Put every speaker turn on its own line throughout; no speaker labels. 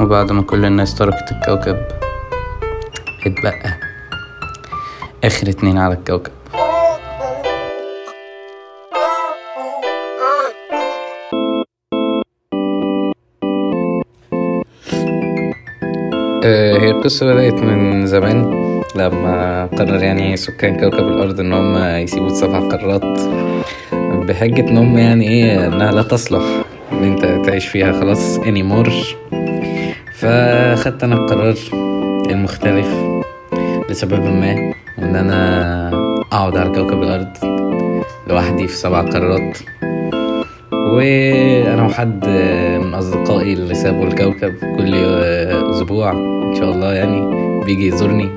بعد ما كل الناس تركت الكوكب اتبقى آخر اتنين على الكوكب آه، هي القصة بدأت من زمان لما قرر يعني سكان كوكب الأرض إن هم يسيبوا سبع قارات بحجة إن هم يعني إيه إنها لا تصلح إن أنت تعيش فيها خلاص anymore فخدت أنا القرار المختلف لسبب ما إن أنا أقعد على كوكب الأرض لوحدي في سبع قارات وانا وحد من اصدقائي اللي سابوا الكوكب كل اسبوع ان شاء الله يعني بيجي يزورني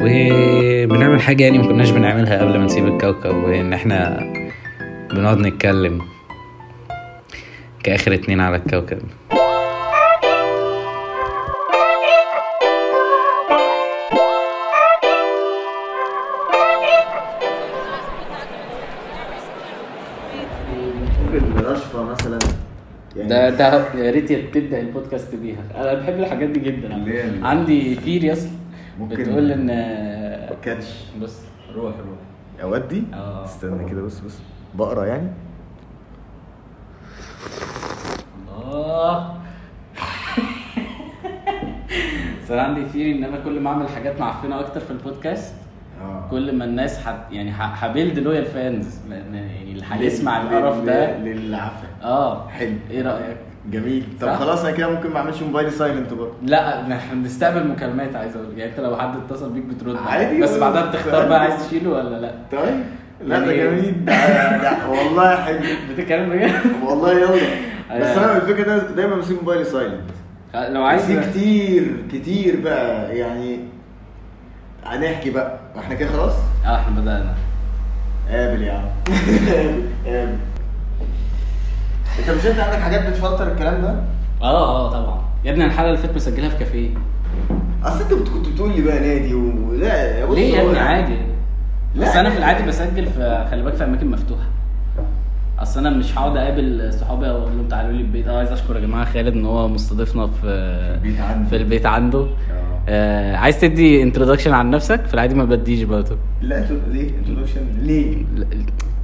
وبنعمل حاجه يعني ما كناش بنعملها قبل ما نسيب الكوكب وان احنا بنقعد نتكلم كاخر اتنين على الكوكب
ممكن رشفه مثلا يعني
ده ده يا ريت تبدا البودكاست بيها انا بحب الحاجات دي جدا عم.
ليه؟
عندي ثيري اصلا
ممكن-
بتقول ان
كاتش
بص روح روح
اودي
آه.
استنى كده بص بص بقرا يعني
الله بس انا عندي ثيري ان انا كل ما اعمل حاجات معفنه اكتر في البودكاست
اه
كل ما الناس حت يعني ه- هبيلد لويال فانز يعني اللي هيسمع القرف ده
للعفه
اه
حلو
ايه رايك؟
جميل طب
صح؟
خلاص انا كده ممكن ما اعملش موبايلي سايلنت بقى
لا احنا بنستقبل مكالمات عايز اقول يعني انت لو حد اتصل بيك بترد
عادي
بس بعدها بتختار بقى
عادي.
عايز تشيله ولا لا
طيب لا ده
يعني-
جميل ده ده والله حلو
بتتكلم بجد
والله يلا بس انا الفكره ده دايما بسيب موبايلي سايلنت
آه. لو
في
عايز
كتير كتير بقى يعني هنحكي بقى احنا كده خلاص
اه احنا بدانا
قابل يا عم قابل قابل انت مش انت عندك حاجات بتفلتر الكلام ده؟
اه اه طبعا يا ابني أنا الحلقه اللي فاتت مسجلها في كافيه
اصل انت بت- كنت بتقول لي بقى نادي ولا بص
ليه يا
هو
ابني
يعني-
عادي
لا.
بس انا في العادي بسجل في خلي بالك في اماكن مفتوحه اصل انا مش هقعد اقابل صحابي او اقول لهم تعالوا لي البيت انا عايز اشكر يا جماعه خالد ان هو مستضيفنا في
البيت عنده.
في البيت عنده
آه.
آه عايز تدي انتروداكشن عن نفسك في العادي ما بديش برضه
لا انتوا ليه انترودكشن ليه؟
لا-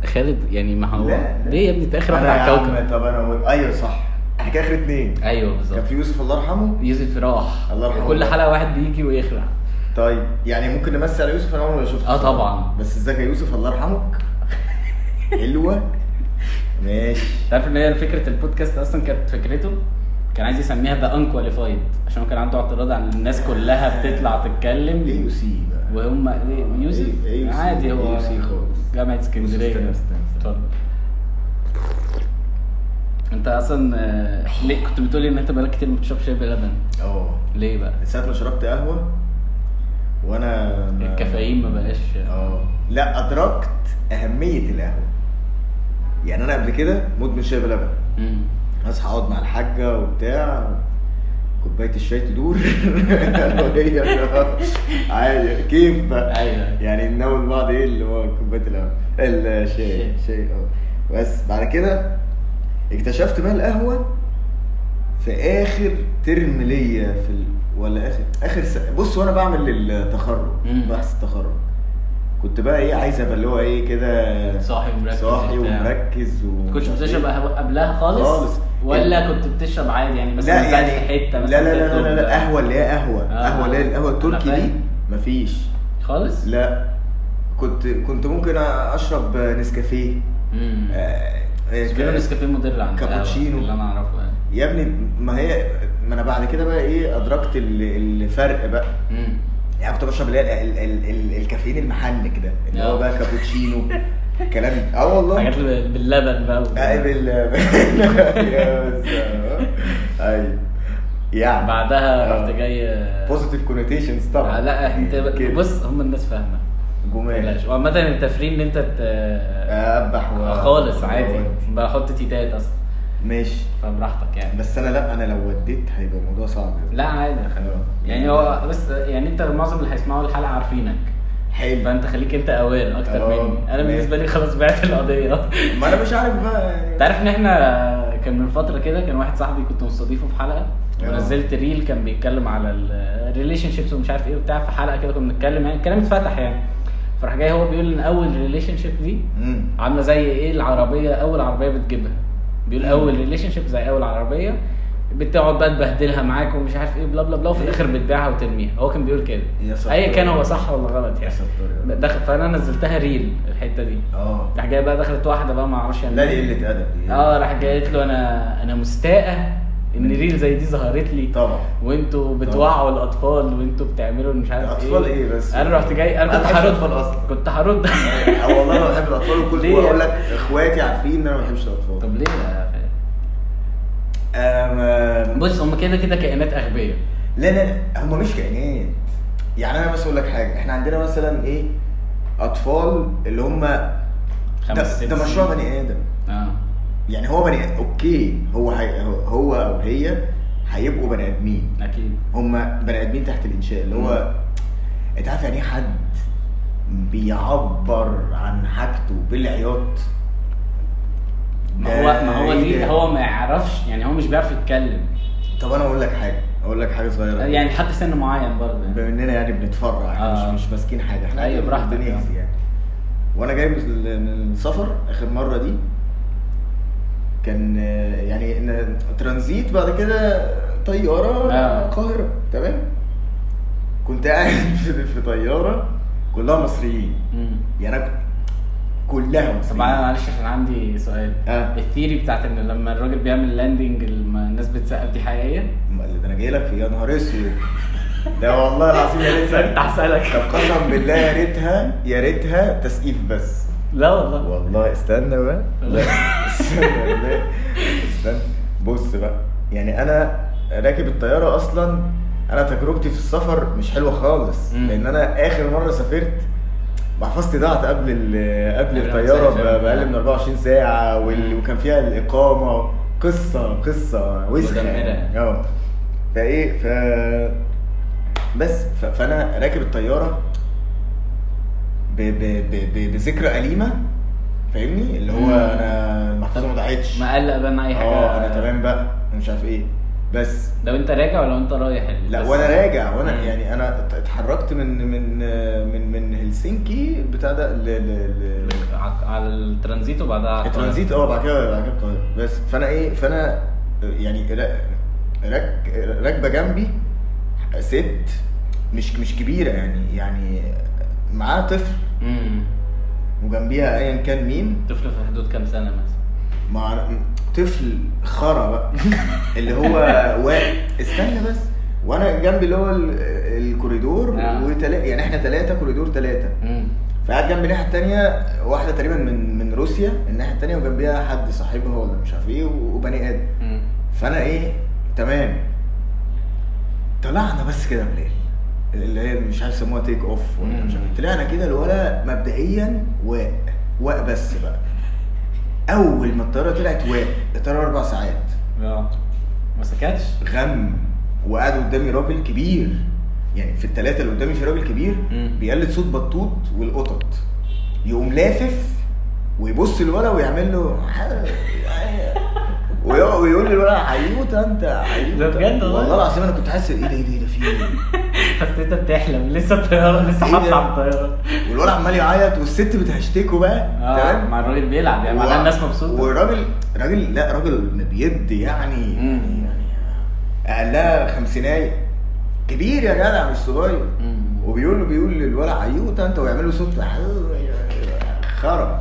خالد يعني ما هو
لا لا.
ليه يا ابني انت اخر واحد
أنا
على
يا عم،
الكوكب
طب انا و- ايوه صح احنا كده اخر اتنين
ايوه
كان
بالظبط
في يوسف الله يرحمه
يوسف راح
الله يرحمه.
كل حلقه واحد بيجي ويخلع
طيب يعني ممكن نمسي على يوسف انا عمري ما شفته
اه طبعا
بس ازيك يا يوسف الله يرحمك حلوه ماشي
تعرف ان هي فكره البودكاست اصلا كانت فكرته كان عايز يسميها ذا انكواليفايد عشان هو كان عنده اعتراض عن الناس كلها بتطلع
ايه
تتكلم
يو سي بقى
وهم
آه،
إيه، يوسف
إيه- إيه يو سي؟
عادي
إيه
هو
يو سي خالص.
جامعه
استنى،
اسكندريه
استنى، استنى.
اتفضل. انت اصلا آه، ليه كنت بتقولي ان انت بقالك كتير ما بتشربش شاي بلبن
اه
ليه بقى؟
ساعة ما شربت قهوة وانا ما-
الكافيين ما بقاش
اه لا ادركت اهمية القهوة يعني انا قبل كده مدمن شاي بلبن
مم.
اصحى اقعد مع الحاجة وبتاع كوباية الشاي تدور أنا وهي عادي كيف بقى
ايوه
يعني نناول بعض ايه اللي هو كوباية القهوة الشاي
الشاي.
الشاي اه بس بعد كده اكتشفت بقى القهوة في اخر ترم ليا في ال... ولا اخر اخر س... بص وانا بعمل للتخرج
مم.
بحث التخرج كنت بقى ايه عايز ابقى اللي هو ايه كده
صاحي ومركز
صاحي
وبتاع.
ومركز و إيه.
كنتش بتشرب قهوة قبلها خالص
خالص. إيه؟
ولا كنت بتشرب عادي يعني مثلا
لا
نزلت
يعني
حته
لا
مثلا
لا لا
تطلب
لا, لا, لا قهوه اللي هي قهوه
آه.
قهوه اللي هي القهوه
أنا
التركي دي
فاهم.
مفيش
خالص؟
لا كنت كنت ممكن اشرب نسكافيه
امم
آه، آه،
اسبرينو نسكافيه موديل عند القهوة،
كابتشينو.
اللي انا اعرفه يعني
يا ابني ما هي ما انا بعد كده بقى ايه ادركت ال- الفرق بقى
امم
يعني كنت بشرب اللي هي ال- ال- ال- الكافيين المحنك ده اللي هو
آه.
بقى كابتشينو كلام اه والله
حاجات اللي باللبن بقى
آه،
وبتاع.
بال يا بس، آه. ايوه يعني
بعدها
آه.
رحت جاي آه،
بوزيتيف كونوتيشنز طبعا
آه، لا انت
كده.
بص هم الناس فاهمه
جمال
بلاش وعامة التفرين ان انت ت...
اقبح و...
خالص عادي
وأودي.
بحط تيتات اصلا
ماشي
فبراحتك يعني
بس انا لا انا لو وديت هيبقى الموضوع صعب
لا عادي يا خالد.
آه.
يعني هو بس يعني انت معظم اللي هيسمعوا الحلقه عارفينك
حلو
فانت خليك انت اوير اكتر
اه.
مني انا بالنسبه لي خلاص بعت القضيه
ما انا مش عارف بقى
انت
يعني
عارف ان احنا كان من فتره كده كان واحد صاحبي كنت مستضيفه في حلقه
آه.
ونزلت ريل كان بيتكلم على الريليشن شيبس ومش عارف ايه وبتاع في حلقه كده كنا بنتكلم يعني الكلام اتفتح يعني فراح جاي هو بيقول ان اول ريليشن شيب دي
امم
عامله زي ايه العربيه اول عربيه بتجيبها بيقول اول ريليشن شيب زي اول عربيه بتقعد بقى تبهدلها معاك ومش عارف ايه بلا بلا بلا وفي الاخر بتبيعها وترميها هو كان بيقول كده
يا ساتر.
ايا كان هو صح ولا غلط
يا
يعني
ساتر يا رب.
دخل فانا نزلتها ريل الحته دي
اه
راح جاي بقى دخلت واحده بقى ما اعرفش يعني
لا دي قله ادب دي
اه راح جاي قالت له انا انا مستاءه ان ريل زي دي ظهرت لي
طبعا
وانتوا بتوعوا الاطفال وانتوا بتعملوا مش عارف ايه
الاطفال ايه بس
انا رحت جاي انا
أنا
كنت
بحب
هرد
الأطفال أصلاً.
كنت هرد
آه، والله انا بحب الاطفال وكل
ليه؟
واقول لك اخواتي عارفين ان انا ما بحبش الاطفال
طب ليه يا
آه، آم،
بص هم كده كده كائنات اغبياء
لا لا هم مش كائنات يعني انا بس اقول لك حاجه احنا عندنا مثلا ايه اطفال اللي هم
خمس
ده,
ست
ده مشروع
سنين.
بني ادم
اه
يعني هو بني آدم. اوكي هو حي... هو او هي هيبقوا بني ادمين
اكيد
هم بني ادمين تحت الانشاء اللي هو انت عارف يعني ايه حد بيعبر عن حاجته بالعياط
ما هو ما هو
ده إيه
ليه
ده؟
هو ما يعرفش يعني هو مش بيعرف يتكلم
طب انا اقول لك حاجه اقول لك حاجه صغيره
يعني لحد سن معين برضه يعني.
بما اننا يعني بنتفرع احنا
آه.
مش مش ماسكين حاجه احنا
أيوة،
قاعدين
براحتك.
الدنيا easy يعني وانا جاي من ال- من السفر اخر مره دي كان آه، يعني إن ترانزيت بعد كده طياره
آه.
القاهره تمام كنت قاعد في في طياره كلها مصريين
مم.
يعني انا كنت- كلها
طب انا
مصريين
معلش عشان عندي سؤال
اه
الثيري بتاعت ان لما الراجل بيعمل لاندنج الناس بتسقف دي حقيقيه؟
ما اللي ده انا جاي لك في يا نهار اسود ده والله العظيم يا
كنت
ريتها طب
هسألك
قسم بالله يا ريتها يا ريتها تسقيف بس
لا والله
والله استنى بقى لا استنى لا استنى بص بقى يعني انا راكب الطياره اصلا انا تجربتي في السفر مش حلوه خالص
مم.
لان انا اخر مره سافرت محفظتي ضاعت قبل ال- قبل
قبل ما
الطياره
تسافر. آه.
ب- باقل من 24 ساعه وال- وكان فيها الاقامه قصه قصه وسخه
مدمرة.
يعني. اه فايه ف بس ف- فانا راكب الطياره ب- ب- ب- ب- بذكرى أليمة فاهمني اللي هو
مم.
انا المحفظه ما ضاعتش
ما قلق بقى إن اي حاجه
اه انا تمام بقى ومش عارف ايه بس
لو انت راجع ولا انت رايح
لا وانا راجع وانا
مم.
يعني انا ات- اتحركت من من من من هلسنكي بتاع ده ل- ل- ل-
ع- على الترانزيت وبعدها على القاهرة.
الترانزيت اه بعد كده بعد كده القاهره بس فانا ايه فانا يعني را- راك راكبه جنبي ست مش مش كبيره يعني يعني معاها طفل
مم.
وجنبيها ايا كان مين
طفل في حدود كام سنه مثلا
مع طفل خرا بقى اللي هو واقف استنى بس وانا جنبي اللي هو ال- الكوريدور
آه.
وتلا... يعني احنا ثلاثه كوريدور ثلاثه
مم.
فقعد جنبي الناحيه الثانيه واحده تقريبا من من روسيا الناحيه الثانيه وجنبيها حد صاحبها ولا مش عارف ايه وبني ادم
مم.
فانا ايه تمام طلعنا بس كده بليل اللي هي مش عارف يسموها تيك اوف ولا مش عارف إيه. طلعنا كده الولا مبدئيا واق واق بس بقى اول ما الطياره طلعت واق الطياره اربع ساعات
اه ما سكتش
غم وقعد قدامي راجل كبير يعني في الثلاثه اللي قدامي في راجل كبير
مم.
بيقلد صوت بطوط والقطط يقوم لافف ويبص للولا ويعمل له ويقعد- ويقول للولا حيوطه انت حيوطه
ده بجد والله؟
والله العظيم انا كنت حاسس ايه ده ايه ده ايه ده في إيه؟
بس انت بتحلم لسه الطياره لسه
إيه
حاطه
ده؟
على الطياره
والولا عمال يعيط والست بتهشتكه بقى
اه مع الراجل بيلعب يعني معناها الناس مبسوطه
والراجل راجل لا راجل ما بيد يعني
مم.
يعني اقلها خمسينايه كبير يا جدع مش صغير
مم.
وبيقول له بيقول للولع "أيوة، عيوطه انت ويعمل له صوت خرب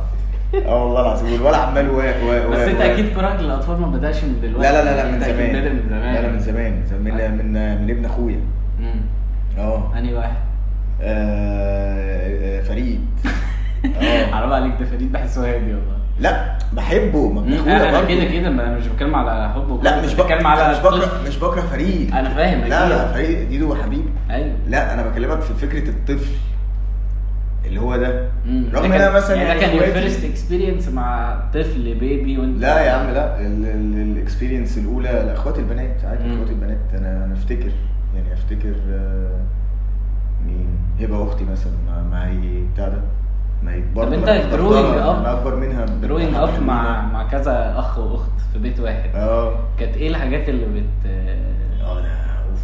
اه والله العظيم والولع عمال واق واق
بس
واق-
انت
واق.
اكيد كراك للاطفال ما بداش من دلوقتي
لا لا لا لا من
انت أكيد
زمان
بادئ من زمان آه.
لا لا من زمان من زمان من من, من ابن اخويا
مم.
اه
انهي واحد
آه، فريد اه
حرام عليك ده فريد بحسه هادي والله
لا بحبه ما ابن اخويا
انا
برضه.
كده كده ما- انا مش بتكلم على حب وكده،
لا مش
أنا بتكلم
بكره
على
مش
الطفل.
بكره مش بكره فريد
انا فاهم
لا
أكيد.
لا فريد ديدو حبيبي
ايوه
لا انا بكلمك في فكره الطفل اللي هو ده
مم.
رغم
ده
ان
كان-
انا مثلا
يعني ده كان يور
دلوقتي-
فيرست اكسبيرينس مع طفل بيبي وانت
لا يا عم لا الاكسبيرينس الاولى لاخوات البنات عادي
مم.
اخوات البنات انا انا افتكر يعني افتكر آه، مين هبه اختي مثلا ما ما هي بتاع ده ما هي برضه
طب انت
ما هي مدبرة،
growing up-
انا اكبر منها ب-
جروينج اب مع مع كذا اخ واخت في بيت واحد
اه
كانت ايه الحاجات اللي بت
اه ده اوف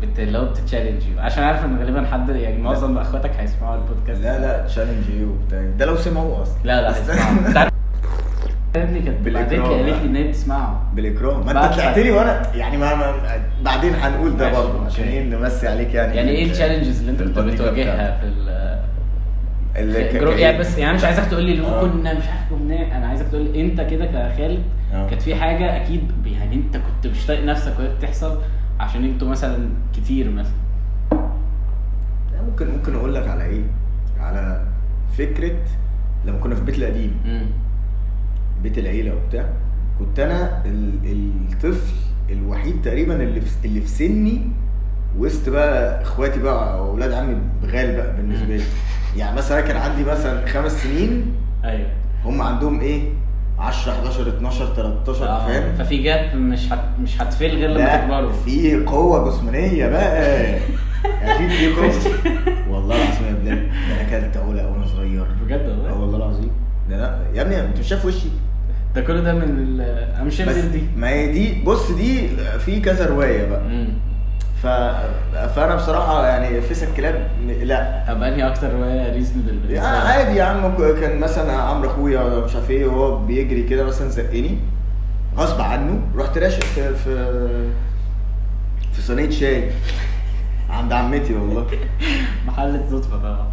بت اللي هو بتتشالنج يو عشان عارف ان غالبا حد يعني معظم اخواتك هيسمعوا البودكاست
لا لا تشالنج ايه وبتاع ده لو سمعوه اصلا
لا لا
بس-
هيسمعوا انت عارف يا ابني كانت بعدين
بالإكراه
قالت
بقى.
لي ان هي بتسمعه
بالاكراه ما
بعد-
انت طلعت لي وانا يعني ما, ما بعدين هنقول ده
ماشي،
برضه عشان
اوكي.
ايه نمسي عليك يعني
يعني ايه التشالنجز اللي انت كنت
البطيخة
بتواجهها
بتاعتك.
في ال
اللي إيه؟
في
كان-
الجرو- يعني بس يعني مش عايزك تقول لي اللي هو
آه.
كنا مش عارف كنا انا عايزك تقول لي انت كده كخالد
آه.
كانت في حاجه اكيد يعني انت كنت مش طايق نفسك وهي بتحصل عشان انتوا مثلا كتير مثلا
لا، ممكن ممكن اقول لك على ايه على فكره لما كنا في البيت القديم بيت العيله وبتاع كنت انا ال- الطفل الوحيد تقريبا اللي في اللي في سني وسط بقى اخواتي بقى اولاد عمي غال بقى بالنسبه لي يعني مثلا كان عندي مثلا خمس سنين
ايوه
هم عندهم ايه 10 11 12 13
آه.
فاهم
ففي جاب مش هت... مش هتفل غير لما
لا
تكبروا
في قوة جسمانية بقى أكيد في قوة والله العظيم يا بلال ده أنا كلت علا وأنا صغير
بجد
اه
والله
والله العظيم ده لا يا ابني أنت مش شايف وشي
ده كل ده من ال... انا مش
بس
شايف دي
ما هي دي بص دي في كذا رواية بقى
امم
ف... فأنا بصراحة يعني فيس الكلاب م- لا
طب انهي اكتر روايه ريزنبل بالنسبه
يعني أنا
لك؟
عادي يا عم ك- كان مثلا عمرو أخويا ولا مش عارف إيه وهو بيجري كده مثلا زقني غصب عنه رحت راشق في في في صينية شاي عند عمتي والله
محل الصدفه طبعا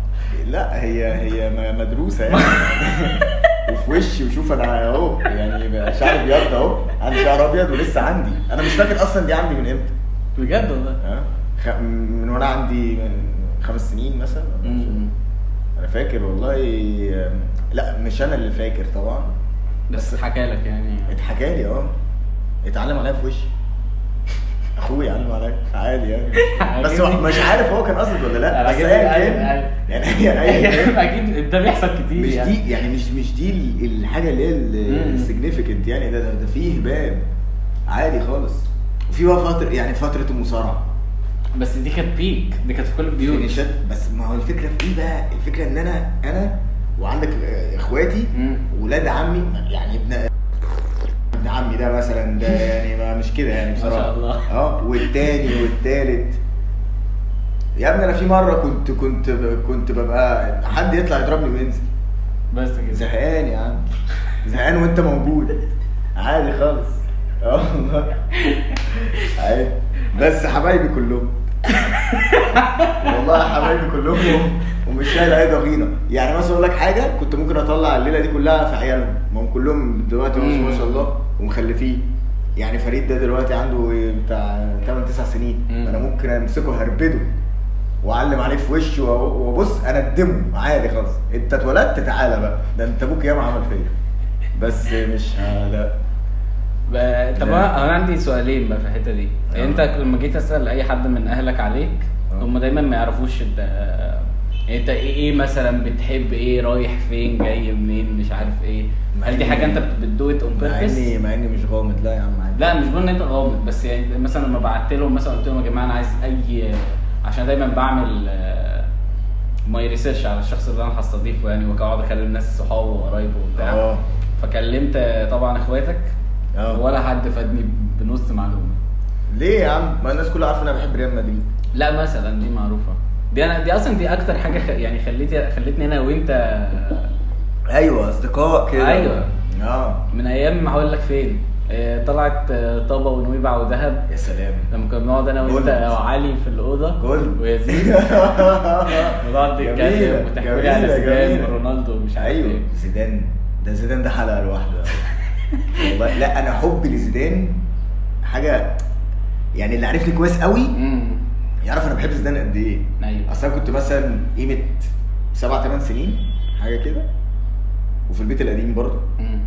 لا هي هي م- مدروسه يعني وفي وشي وشوف انا اهو يعني شعري ابيض اهو عندي شعر ابيض ولسه عندي انا مش فاكر اصلا دي عندي من امتى
بجد والله
ها؟ خ... من وانا عندي من خمس سنين مثلا
مم.
انا فاكر والله لا مش انا اللي فاكر طبعا
بس اتحكى لك يعني
اتحكى لي اه اتعلم عليا في وشي اخويا علم عليا عادي يعني بس هو مش عارف هو كان قصد ولا لا بس
عاجبني،
ايا
أيوة،
كان يعني ايا كان
اكيد ده بيحصل كتير
مش
يعني.
دي يعني مش مش دي ال- الحاجه اللي هي
مم.
السيجنيفيكنت يعني ده ده- ده فيه هباب عادي خالص وفي بقى فتره يعني فتره المصارعه
بس دي كانت بيك دي كانت في كل البيوت
فينيشات بس ما هو الفكره في ايه بقى الفكره ان انا انا وعندك آه، اخواتي
مم.
ولاد عمي يعني ابن ابن عمي ده مثلا ده يعني ما مش كده يعني
ما شاء
بصراحه
الله.
اه والتاني والتالت يا ابني انا في مره كنت كنت كنت ببقى حد يطلع يضربني وينزل
بس كده
زهقان يا عم زهقان وانت موجود عادي خالص اه والله عادي بس حبايبي كلهم والله حبايبي كلهم ومش شايل اي ضغينه يعني مثلا اقول لك حاجه كنت ممكن اطلع الليله دي كلها في عيالهم ما هم كلهم دلوقتي ما شاء الله ومخلفين يعني فريد ده دلوقتي عنده بتاع 8 9 سنين
مم.
انا ممكن امسكه هربده واعلم عليه في وشه وأ- وابص اندمه عادي خالص انت اتولدت تعالى بقى ده انت ابوك ياما عمل فيا بس مش ه- لا
ب- طب
لا.
انا أنا عندي سؤالين بقى في الحته دي
آه.
انت لما جيت اسال اي حد من اهلك عليك
آه.
هم دايما ما يعرفوش انت انت ايه ايه مثلا بتحب ايه رايح فين جاي منين مش عارف ايه
مع
هل دي
إني-
حاجه انت بتدو ات اون
مع اني مع اني مش غامض لا يا عم عادي
لا مش بقول ان انت غامض بس يعني مثلا لما بعت لهم مثلا قلت لهم يا جماعه انا عايز اي عشان دايما بعمل ماي ريسيرش على الشخص اللي انا هستضيفه يعني واقعد اكلم ناس صحابه وقرايبه وبتاع
اه.
فكلمت آه، طبعا اخواتك
اه.
ولا حد فادني بنص معلومه
ليه يا عم ما الناس كلها عارفه ان انا بحب ريال مدريد
لا مثلا دي معروفه دي انا دي اصلا دي اكتر حاجه خ... يعني خليتي خلتني انا وانت
ايوه اصدقاء كده
أيوة.
اه
من ايام ما هقول لك فين آه، طلعت آه، طابه ونويبع ودهب
يا سلام
لما كنا بنقعد انا وانت
جولد.
وعلي في الاوضه
جولد.
ويزيد ونقعد
جميلة،
نتكلم وتحكي لي على
جميلة،
زيدان
جميلة.
ورونالدو ومش عارف
ايوه
ايه
زيدان ده زيدان ده حلقه لوحده والله لا انا حبي لزيدان حاجه يعني اللي عارفني كويس قوي
امم
يعرف انا بحب زيدان قد ايه
ايوه
اصل انا كنت مثلا قيمه سبع ثمان سنين حاجه كده وفي البيت القديم برضه
أمم.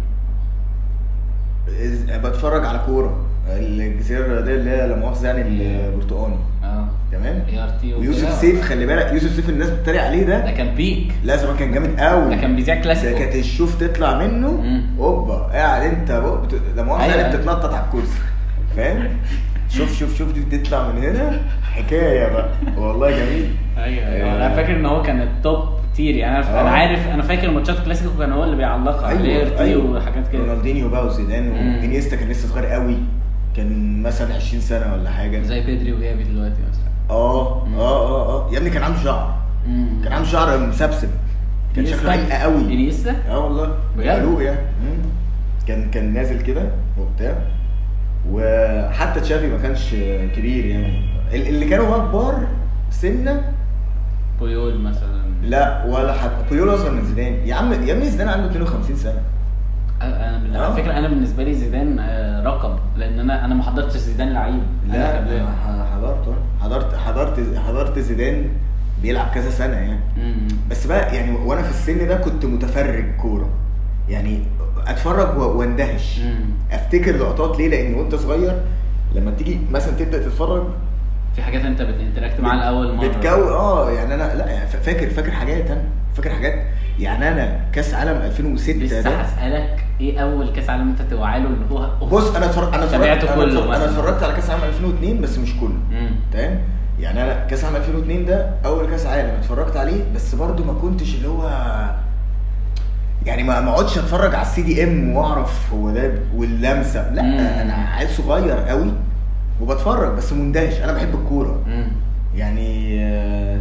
إز- بتفرج على كوره الجزيره الرياضيه اللي هي لا مؤاخذه يعني البرتقاني
اه
تمام
ART وكده.
ويوسف سيف خلي بالك يوسف سيف الناس بتتريق عليه
أيوه. ده
ده
كان بيك
لا زمان كان جامد قوي
ده كان بيذاع
ده
كلاسيكو
كانت الشوف تطلع منه
مم.
اوبا قاعد انت بق- بت- لا مؤاخذه
أيوة.
يعني بتتنطط على الكرسي فاهم شوف شوف شوف دي بتطلع من هنا حكايه بقى والله جميل
ايوه ايوه انا فاكر ان هو كان التوب كتير يعني انا
آه. أيوه،
انا عارف انا فاكر ماتشات كلاسيكو كان هو اللي بيعلقها على ايرتي وحاجات كده
أيوة، رونالدينيو بقى وزيدان
مم.
وانيستا كان لسه صغير قوي كان مثلا 20 سنه ولا حاجه
زي بيدري وجافي دلوقتي مثلا
اه
مم.
اه اه اه يا ابني كان عنده شعر كان عنده شعر مسبسب كان شكله
إنيستا؟
حقيقه قوي
انيستا
اه والله
بجد؟
قالوه يعني مم. كان كان نازل كده وبتاع وحتى تشافي ما كانش كبير يعني ال- اللي كانوا بقى كبار سنه
بويول مثلا
لا ولا حتى بيول اصغر من زيدان يا عم يا ابني زيدان عنده 52 سنه
انا بال- على
آه.
فكره انا بالنسبه لي زيدان آه، رقم لان انا انا ما حضرتش زيدان لعيب
لا
أنا
أنا
قبلها.
ح- حضرت آه. حضرت حضرت حضرت زيدان بيلعب كذا سنه يعني
مم.
بس بقى يعني وانا في السن ده كنت متفرج كوره يعني اتفرج و- واندهش
مم.
افتكر لقطات ليه لان وانت صغير لما تيجي مثلا تبدا تتفرج
في حاجات انت بتنتراكت معاها لاول مره
بتكو اه يعني انا لا يعني ف- فاكر فاكر حاجات انا فاكر حاجات يعني انا كاس عالم 2006
لسه
ده
هسالك ايه اول كاس عالم انت توعى له اللي هو أوف.
بص انا اتفرج انا اتفرجت
تابعته
انا
كله
اتفرج- انا
مثلاً.
اتفرجت على كاس عالم 2002 بس مش كله
مم.
تمام يعني انا كاس عام 2002 ده اول كاس عالم اتفرجت عليه بس برضو ما كنتش اللي هو يعني ما ما اقعدش اتفرج على السي دي ام واعرف هو ده واللمسه لا
مم.
انا عيل صغير قوي وبتفرج بس مندهش انا بحب الكوره
مم.
يعني آه،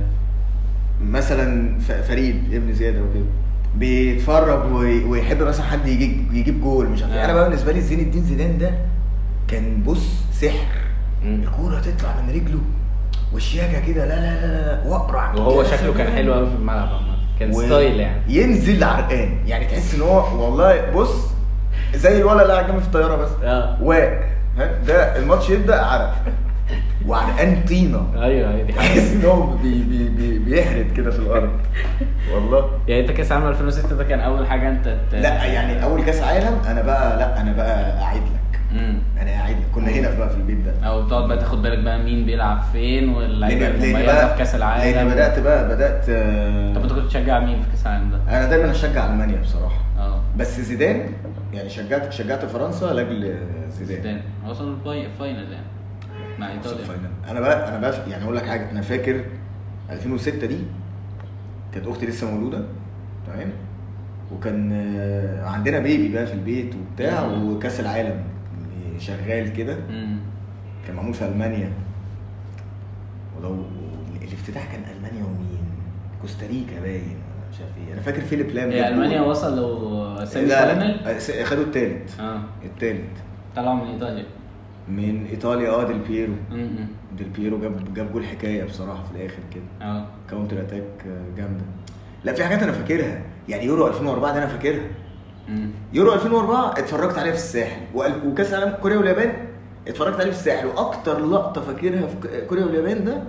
مثلا ف- فريد ابن زياد وكده بيتفرج وي- ويحب مثلا حد يجيب يجيب جول مش عارف إيه.
آه.
انا بقى بالنسبه لي زين الدين زيدان ده كان بص سحر
مم.
الكوره تطلع من رجله وشياكه كده لا لا لا لا واقرع
وهو
كده.
شكله كان حلو قوي في الملعب عامة. كان
و-
ستايل يعني
ينزل عرقان يعني تحس ان هو والله بص زي الولد اللي عجبني في الطياره بس
اه
و ها، ده الماتش يبدا عرق وعرقان طينه
ايوه ايوه دي حقيقة.
تحس ان هو بي بي بي بيحرد كده في الارض والله
يعني انت كاس عالم 2006 ده كان اول حاجه انت ت...
لا يعني اول كاس عالم انا بقى لا انا بقى اعيد لك
مم.
انا اعيد لك كنا هنا بقى في البيت ده
او بتقعد بقى تاخد بالك بقى مين بيلعب فين واللعيبه المميزه في كاس العالم
لان بدات بقى بدات
طب انت كنت بتشجع مين في كاس العالم ده؟
انا دايما اشجع المانيا بصراحه
اه
بس زيدان يعني شجعت شجعت فرنسا لاجل زيدان
زيدان وصل الفاي- الفاينل يعني مع
وصل
ايطاليا
الفاينل. انا بقى انا بقى يعني اقول لك حاجه انا فاكر 2006 دي كانت اختي لسه مولوده تمام وكان آه، عندنا بيبي بقى في البيت وبتاع
مم.
وكاس العالم شغال كده
مم.
كان معمول في المانيا ولو الافتتاح كان المانيا ومين كوستاريكا باين ولا مش عارف ايه انا فاكر فيليب لام
هي
جاب
المانيا
جول.
إيه، وصل لو سيمي
لا
فاينل
لا س- خدوا التالت
اه
التالت
طلعوا من ايطاليا
من ايطاليا اه ديل بيرو
مم.
ديل بيرو جاب جاب جول حكايه بصراحه في الاخر كده
اه
كاونتر اتاك آه، جامده لا في حاجات انا فاكرها يعني يورو 2004 ده انا فاكرها
مم.
يورو 2004 اتفرجت عليه في الساحل وال- وكاس العالم كوريا واليابان اتفرجت عليه في الساحل واكتر لقطه فاكرها في ك- كوريا واليابان ده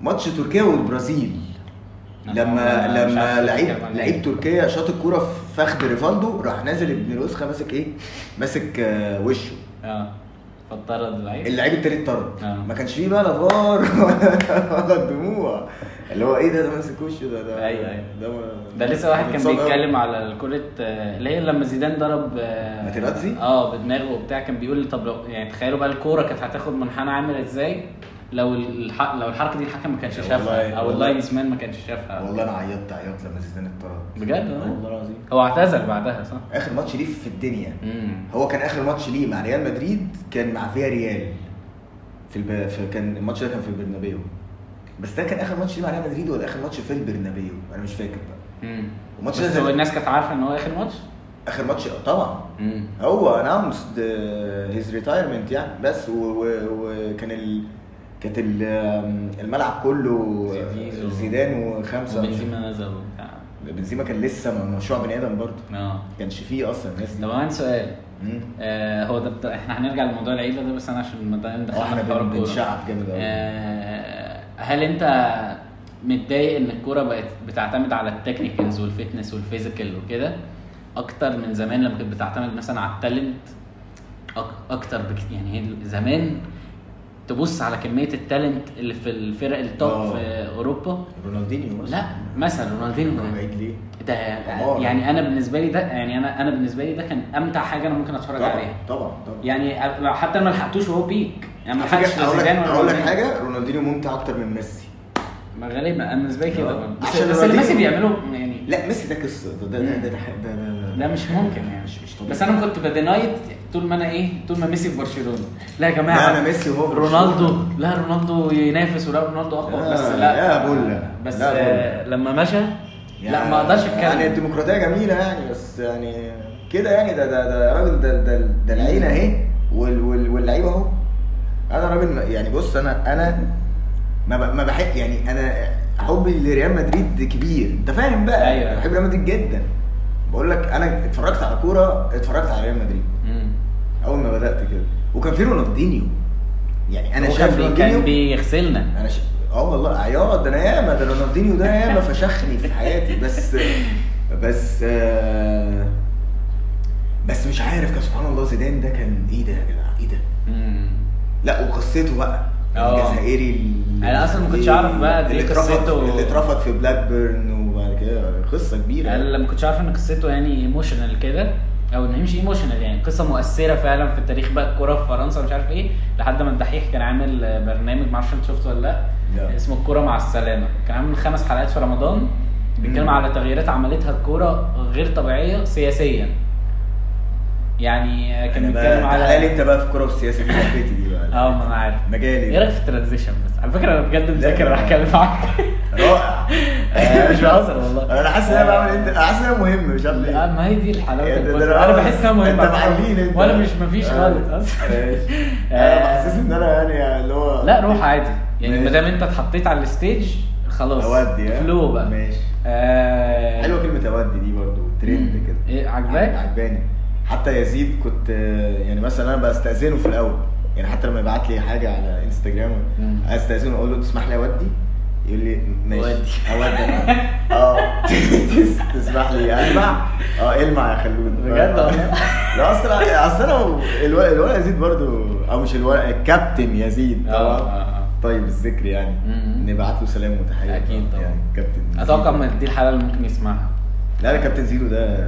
ماتش تركيا والبرازيل لما
أنا مش
لما
عارف
لعيب
أتكلم عن إيه.
لعيب تركيا شاط الكوره في فخذ ريفالدو راح نازل ابن الوسخه ماسك ايه؟ ماسك آه، وشه
اه فطرد اللعيب
اللعيب التالت طرد
آه.
ما كانش فيه بقى لا فار ولا- ولا دموع اللي هو ايه ده ده ماسك وشه ده ده
أيوة، أيوة.
ده ما-
ده لسه واحد كان
اتصاب أوي.
بيتكلم على كرة آه، اللي هي لما زيدان ضرب آه،
ماتيراتزي؟
اه بدماغه وبتاع كان بيقول لي طب لو يعني تخيلوا بقى الكورة كانت هتاخد منحنى عامل ازاي لو الح... لو الحركة دي الحكم ما كانش
والله-
شافها او
والله.
اللاينز مان ما كانش شافها
والله انا عيطت عيط لما زيدان اتطرد
بجد والله؟
والله العظيم
هو اعتزل بعدها صح؟
اخر ماتش ليه في الدنيا
امم
هو كان اخر ماتش ليه مع ريال مدريد كان مع فيا ريال في, الب... في كان الماتش ده كان في البرنابيو بس ده كان اخر ماتش ليه مع ريال مدريد ولا اخر ماتش في البرنابيو انا مش فاكر بقى
امم
الماتش
بس
ده
هو
زي-
الناس كانت عارفة ان هو اخر ماتش؟
اخر ماتش طبعا
امم
هو اناونس هيز ريتايرمنت يعني بس و- و- وكان ال... كانت ال- um, الملعب كله
زيزو.
زيدان وخمسه
وبنزيما نزل وبتاع
بنزيما كان لسه مشروع بني ادم برضه
اه
ما كانش فيه اصلا الناس دي
طب انا عندي سؤال
مم.
آه هو ده بت... احنا هنرجع لموضوع العيله ده بس انا عشان ما دام
اه احنا
دخلنا في حوار
بن-
الكوره
بنشعب جامد قوي
آه هل انت متضايق ان الكوره بقت بتعتمد على التكنيكالز والفيتنس والفيزيكال وكده اكتر من زمان لما كانت بتعتمد مثلا على التالنت أك... اكتر بكتير يعني هي زمان تبص على كميه التالنت اللي في الفرق التوب
آه.
في اوروبا
رونالدينيو مثلا.
لا مثلا رونالدينو
هو بعيد ليه؟
ده
آه.
يعني انا بالنسبه لي ده يعني انا انا بالنسبه لي ده كان امتع حاجه انا ممكن اتفرج عليها
طبعا طبعا طبعا
يعني لو حتى ما لحقتوش وهو بيك يعني ما
على
لحقتش
فكرة
لا
اقول لك
زيدان ولا
اقول لك
رونالدينو.
حاجه رونالدينيو ممتع اكتر من ميسي
ما غالبا انا بالنسبه لي كده
آه.
برضه.
عشان
بس, بس اللي
روديجو-
ميسي بيعمله يعني
لا ميسي ده قصه ده ده ده ده, ده, ده, ده,
ده مش ممكن يعني
مش- مش طبيعي.
بس انا كنت بدينايت طول ما انا ايه طول ما ميسي في برشلونه لا يا جماعه
لا، أنا ميسي وهو في
رونالدو
برشلونة.
لا رونالدو ينافس ولا رونالدو اقوى
لا،
بس لا
يا بولا.
بس
لا
آه، لما مشى لا ما اقدرش اتكلم
يعني الديمقراطيه جميله يعني بس يعني كده يعني ده ده ده يا راجل ده ده ده العيله اهي وال وال واللعيبه اهو انا راجل ما- يعني بص انا انا ما ب- ما بحب يعني انا حبي لريال مدريد كبير انت فاهم بقى
أيوة.
أنا بحب ريال مدريد جدا بقول لك انا اتفرجت على كوره اتفرجت على ريال مدريد
مم.
اول ما بدات كده وكان في رونالدينيو يعني انا
هو
شايف
كان بي- كان
رونالدينيو
بيغسلنا
انا ش... اه والله عياط ده انا ياما ده رونالدينيو ده ياما فشخني في حياتي بس بس آه، بس مش عارف كان سبحان الله زيدان ده كان ايه ده يا جدع ايه ده
مم.
لا وقصته بقى
آه.
الجزائري ال-
أنا أصلا ما كنتش
اللي-
أعرف بقى دي
اللي اترفض
قصته.
اللي اترفض في بلاك بيرن وبعد كده قصه كبيره
انا لما كنتش عارف ان قصته يعني ايموشنال كده او ان هي مش ايموشنال يعني قصه مؤثره فعلا في التاريخ بقى الكوره في فرنسا مش عارف ايه لحد ما الدحيح كان عامل برنامج معرفش انت شفته ولا لا
لا.
اسمه الكوره مع السلامه كان عامل خمس حلقات في رمضان بيتكلم
مم.
على تغييرات عملتها الكوره غير طبيعيه سياسيا يعني كان
أنا بقى-
بيتكلم
تعالى لي
على
انت بقى في الكوره والسياسه دي حبيتي دي بقى
اه ما انا عارف
مجالي
ايه رايك في الترانزيشن بس على فكره انا بجد مذاكر راح
لا.
اتكلم معاك
رائع
آه، مش بهزر والله. آه.
انا حاسس ان انا بعمل انت انا حاسس ان انا مهم مش عارف ليه
اه ما هي دي الحلاوه
يا يعني ده- ده
البودكاست.
أنا-
انا بحس انها مهمه
انت
على فكرة.
معلين انت
وانا مش مفيش خالص اصلا
انا
آه.
آه. بحسس ان انا يعني اللي هو
لا روح عادي يعني
ماشي.
ما دام انت اتحطيت على الستيج خلاص
اودي ها؟
فلو بقى
آه. ماشي
آه،
حلوه كلمه اودي دي برضو ترند
مم.
كده يعني
ايه عجباك؟
عجباني حتى يزيد كنت آه، يعني مثلا انا بستاذنه في الاول يعني حتى لما يبعت لي حاجه على انستجرام
مم.
استاذنه اقول له تسمح لي اودي يقول لي ماشي
أودي.
اودي أنا. اه تس- تسمح لي المع اه المع يا خلود آه.
بجد والله؟
لا اصل اصل انا الولد الولد يزيد برضو او مش الولد الكابتن يزيد
آه، آه،
طبعا
آه.
طيب الذكر يعني
مم.
نبعت له سلام وتحيه
أكيد طبعا.
يعني كابتن يزيد.
اتوقع ان دي الحلقه اللي ممكن يسمعها
لا لا كابتن زيرو ده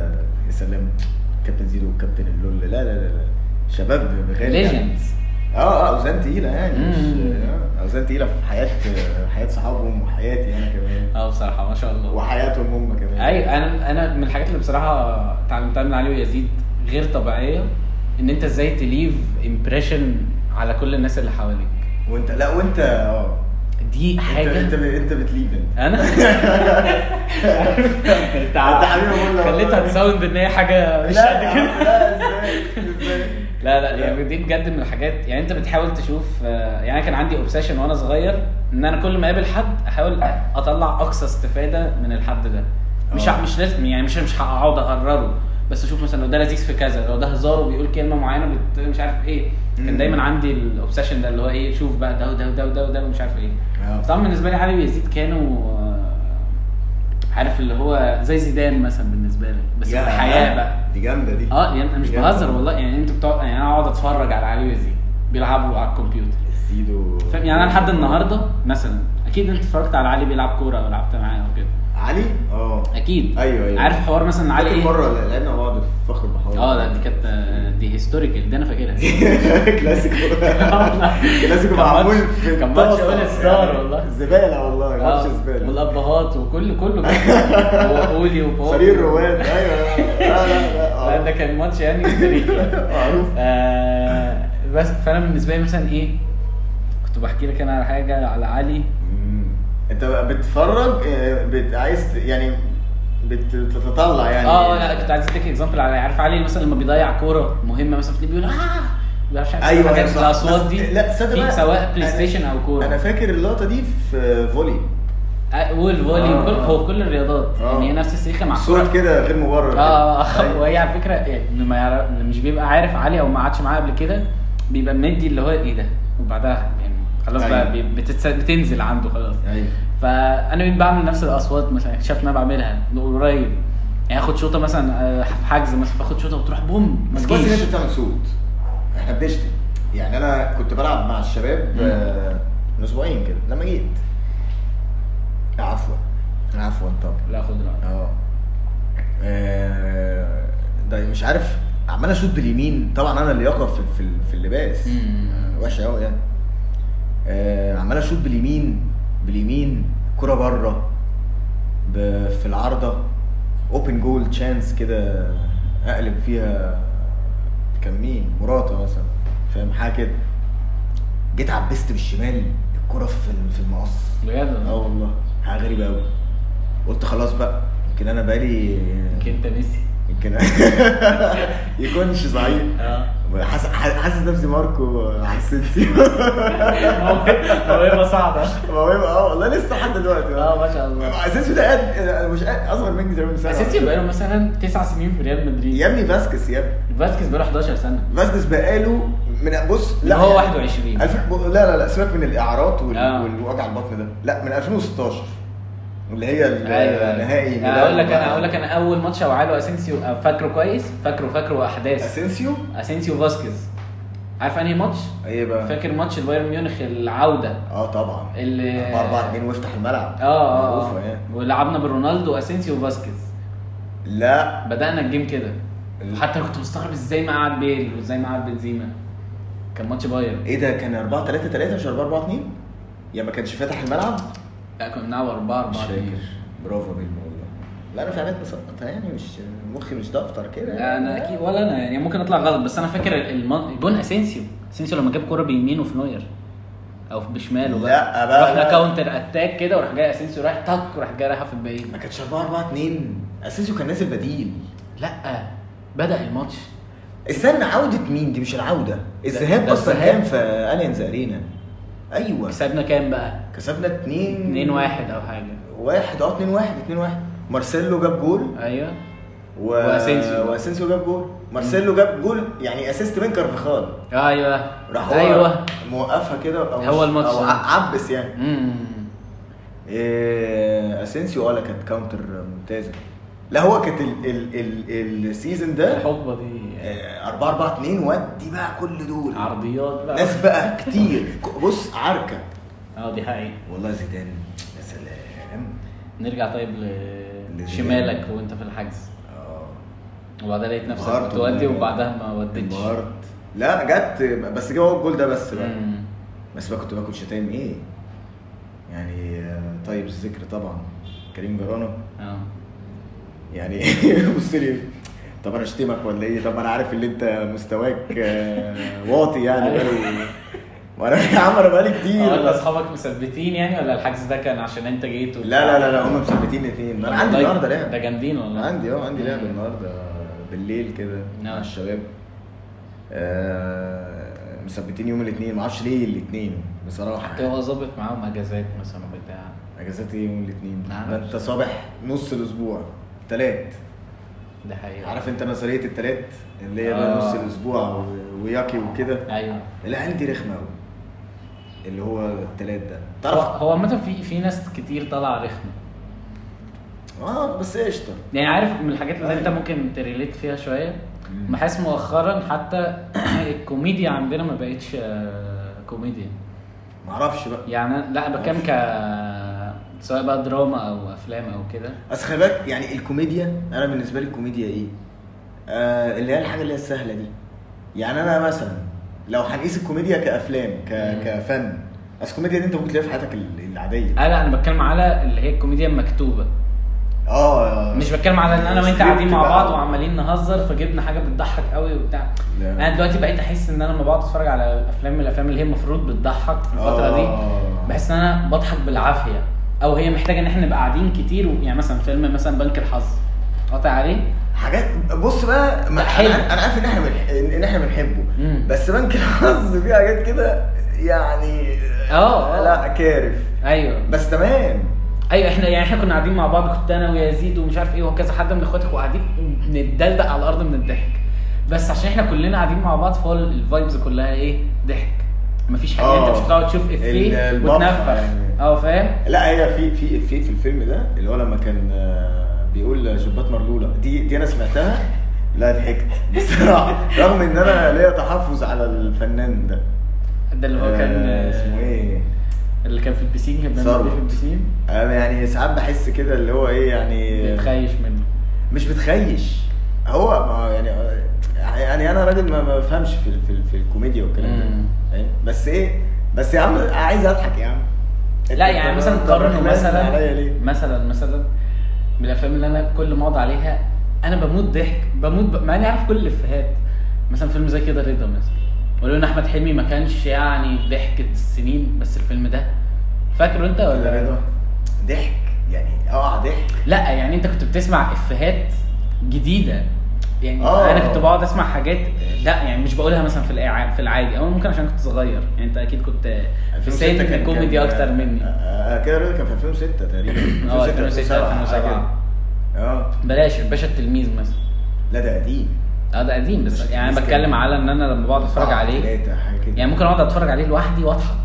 يا سلام كابتن زيرو وكابتن اللول لا لا لا, لا. شباب بغالي يعني.
ليجندز
اه اه اوزان تقيله يعني مش
مم.
آه، اوزان تقيله في حياه حياه صحابهم وحياتي انا كمان
اه بصراحه ما شاء الله
وحياتهم هم كمان
ايوه انا انا من الحاجات اللي بصراحه اتعلمتها من علي ويزيد غير طبيعيه ان انت ازاي تليف امبريشن على كل الناس اللي حواليك
وانت لا وانت اه
دي
انت
حاجه
انت ب- انت بتليف انت
انا انت
أنت حبيبي والله.
خليتها تساوند ان هي حاجه مش
لا يا
قد
عم،
كده
لا ازاي ازاي
لا لا يعني دي بجد من الحاجات يعني انت بتحاول تشوف آه، يعني أنا كان عندي اوبسيشن وانا صغير ان انا كل ما اقابل حد احاول اطلع اقصى استفاده من الحد ده مش
آه.
ع- مش لازم يعني مش مش هقعد اقرره بس اشوف مثلا لو ده لذيذ في كذا لو ده هزار وبيقول كلمه معينه بت... مش عارف ايه
مم.
كان دايما عندي الاوبسيشن ده اللي هو ايه شوف بقى ده وده وده وده وده ومش عارف ايه
آه.
طبعا بالنسبه لي علي ويزيد كانوا آه، عارف اللي هو زي زيدان مثلا بالنسبه لي بس في
يا
الحياه بقى
دي جامده دي
اه يعني انا مش
بجد.
بهزر والله يعني انتوا بتوع يعني انا اقعد اتفرج على علي وزيد بيلعبوا على الكمبيوتر
زيدو
فاهم يعني انا لحد النهارده مثلا اكيد انت اتفرجت على علي بيلعب كوره او لعبت معاه او كده
علي اه
اكيد
ايوه ايوه
عارف حوار مثلا علي
فاكر
ايه
مره لعبنا مع بعض في فخر البحار
اه لا دي كانت آه، دي هيستوريكال دي انا فاكرها
كلاسيكو كلاسيكو
كان ماتش-
معمول في
كان ماتش
الطاسة.
ولا هزار والله.
زباله والله
آه،
ماتش زباله
والابهات وكل كله وقولي وبابا
فريق الرواد ايوه لا لا لا
لا
آه.
ده كان ماتش يعني تاريخي
معروف.
آه، بس فانا بالنسبه لي مثلا ايه كنت بحكي لك انا على حاجه على علي
مم. انت بقى بتتفرج آه، بت... عايز ت- يعني بت- بتتطلع يعني
اه لا كنت عايز اديك اكزامبل على عارف علي مثلا لما بيضيع كوره مهمه مثلا في بيقول اه ما اعرفش عارف
ايوه
الحاجات
آه. صح.
الاصوات
بس-
دي
لا تصدق
في
بقى،
سواء بلاي
أنا-
ستيشن او
انا
كوره
فاكر اللقطه دي في فولي
آه، والفولي
آه.
وكل هو كل الرياضات
آه.
يعني هي نفس السيخه مع الكوره
صوره كده غير مبرر
اه
أيوة.
آه، وهي على فكره يعني اللي ما يعرف اللي مش بيبقى عارف علي او ما قعدش معاه قبل كده بيبقى مدي اللي هو ايه ده وبعدها يعني خلاص بقى
أيوة.
بي- بتتس- بتنزل عنده خلاص
ايوه
فانا بقيت بعمل نفس الاصوات مثلا اكتشفت ان انا بعملها من قريب يعني اخد شوطه مثلا آه، في حجز مثلا فاخد شوطه وتروح بوم ما
بس كويس ان
تجيش
انت بتعمل صوت احنا بنشتم يعني انا كنت بلعب مع الشباب
مم.
آه، من اسبوعين كده لما جيت عفوا عفوا طبعا
لا خد راحتك
اه آه، ده مش عارف عمال اشوط باليمين طبعا انا اللياقه في في, في اللباس
مم.
آه، وحشه قوي يعني آه، عمال اشوط باليمين باليمين كرة بره ب- في العارضة اوبن جول تشانس كده اقلب فيها كان مين مراته مثلا فاهم حاجه كده جيت عبست بالشمال الكرة في في المقص
بجد
اه
والله.
والله حاجه غريبه قوي قلت خلاص بقى يمكن انا بقالي
يمكن انت ميسي
يمكن يكونش ضعيف
اه
حاسس حاسس نفسي ماركو حسيتي
موهبه صعبه
موهبه اه والله لسه لحد دلوقتي
اه ما شاء الله
اساسي ده قد مش قد اصغر مني زي ما بيقولوا.
اسينسيو بقاله مثلا تسع سنين في ريال
يا
مدريد
ابني فاسكس يا ابني
فاسكيز بقاله 11 سنه
فاسكس بقاله من بص
لا هو
يعني
21
ألف... ب- لا لا لا سيبك من الاعارات وال...
آه.
والوجع البطن ده لا من 2016 اللي هي ال-
ايوه
النهائي
أنا هقول لك انا هقول لك انا اول ماتش اوعاله اسينسيو أه، فاكره كويس فاكره فاكره احداث
اسينسيو
اسينسيو فاسكيز عارف انهي ماتش؟
ايه بقى
فاكر ماتش البايرن ميونخ العوده
اه طبعا
اللي
4 4 2 وافتح الملعب
اه اه
معروفة
آه.
يعني.
ولعبنا برونالدو واسينسيو وفاسكيز
لا
بدانا الجيم كده حتى انا كنت مستغرب ازاي ما قعد بيل وازاي ما قعد بنزيما كان ماتش بايرن
ايه ده كان 4 3 3 مش 4 4 2 يا ما كانش فاتح الملعب
لا كنا بنلعب 4
مش
4
فاكر برافو بيلمو والله لا انا في حاجات مسقطها يعني مش مخي مش دفتر كده
لا انا اكيد ولا انا يعني ممكن اطلع غلط بس انا فاكر المن... جون اسينسيو اسينسيو لما جاب كوره بيمينه في نوير او بشماله
لا بقى.
رحنا كاونتر اتاك كده وراح جاي اسينسيو رايح تك وراح جاي رايحه في البعيد
ما كانتش 4 4 2 اساسيو كان نازل بديل
لا بدا الماتش
استنى عودة مين دي مش العودة الذهاب
ده
اصلا
الذهاب.
كان في الينز ارينا ايوه
كسبنا كام بقى؟
كسبنا 2
2 1 او حاجه
1 اه 2 1 2 1 مارسيلو جاب جول
ايوه
و...
وأسينسيو.
واسينسيو جاب جول مارسيلو جاب جول يعني اسيست من كارفخال
ايوه
راح هو
ايوه
موقفها كده او مش-
هو الماتش
او
ده.
عبس يعني
امم
إيه اسينسيو اه لا كانت كاونتر ممتازه لا هو كانت ال... ال... ال... السيزون ده إيه،
الحقبه دي
4 4 2 ودي بقى كل دول
عرضيات بقى
ناس بقى كتير ك- بص عركه
اه دي حقيقة
والله زيدان يا سلام
نرجع طيب
لزيدان.
لشمالك وانت في الحجز
اه
وبعدها لقيت نفسك
انبهرت
بتودي
والله.
وبعدها ما وديتش
انبهرت لا جت بس جه هو الجول ده بس بقى
مم.
بس بقى كنت باكل شتايم ايه يعني آه، طيب الذكر طبعا كريم جرانة
اه
يعني بص لي طب انا اشتمك ولا ايه طب انا عارف ان انت مستواك آه، واطي يعني بقالي وانا يا عم انا بقالي كتير
اه انت اصحابك مثبتين يعني ولا الحجز ده كان عشان انت جيت و...
لا لا لا لا هم مثبتين اتنين ما انا عندي
والله
النهارده
ده
لعب
جامدين والله
عندي اه عندي لعب
مم.
النهارده بالليل كده مع
نعم.
الشباب آه، مثبتين يوم الاثنين ما اعرفش ليه الاثنين بصراحه
حتى هو ظابط معاهم اجازات مثلا بتاع
اجازات ايه يوم الاثنين
معرفش.
ده انت صبح نص الاسبوع تلات
ده حقيقة
عارف انت نظريه التلات اللي هي بقى
أيوة. آه.
نص الاسبوع و- وياكي وكده
ايوه
العيال دي رخمه قوي اللي هو التلات ده
هو
تعرف
هو عامة في في ناس كتير طالعة رخمة
اه بس قشطه
يعني عارف من الحاجات اللي انت
أيوة.
ممكن تريليت فيها شويه
مم.
بحس مؤخرا حتى الكوميديا عندنا ما بقتش آه، كوميديا
معرفش بقى
يعني أنا- لا أنا بتكلم ك سواء بقى دراما او افلام او كده
بس خلي بالك يعني الكوميديا انا بالنسبه لي الكوميديا ايه؟ آه اللي هي الحاجه اللي هي السهله دي يعني انا مثلا لو هنقيس الكوميديا كافلام ك...
مم.
كفن بس الكوميديا دي انت ممكن تلاقيها في حياتك ال- العاديه
آه لا انا بتكلم على اللي هي الكوميديا المكتوبه
اه
أيوة. مش بتكلم على ان انا وانت
سكريبت
قاعدين مع
بقى.
بعض وعمالين نهزر فجبنا حاجه بتضحك قوي وبتاع
لا.
انا دلوقتي بقيت احس ان انا لما بقعد اتفرج على افلام من الافلام اللي هي المفروض بتضحك في الفتره دي
آه.
بحس ان انا بضحك بالعافيه او هي محتاجه ان احنا نبقى قاعدين كتير و... يعني مثلا فيلم مثلا بنك الحظ قاطع عليه
حاجات بص بقى ما
لا، حلو.
انا أنا عارف ان احنا بنح... ان احنا بنحبه
مم.
بس بنك الحظ فيه حاجات كده يعني
آه، آه.
لا كارف
ايوه
بس تمام
ايوه احنا يعني احنا كنا قاعدين مع بعض كنت انا ويزيد ومش عارف ايه وكذا حد من اخواتك وقاعدين نتدلدق على الارض من الضحك بس عشان احنا كلنا قاعدين مع بعض فهو الفايبز كلها ايه ضحك مفيش حاجه
آه.
انت مش هتقعد تشوف افيه
ال- البفر
وتنفخ
يعني.
اه فاهم
لا هي في في في في الفيلم ده اللي هو لما كان آه، بيقول شبات مرلوله دي دي انا سمعتها لا ضحكت بصراحه رغم ان انا ليا تحفظ على الفنان ده
ده اللي هو كان
آه، اسمه ايه؟
اللي كان في البسين كان بيعمل
ثروت.
إيه في البسين
انا يعني ساعات بحس كده اللي هو ايه يعني
بيتخيش منه
مش بتخيش هو ما يعني يعني انا راجل ما ما بفهمش في ال- في, ال- في الكوميديا والكلام ده
مم.
فاهم؟ بس ايه بس يا عم عايز اضحك يا عم
لا يعني مثلا قارنه
طب يعني عليا
مثلا
ليه؟
مثلا مثلا من الافلام اللي انا كل ما اقعد عليها انا بموت ضحك بموت ب... مع اني عارف كل الافيهات مثلا فيلم زي كده رضا مثلا ولو ان احمد حلمي ما كانش يعني ضحكة السنين بس الفيلم ده فاكره انت
ولا
ولا
رضا ضحك يعني اه ضحك
لا يعني انت كنت بتسمع افيهات جديده يعني
آه.
انا كنت بقعد اسمع حاجات لا يعني مش بقولها مثلا في الإع- في العادي او ممكن عشان كنت صغير يعني انت اكيد كنت في
2006
سن
كان- كان-
الكوميدي اكتر مني
آه، آه، كده رضا كان في 2006 تقريبا
اه 2006 2007
اه
بلاش الباشا التلميذ مثلا
لا ده قديم
اه ده قديم بس
باشا
يعني انا
التلميذ
بتكلم
كان- آه،
على ان انا لما بقعد اتفرج
سبعة،
عليه
تلاتة، حاجه كده
يعني ممكن اقعد اتفرج عليه لوحدي واضحك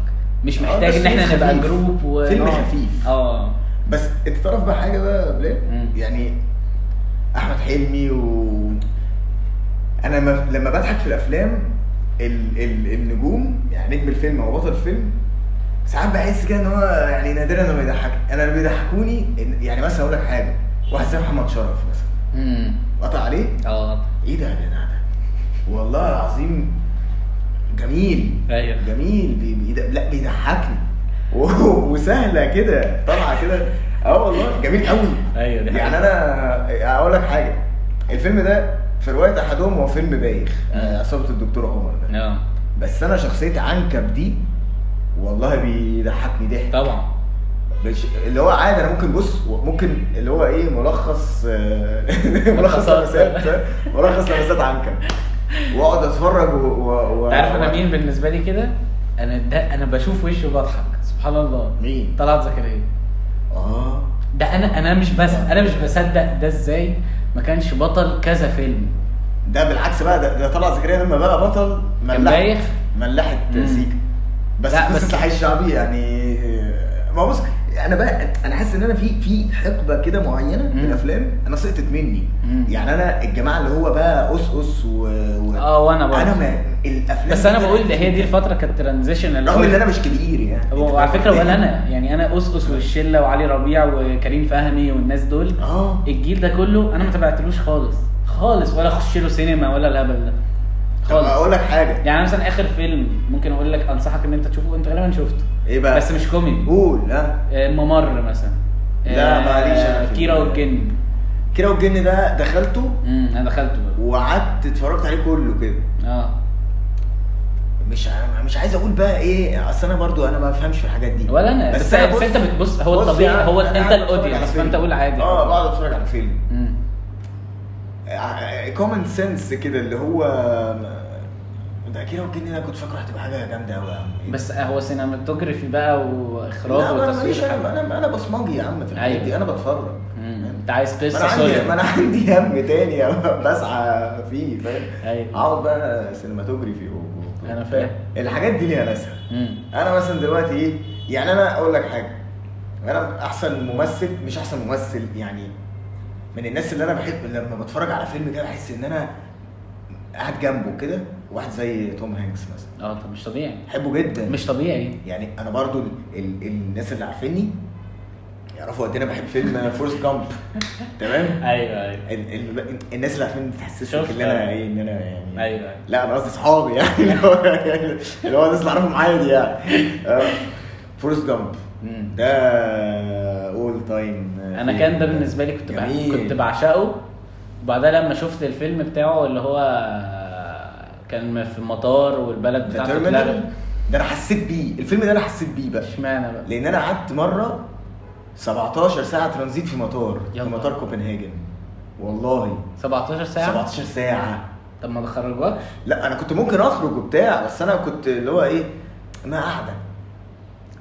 مش
آه،
محتاج
بس
ان احنا
فيلم
نبقى
خفيف.
جروب و...
فيلم
آه.
خفيف.
اه
بس انت تعرف بقى حاجه بقى بلال
مم.
يعني احمد حلمي و انا ما... لما بضحك في الافلام ال... ال... النجوم يعني نجم الفيلم او بطل الفيلم ساعات بحس كده ان هو يعني نادرا لما يضحك انا اللي بيضحكوني إن- يعني مثلا اقول لك حاجه واحد زي محمد شرف مثلا
امم
قطع عليه
اه
ايه ده يا جدع ده والله العظيم جميل
ايوه
جميل بي بي لا بيضحكني و- وسهله كده طالعه كده اه والله جميل قوي
ايوه دي
يعني
حقيقة.
انا اقول لك حاجه الفيلم ده في روايه احدهم هو فيلم بايخ آه، عصابه الدكتور عمر ده
اه
بس انا شخصيه عنكب دي والله بيضحكني ضحك
طبعا
مش اللي هو عادي انا ممكن بص ممكن اللي هو ايه ملخص آه، ملخص
ملخصات.
لمسات فاهم؟ ملخص لمسات عنكب واقعد اتفرج و, و... و...
تعرف انا مين بالنسبه لي كده انا ده انا بشوف وشه وبضحك سبحان الله
مين؟
طلعت زكريا
اه
ده انا انا مش بس
آه.
انا مش بصدق ده ازاي ما كانش بطل كذا فيلم
ده بالعكس بقى ده, ده طلع زكريا لما بقى بطل
كان بايخ؟
ملحت ملحت
مم.
سيكا بس
لا،
قصه
بس-
الحي الشعبي يعني ما هو بص انا بقى انا حاسس ان انا في في حقبه كده معينه من
مم.
الافلام انا سقطت مني
مم.
يعني انا الجماعه اللي هو بقى اس اس و, و...
اه وانا برضه.
انا ما الافلام
بس
دي
انا
طلعت
بقول ده هي دي
جداً.
الفتره كانت ترانزيشن
رغم ان انا مش كبير يعني
وعلى فكره ولا انا يعني انا اسقس والشله وعلي ربيع وكريم فهمي والناس دول
اه
الجيل ده كله انا ما تابعتلوش خالص خالص ولا اخش له سينما ولا الهبل ده
طب
خالص
اقول لك حاجه
يعني مثلا اخر فيلم ممكن اقول لك انصحك ان انت تشوفه انت غالبا شفته
ايه بقى
بس مش كوميدي
قول ها
آه، ممر مثلا
لا،
آه،
معليش أنا في
كيرة
ال-
والجن
كيرة والجن ده دخلته
امم انا دخلته بقى.
وقعدت اتفرجت عليه كله كده
اه
مش ع- مش عايز اقول بقى ايه اصل انا برضو انا ما بفهمش في الحاجات دي
ولا أنا، بس-
أنا
بس أنت بتبص- هو
بص
الطبيعي،
يعني
هو
أنا
أنت
قاعد بتفرج
الأودينس،
على
فأنت
فيلم.
قول عادي.
اه بقعد اتفرج على فيلم
امم
كومن سنس كده اللي هو ده كيرة والجن ده كنت فاكره هتبقى حاجه جامده قوي يا عم إيه
بس آه، هو سينماتوجرافي بقى واخراج
لا انا ماليش
وتصوير
انا
حلو.
انا انا بصمجي يا عم في الحاجات
أيوة.
دي انا بتفرج
مم. انت عايز
ما انا
قصه
عندي ما انا
سوري
عندي هم تاني بسعى فيه فاهم
أيوة.
اقعد بقى سينماتوجرافي و- و-
أنا فاهم.
الحاجات دي ليها ناسها
مم.
انا مثلا دلوقتي ايه يعني انا اقول لك حاجه انا احسن ممثل مش احسن ممثل يعني من الناس اللي انا بحب لما بتفرج على فيلم كده بحس ان انا قاعد جنبه كده واحد زي توم هانكس مثلا
اه طب مش طبيعي
بحبه جدا
مش طبيعي
يعني انا برضو ال ال الناس اللي عارفيني يعرفوا قد ايه انا بحب فيلم فورست جامب تمام
ايوه ايوه
ال ال الناس اللي عارفين تحسسك
شفت. آه.
ان انا ايه ان انا يعني
أيوة، أيوة.
لا انا قصدي اصحابي يعني اللي هو اللي هو الناس اللي اعرفهم عادي يعني آه. فورست جامب
مم.
ده اول تايم
انا كان ده بالنسبه لي كنت بع-
آه، جميل.
كنت بعشقه وبعدها لما شفت الفيلم بتاعه اللي هو كان في المطار والبلد
ده
بتاعته
Terminal،
اتلغت
ده انا حسيت بيه الفيلم ده انا حسيت بيه بقى
اشمعنى بقى
لان انا قعدت مره 17 ساعه ترانزيت في مطار
يا
في
نهار.
مطار كوبنهاجن والله
17 ساعه
17 ساعه
طب ما تخرجوكش
لا انا كنت ممكن اخرج وبتاع بس انا كنت اللي هو ايه انا قاعده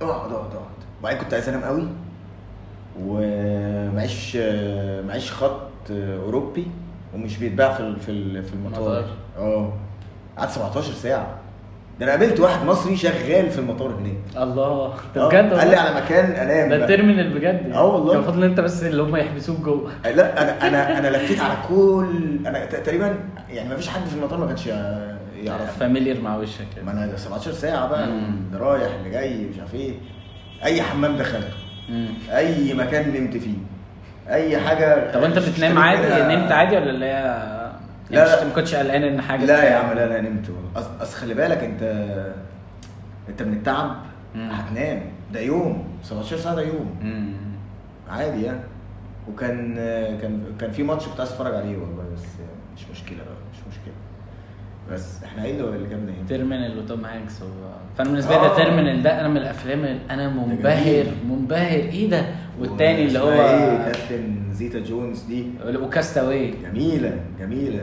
اقعد اقعد اقعد وبعدين كنت عايز انام قوي ومعيش معيش خط اوروبي ومش بيتباع في ال- في ال- في المطار
المطار.
اه قعدت 17 ساعه ده انا قابلت واحد مصري شغال في المطار هناك
الله
آه،
ده بجد
قال لي
والله.
على مكان انام
ده
بقى.
التيرمينال بجد
آه والله.
كان المفروض ان انت بس اللي هم يحبسوك جوه
آه، لا انا انا انا لفيت على كل انا ت- تقريبا يعني ما فيش حد في المطار ما كانش يعرف
فاميليير مع وشك
ما
يعني
انا 17 ساعه بقى
مم.
اللي رايح اللي جاي مش عارف ايه اي حمام دخلته
مم.
اي مكان نمت فيه اي حاجه
طب انت بتنام عادي نمت عادي ولا اللي هي يعني
لا،
مش-
لا.
ما كنتش قلقان ان حاجه
لا يا عم لا لا نمت والله. أص- اصل خلي بالك انت انت من التعب
مم.
هتنام ده يوم 17 ساعه ده يوم
امم
عادي يعني وكان كان كان في ماتش كنت عايز اتفرج عليه والله بس مش مشكله بقى مش مشكله بس احنا ايه اللي اللي جابنا هنا؟
تيرمينال وتوم هانكس هو فانا بالنسبه لي
آه.
ده تيرمينال ده انا من الافلام اللي انا منبهر
جميل.
منبهر ايه ده والتاني اللي هو
اسمها ايه كابتن زيتا جونز دي
وكاستاوي
جميله جميله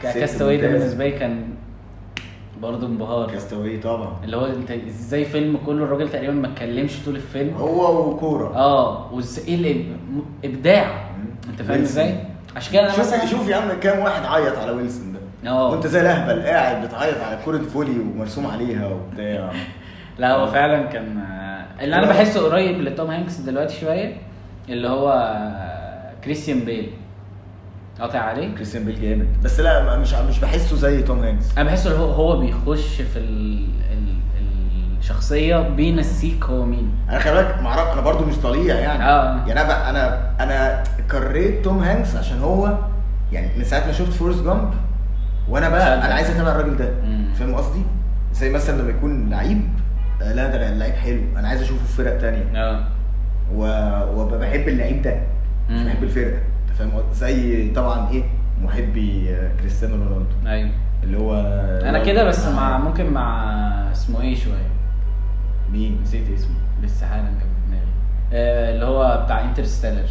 ست
كاستاوي ده
ممتازة.
بالنسبه لي كان برضه انبهار
كاستاوي طبعا
اللي هو انت ازاي فيلم كله الراجل تقريبا ما اتكلمش طول الفيلم
هو وكوره
اه وز... ايه اللي م- ابداع
مم.
انت فاهم
ويلسون.
ازاي؟ عشان كده انا
شوف
مثلا
شوف يا عم كام واحد عيط على ويلسون ده
اه.
وانت زي الاهبل قاعد بتعيط على كرة فولي ومرسوم عليها وبتاع
لا هو فعلا كان آه، اللي انا بحسه قريب لتوم هانكس دلوقتي شويه اللي هو آه، كريستيان بيل قاطع عليه
كريستيان بيل جامد بس لا ما- مش مش بحسه زي توم هانكس
انا بحسه اللي هو هو بيخش في ال... ال... الشخصيه بينسيك هو مين
انا خلي بالك ما اعرف انا برضو مش طليع يعني
آه.
يعني انا بقى انا انا كريت توم هانكس عشان هو يعني من ساعه ما شفت فورس جامب وانا بقى
شدك.
انا عايز اتابع الراجل ده
مم.
فاهم قصدي؟ زي مثلا لما يكون لعيب آه، لا ده لعيب حلو انا عايز اشوفه في فرق تانية
اه
و- وبحب اللعيب ده مش
مم.
بحب الفرقه انت فاهم قصدي؟ زي طبعا ايه محبي آه، كريستيانو رونالدو
ايوه
اللي هو آه،
انا كده بس مع ممكن مع اسمه ايه شويه
مين؟
نسيت اسمه لسه حالا كان في دماغي آه، اللي هو بتاع انترستيلر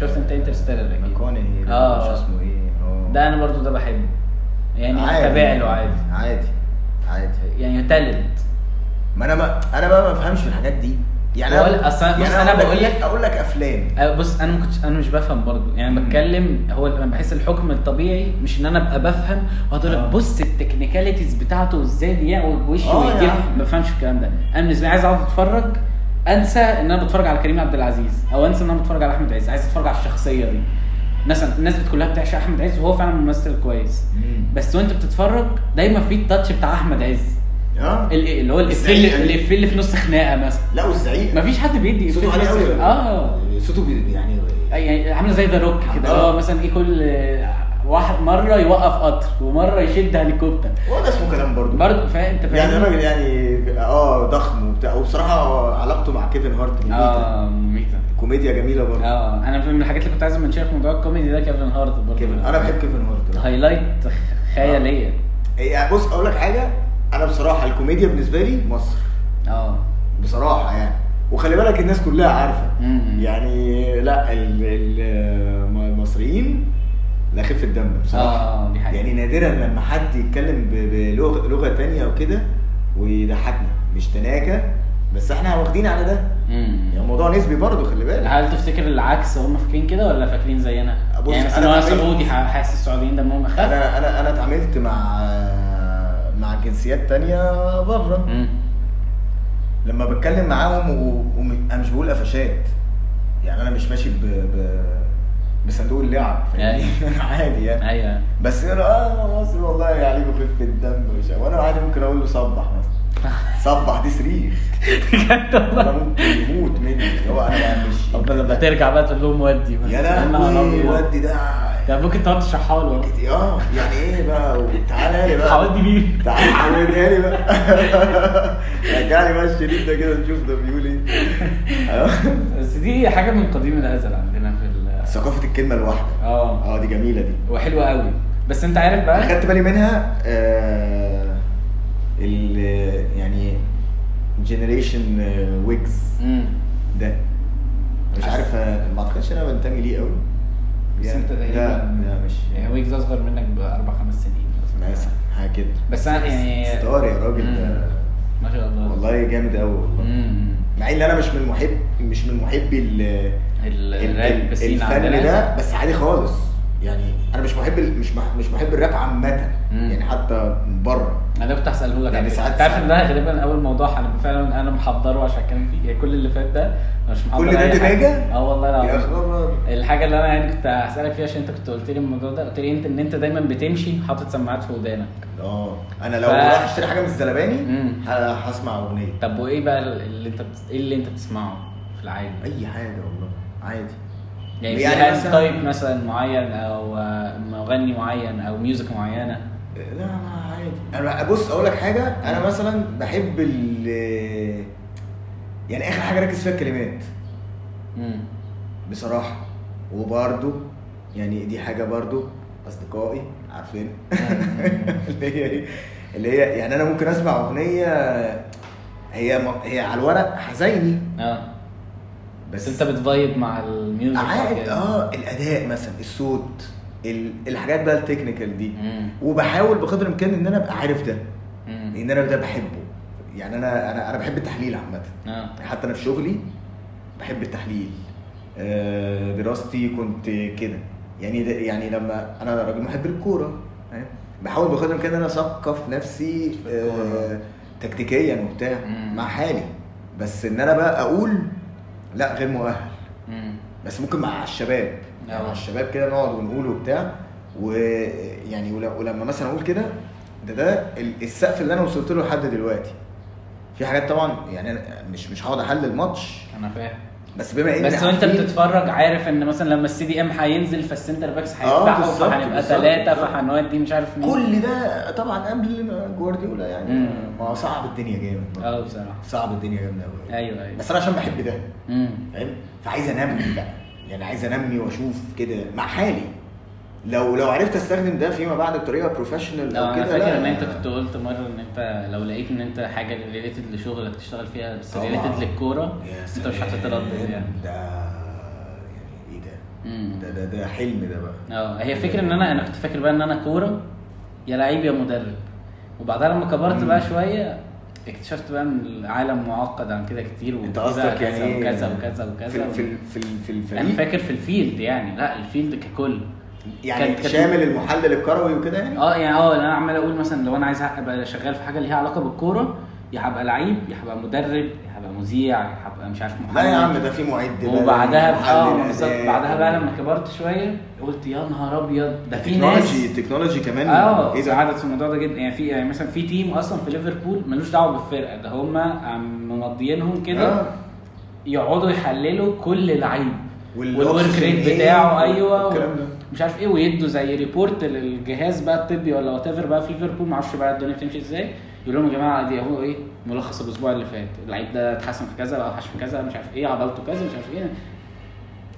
شفت انت انترستيلر اكيد
ماكوني
آه.
مش اسمه ايه آه.
ده انا برضو ده بحبه يعني هتابع له عادي
عادي عادي
يعني تالنت
ما انا ما انا بقى ما بفهمش في الحاجات دي يعني
بقول- أصل أنا- بص، أنا
أقول
بقول لك-
اقول لك افلام
أه بص انا ما كنتش انا مش بفهم برضو يعني
مم.
بتكلم هو انا بحس الحكم الطبيعي مش ان انا ابقى بفهم وأقعد أقول
آه.
لك بص التكنيكاليتيز بتاعته وازاي بيعوج بوشه
آه يا
ويجيب
عم.
ما بفهمش الكلام ده انا بالنسبه لي عايز اقعد اتفرج انسى ان انا بتفرج على كريم عبد العزيز او انسى ان انا بتفرج على احمد عز عايز اتفرج على الشخصيه دي الناس الناس بت- كلها بتعشق احمد عز وهو فعلا ممثل كويس بس وانت بتتفرج دايما في التاتش بتاع احمد عز
اه
ال- اللي هو الافيه
الزعيق.
اللي- الافيه اللي في نص خناقه مثلا
لا والزعيق
مفيش حد بيدي
صوته
إفيه
عالي
بس-
قوي
اه
صوته بي- يعني
يعني عامله زي ذا روك كده
آه.
اه مثلا ايه كل آه، واحد مره يوقف قطر ومره يشد هليكوبتر
هو ده اسمه كلام برضه
برضه فاهم انت
يعني
فاهم
الراجل يعني اه ضخم وبتاع وبصراحه علاقته مع كيفن هارت مميتة.
اه مميتة
كوميديا جميله برضه
اه انا من الحاجات اللي كنت عايز منشنها في موضوع الكوميدي ده كيفن هارت برضه
كيفن انا بحب كيفن
طيب.
هارت
هايلايت خ- خياليه
يعني بص اقول لك حاجه انا بصراحه الكوميديا بالنسبه لي مصر آه.
اه
بصراحه يعني وخلي بالك الناس كلها عارفه
مم.
يعني لا ال- ال- المصريين لا خف الدم بصراحه
اه دي حقيقة
يعني نادرا لما حد يتكلم ب- بلغه لغه تانية وكده ويضحكنا مش تناكه بس احنا واخدين على ده
مم.
يعني الموضوع نسبي برضه خلي بالك
هل تفتكر العكس هم فاكرين كده ولا فاكرين زينا؟
بص،
يعني
أنا
مثلا انا
بعمل-
سعودي ح- حاسس السعوديين دمهم اخف
انا انا انا اتعاملت مع مع جنسيات تانية بره
مم.
لما بتكلم معاهم وانا مش بقول قفشات يعني انا مش ماشي ب... ب... بصندوق اللعب فاهمني؟
أيوة.
عادي يعني
ايوه
بس انا اه مصري والله يعني بخف الدم وش وانا عادي ممكن اقول له صبح مثلا صبح دي صريخ انا ممكن يموت مني اللي هو انا مش
طب لما ترجع بقى تقول لهم ودي بقى.
يا
نهار
لهوي
أبيض.
يعني ودي ده
ده يعني ممكن تقعد تشرحها له
كت- اه يعني ايه بقى تعالى لي بقى
حاولت بيه
تعالى حولها لي بقى رجع لي بقى الشريط ده كده نشوف ده بيقول ايه آه.
بس دي حاجه من قديم الازل عندنا في ال
ثقافه الكلمه الواحده
اه
اه دي جميله دي
وحلوه قوي بس انت عارف بقى
خدت بالي منها آه ال يعني جنريشن ويجز
امم
ده مش عارف آه، ما اعتقدش انا بنتمي ليه قوي
بس
يعني-
انت تقريبا
لا لا مش
يعني ويجز اصغر منك باربع خمس سنين
مثلا حاجه كده
بس انا يعني
ستار يا راجل ده
ما شاء الله
والله جامد قوي والله
امم
مع ان انا مش من محب مش من محبي ال- ال-
الراب
ال-
بسين
الفن
عندنا
ده بس عادي خالص يعني انا مش محب ال- مش مح- مش محب الراب عامه
مم.
يعني حتى من بره
انا ده كنت هساله لك
يعني
على فكرة.
ساعات-
انت عارف ان ده
ساعات-
غالبا اول موضوع انا فعلا انا محضره عشان اتكلم فيه يعني كل اللي فات ده أنا مش محضر
كل ده
أي حاجة.
دماجة؟
اه والله
يا
العظيم
خبر
الحاجه اللي انا يعني كنت هسالك فيها عشان انت كنت قلت لي الموضوع ده قلت لي انت ان انت دايما بتمشي حاطط سماعات في ودانك
اه انا لو
ف-
رايح اشتري حاجه من الزلباني
مم.
ه- هسمع اغنيه
طب وايه بقى اللي انت بت... ايه اللي انت بتسمعه في العادي؟
اي حاجه والله عادي
يعني في
يعني
يعني
مثلاً-
تايب مثلا معين او آه، مغني معين او ميوزك معينه
لا لا عادي انا بص اقول لك حاجه انا مثلا بحب ال يعني اخر حاجه ركز فيها الكلمات
مم.
بصراحه وبرده يعني دي حاجه برده اصدقائي عارفين اللي هي ايه اللي هي يعني انا ممكن اسمع اغنيه هي م- هي على الورق حزيني
اه بس
بس
انت بتفايب مع الميوزك
عارف
كده.
اه الاداء مثلا الصوت ال- الحاجات بقى التكنيكال دي
مم.
وبحاول بقدر الامكان ان انا ابقى عارف ده
مم.
لان انا ده بحبه يعني انا انا انا بحب التحليل عامه
اه
حتى انا في شغلي بحب التحليل آه، دراستي كنت كده يعني ده يعني لما انا راجل محب الكوره فاهم؟ بحاول بقدر الامكان ان انا اثقف نفسي
في الكورة.
آه، تكتيكيا وبتاع
مم.
مع حالي بس ان انا بقى اقول لا غير مؤهل
مم.
بس ممكن مع الشباب يعني
آه.
مع الشباب كده نقعد ونقول وبتاع ويعني ولما مثلا اقول كده ده ده ال- السقف اللي انا وصلت له لحد دلوقتي في حاجات طبعا يعني أنا مش مش هقعد احلل الماتش
انا فاهم
بس بما ان
بس وانت
عارفين-
بتتفرج عارف ان مثلا لما السي دي ام هينزل فالسنتر باكس
آه،
هيفتحوا
بالظبط،
فهنبقى
بالظبط،
ثلاثه
بالظبط.
فهنودي مش عارف مين
كل ده طبعا قبل ما جوارديولا يعني
مم.
ما هو صعب الدنيا جامد برضه.
اه بصراحه
صعب الدنيا جامد قوي
ايوه ايوه
بس انا عشان بحب ده
امم
فاهم فعايز انمي بقى يعني عايز انمي واشوف كده مع حالي لو لو عرفت استخدم ده فيما بعد بطريقه بروفيشنال
لو
او
انا
كده يعني
فاكر
لا
ان انت كنت قلت مره ان انت لو لقيت ان انت حاجه ريليتد لشغلك تشتغل فيها بس
طبعاً.
ريليتد للكوره
يا
انت مش هتتردد
سلام،
يعني
ده يعني ايه ده؟
امم
ده ده ده حلم ده بقى
اه هي فكره ان انا انا كنت فاكر بقى ان انا كوره يا لعيب يا مدرب وبعدها لما كبرت بقى شويه اكتشفت بقى ان العالم معقد عن كده كتير وكده
انت قصدك يعني ايه؟
وكذا وكذا وكذا
في في في في
انا
الفريق
فاكر في الفيلد يعني لا الفيلد ككل
يعني
كان- كان-
شامل المحلل الكروي وكده يعني؟
اه يعني اه انا عمال اقول مثلا لو انا عايز ابقى شغال في حاجه ليها علاقه بالكوره يا هبقى لعيب يا هبقى مدرب يا هبقى مذيع يا هبقى مش عارف محلل
لا يا عم ده في معد بقى، يعني
وبعدها
محلل
بقى اه بالظبط
أداء.
بعدها بقى لما كبرت شويه قلت يا نهار ابيض ده في
التكنولوجي
ناس
التكنولوجي كمان
اه
ايه
ايه
ده؟
قعدت في الموضوع ده جدا يعني في يعني مثلا في تيم اصلا في ليفربول ملوش دعوه بالفرقه ده هم ممضيينهم كده
آه.
يقعدوا يحللوا كل لعيب
والأوبشن
والورك ريت
إيه
بتاعه ايوه
والكلام ده.
مش عارف ايه ويدوا زي ريبورت للجهاز بقى الطبي ولا وات ايفر بقى في ليفربول معرفش بقى الدنيا بتمشي ازاي يقول لهم يا جماعه دي اهو ايه ملخص الاسبوع اللي فات اللعيب ده اتحسن في كذا بقى اتحسن في كذا مش عارف ايه عضلته كذا مش عارف ايه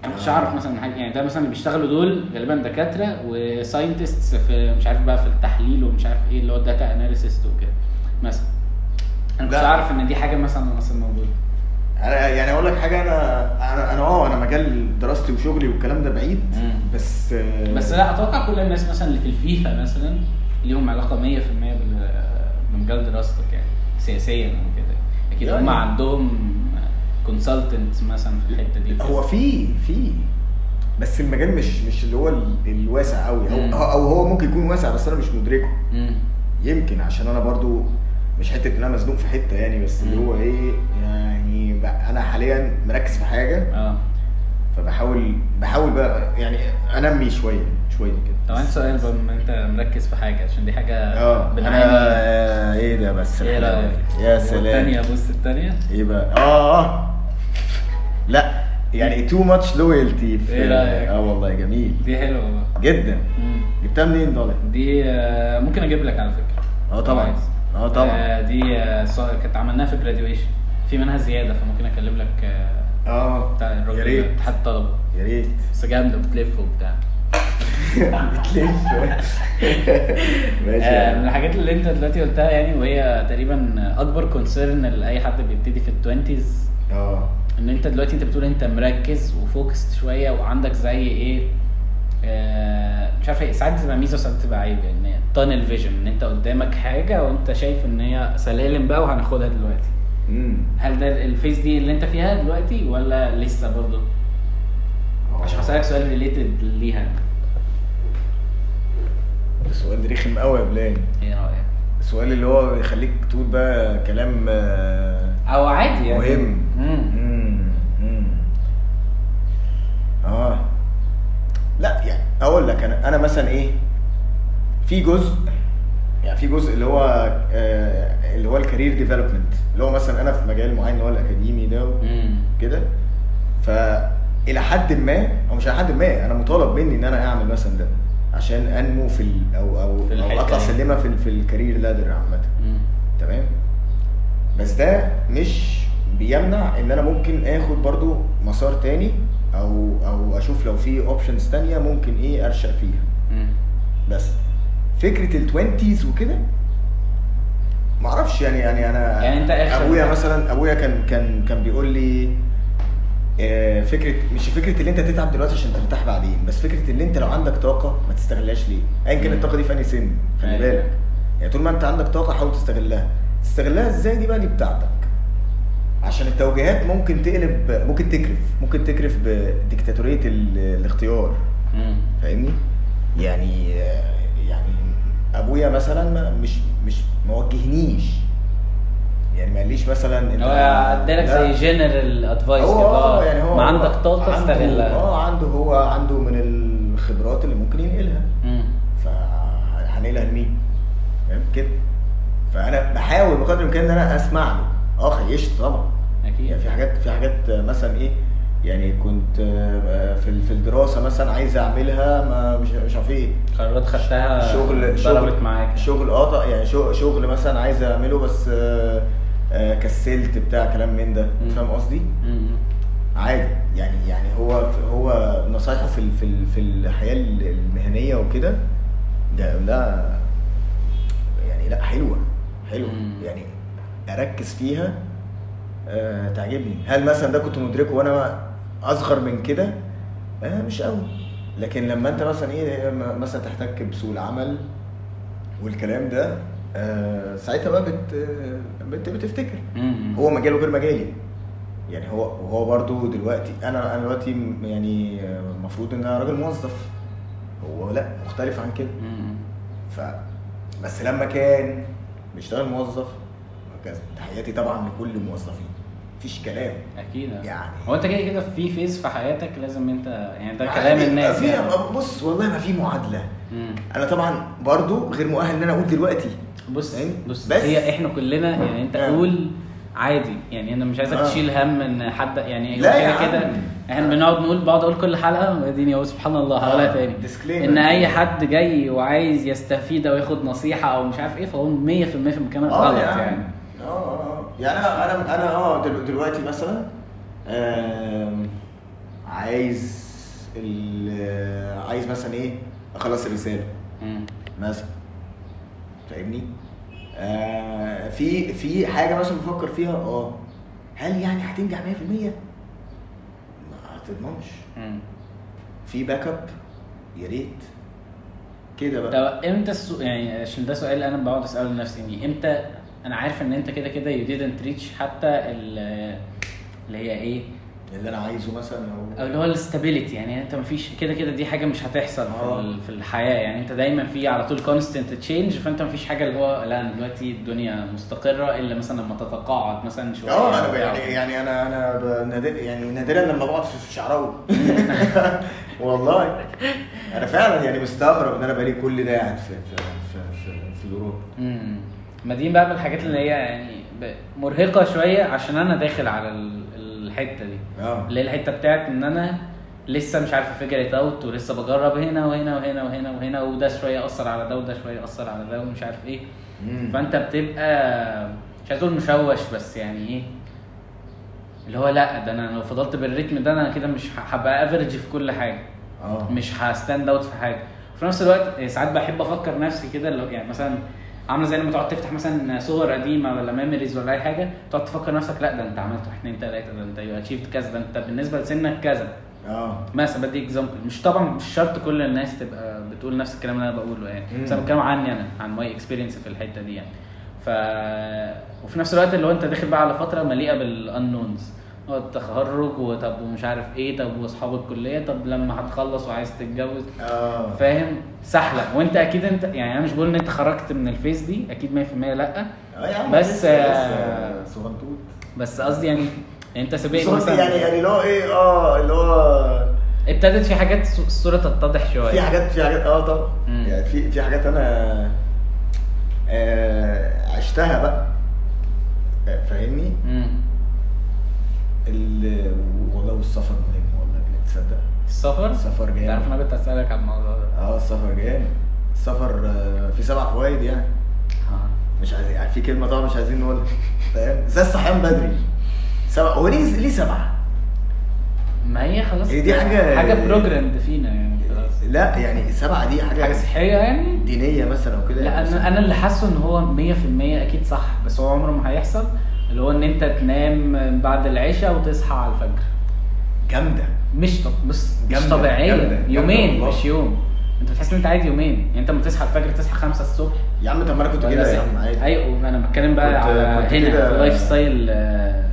انا
آه.
مش عارف مثلا حاجه يعني ده مثلا اللي بيشتغلوا دول غالبا دكاتره وساينتستس في مش عارف بقى في التحليل ومش عارف ايه اللي هو الداتا اناليسيست وكده مثلا انا مش
لا.
عارف ان دي حاجه مثلا اصلا موجوده
انا يعني اقول لك حاجه انا انا انا اه انا مجال دراستي وشغلي والكلام ده بعيد
مم.
بس آه،
بس لا اتوقع كل الناس مثلا اللي في الفيفا مثلا ليهم علاقه 100% بال- بمجال دراستك يعني سياسيا وكده اكيد
يعني.
هم عندهم كونسلتنت مثلا في الحته دي
هو في في بس المجال مش مش اللي هو ال- الواسع قوي
مم.
او او هو ممكن يكون واسع بس انا مش مدركه
مم.
يمكن عشان انا برضو مش حته ان انا مزنوق في حته يعني بس اللي
مم.
هو ايه يعني بقى- انا حاليا مركز في حاجه
اه
فبحاول بحاول بقى يعني انمي شويه شويه كده
طب عندي سؤال بقى بما انت مركز في حاجه عشان دي حاجه
اه
بنعاني
انا ايه ده بس
ايه
الحلاوة
رايك؟
دي؟ يا سلام
الثانيه بص الثانيه
ايه بقى اه آه. لا يعني تو ماتش لويالتي
إيه رأيك؟
اه والله جميل
دي حلوه بقى
جدا
مم.
جبتها منين دول
دي آه، ممكن اجيب لك على فكره
اه طبعا
كويس.
اه طبعا
آه، دي آه، ص- كانت عملناها في جراديويشن في منها زياده فممكن اكلم لك آه،
اه
بتاع
يا
الراجل ده،
ريت
اتحاد الطلبه
يا ريت
بس جامده بتلف وبتاع
بتلف ماشي يا
آه، من
عم.
الحاجات اللي انت دلوقتي قلتها يعني وهي تقريبا اكبر كونسيرن لاي حد بيبتدي في التوينتيز
اه
ان انت دلوقتي انت بتقول انت مركز وفوكست شويه وعندك زي ايه آه، مش عارف ايه ساعات بتبقى ميزه وساعات بتبقى عيب يعني تانل فيجن ان انت قدامك حاجه وانت شايف ان هي سلالم بقى وهناخدها دلوقتي
امم
هل ده الفيس دي اللي انت فيها دلوقتي ولا لسه برضه؟
آه.
عشان هسألك سؤال ريليتد ليها
السؤال رخم قوي يا بلال
ايه رايك؟
السؤال اللي هو يخليك تقول بقى كلام آه،
او عادي يعني
مهم.
مم.
مم. مم. اه لا يعني اقول لك انا انا مثلا ايه في جزء يعني في جزء اللي هو آه اللي هو الكارير ديفلوبمنت اللي هو مثلا انا في مجال معين اللي هو الاكاديمي ده
مم.
وكده ف الى حد ما او مش الى حد ما انا مطالب مني ان انا اعمل مثلا ده عشان انمو في ال او او,
في الحتة
أو اطلع
دي.
سلمه في, ال- في الكارير لادر عامه
مم.
تمام بس ده مش بيمنع ان انا ممكن اخد برضو مسار تاني او او اشوف لو في اوبشنز تانية ممكن ايه ارشق فيها
مم.
بس فكره التوينتيز وكده معرفش يعني يعني انا
يعني أنت آخر-
ابويا مثلا ابويا كان كان كان بيقول لي آه، فكره مش فكره اللي انت تتعب دلوقتي عشان ترتاح بعدين بس فكره اللي انت لو عندك طاقه ما تستغلهاش ليه ايا كان
مم.
الطاقه دي في انهي سن خلي
أيوة.
بالك يعني طول ما انت عندك طاقه حاول تستغلها تستغلها ازاي دي بقى دي بتاعتك عشان التوجيهات ممكن تقلب ممكن تكرف ممكن تكرف بديكتاتوريه ال- الاختيار
مم.
فاهمني يعني يعني ابويا مثلا ما- مش مش ما وجهنيش يعني ما قاليش مثلا انت
هو ادالك
لا.
زي جنرال ادفايس
هو
كده
اه
آه،
يعني هو
ما عندك طاقه
عنده-
استغلها
اه عنده هو عنده من الخبرات اللي ممكن ينقلها
مم.
فهنقلها لمين؟ فاهم كده؟ فانا بحاول بقدر الامكان ان انا اسمع له اه خيشت طبعا يعني
اكيد
في حاجات في حاجات مثلا ايه يعني كنت آه، في في الدراسه مثلا عايز اعملها ما مش مش عارف ايه
قرارات خدتها
شغل
ضربت
شغل
معاك
شغل قطع يعني شغل, شغل مثلا عايز اعمله بس آه، آه، كسلت بتاع كلام من ده
مم.
فاهم قصدي؟
مم.
عادي يعني يعني هو هو نصايحه في ال- في ال- في الحياه المهنيه وكده ده لا يعني لا حلوه حلوه
مم.
يعني اركز فيها آه تعجبني هل مثلا ده كنت مدركه وانا اصغر من كده آه مش قوي لكن لما انت مثلا ايه م- مثلا تحتك بسوق العمل والكلام ده آه ساعتها بقى بت آه، بت- بتفتكر
مم.
هو مجاله غير مجالي يعني هو هو برضو دلوقتي انا انا دلوقتي م- يعني المفروض ان انا راجل موظف هو لا مختلف عن كده
مم.
ف بس لما كان بيشتغل موظف وهكذا تحياتي طبعا لكل الموظفين مفيش كلام
اكيد
يعني.
هو انت كده كده في فيز في حياتك لازم انت يعني ده كلام الناس
في
يعني.
بص والله ما في معادله
مم.
انا طبعا برضو غير مؤهل ان انا اقول دلوقتي
بص
فاهم؟
بص
بس-
هي احنا كلنا يعني انت
آه.
قول عادي يعني انا مش عايزك
آه.
تشيل هم ان حد يعني هو
لا يا
كده كده
عم.
احنا بنقعد نقول بقعد اقول كل حلقه اديني اهو سبحان الله هقولها
آه.
تاني
Disclaimer.
ان اي حد جاي وعايز يستفيد او ياخد نصيحه او مش عارف ايه فهو 100% في المكان
اه
الغلط
يا
يعني,
عم. اه اه آه. يعني انا انا انا اه دل- دلوقتي مثلا آم، عايز ال- عايز مثلا ايه اخلص الرساله
مم.
مثلا فاهمني؟ آه في في حاجه مثلا بفكر فيها اه هل يعني هتنجح 100%؟ ما تضمنش
مم.
في باك اب يا ريت كده بقى
طب امتى السو... يعني عشان ده سؤال انا بقعد اساله لنفسي يعني امتى انا عارف ان انت كده كده يو didn't reach حتى ال- اللي هي ايه
اللي انا عايزه مثلا
او
هو
اللي هو الاستابيليتي يعني انت مفيش كده كده دي حاجه مش هتحصل في,
آه.
ال- في الحياه يعني انت دايما في على طول كونستنت تشينج فانت مفيش حاجه اللي هو لا أنا دلوقتي الدنيا مستقره الا مثلا لما تتقاعد مثلا شويه
اه انا ب- يعني يعني انا انا ب- نادر يعني نادرا لما بقعد في شعراوي والله انا فعلا يعني مستغرب ان انا بقالي كل ده قاعد في في في في, في اوروبا
امم ما دي بقى من الحاجات اللي هي يعني ب- مرهقه شويه عشان انا داخل على ال- الحته دي
اه
اللي هي الحته بتاعت ان انا لسه مش عارف فيجر ات اوت ولسه بجرب هنا وهنا وهنا وهنا وهنا وده شويه اثر على ده وده شويه اثر على ده ومش عارف ايه
مم.
فانت بتبقى مش عايز اقول مشوش بس يعني ايه اللي هو لا ده انا لو فضلت بالريتم ده انا كده مش ه- هبقى افريج في كل حاجه
اه
مش هستاند اوت في حاجه في نفس الوقت إيه، ساعات بحب افكر نفسي كده اللي هو يعني مثلا عامله زي لما تقعد تفتح مثلا صور قديمه ولا ميموريز ولا اي حاجه تقعد تفكر نفسك لا ده انت عملت واحد اتنين تلاته ده انت يو اتشيفد كذا ده انت بالنسبه لسنك كذا
اه
مثلا بدي اكزامبل مش طبعا مش شرط كل الناس تبقى بتقول نفس الكلام اللي انا بقوله يعني
مم.
بس انا بتكلم عني انا عن ماي اكسبيرينس في الحته دي يعني ف وفي نفس الوقت اللي هو انت داخل بقى على فتره مليئه بالانونز هو آه، التخرج وطب ومش عارف ايه طب واصحاب الكليه طب لما هتخلص وعايز تتجوز
اه
فاهم سحله وانت اكيد انت يعني انا مش بقول ان انت خرجت من الفيس دي اكيد 100% لا
آه يا عم
بس،
لسه-
آه،
لسه صغنطوط
بس قصدي يعني انت سابقني
صغنطوط
مثلا
يعني يعني اللي هو ايه اه اللي هو
ابتدت في حاجات الصوره تتضح شويه
في حاجات في حاجات اه طبعا
مم.
يعني في في حاجات انا آه عشتها بقى آه، فاهمني؟
مم.
ال- والله والسفر مهم والله تصدق
السفر
السفر جامد.
تعرف انا كنت اسالك عن الموضوع ده
اه السفر جامد السفر آه، فيه سبع فوائد يعني مش عايزين يعني في كلمه طبعا مش عايزين نقولها فاهم زي الصحيان بدري سبعه هو ليه ليه سبعه؟
ما هي خلاص
هي دي حاجة-
حاجه بروجرامد فينا يعني خلاص
لا يعني سبعه دي حاجه
حاجه صحيه يعني
دينيه مثلا وكده
لا
يعني
انا انا اللي حاسه ان هو 100% اكيد صح بس هو عمره ما هيحصل اللي هو ان انت تنام بعد العشاء وتصحى على الفجر
جامده
مش طب بص مش
جامدة،
طبيعيه
جامدة، جامدة
يومين
والله.
مش يوم انت بتحس ان انت قاعد يومين يعني انت لما تصحى الفجر تصحى 5 الصبح
يا عم طب ما انا كنت كده يا عم عادي
ايوه انا بتكلم بقى
كنت-
على
كنت
هنا
كده-
في اللايف ستايل آه،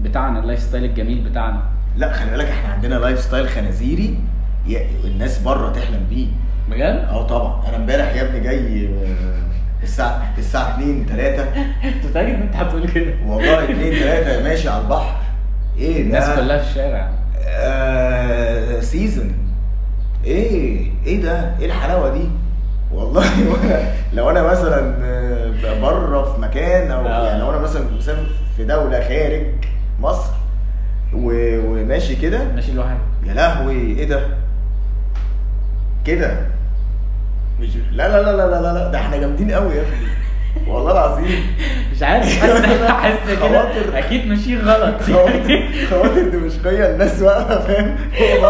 بتاعنا اللايف ستايل الجميل بتاعنا
لا خلي بالك احنا عندنا لايف ستايل خنازيري ي- الناس بره تحلم بيه
بجد؟
اه طبعا انا امبارح يا ابني جاي آه، الساعه الساعه 2 3
انت متاكد ان انت هتقول كده؟
والله 2 3 ماشي على البحر ايه ده
الناس كلها في الشارع
آه سيزون ايه ايه ده ايه الحلاوه دي والله وانا لو انا مثلا آه، بره في مكان او
آه.
يعني لو انا مثلا مسافر في دوله خارج مصر و- وماشي كده
ماشي لوحدك
يا لهوي ايه ده كده مش لا لا لا لا لا لا لا ده احنا جامدين قوي يا ابني والله العظيم
مش عارف حاسس حاسس كده
خواطر.
اكيد ماشيين غلط
خواطر خواطر دمشقيه الناس واقفه فاهم فوق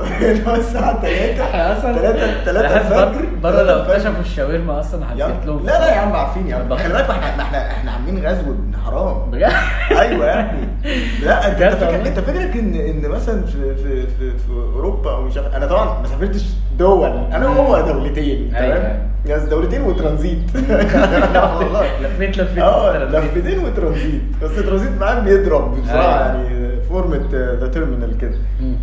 بعض اللي هو الساعه 3
احنا اصلا
3 3
بحس
الفجر
بره- بره لو
تلاتة الفجر.
اكتشفوا الشاورما اصلا
يا
هتبيت
عم-
لهم
لا لا يا عم عارفين يا عم
بخ-
خلي بالك ما احنا ما احنا احنا عاملين غزو ابن حرام
بجد
ايوه يا ابني لا انت
بجد
انت فاكر
والله.
انت فاكرك ان ان مثلا في في في, في اوروبا او مش عارف انا طبعا ما سافرتش دول انا هو دولتين
أيوة.
تمام بس دولتين وترانزيت
لفيت لفيت
اه
لفيت.
لفتين وترانزيت بس ترانزيت معاه بيضرب بصراحه
أيوة.
يعني فورمه ذا تيرمينال كده
مم.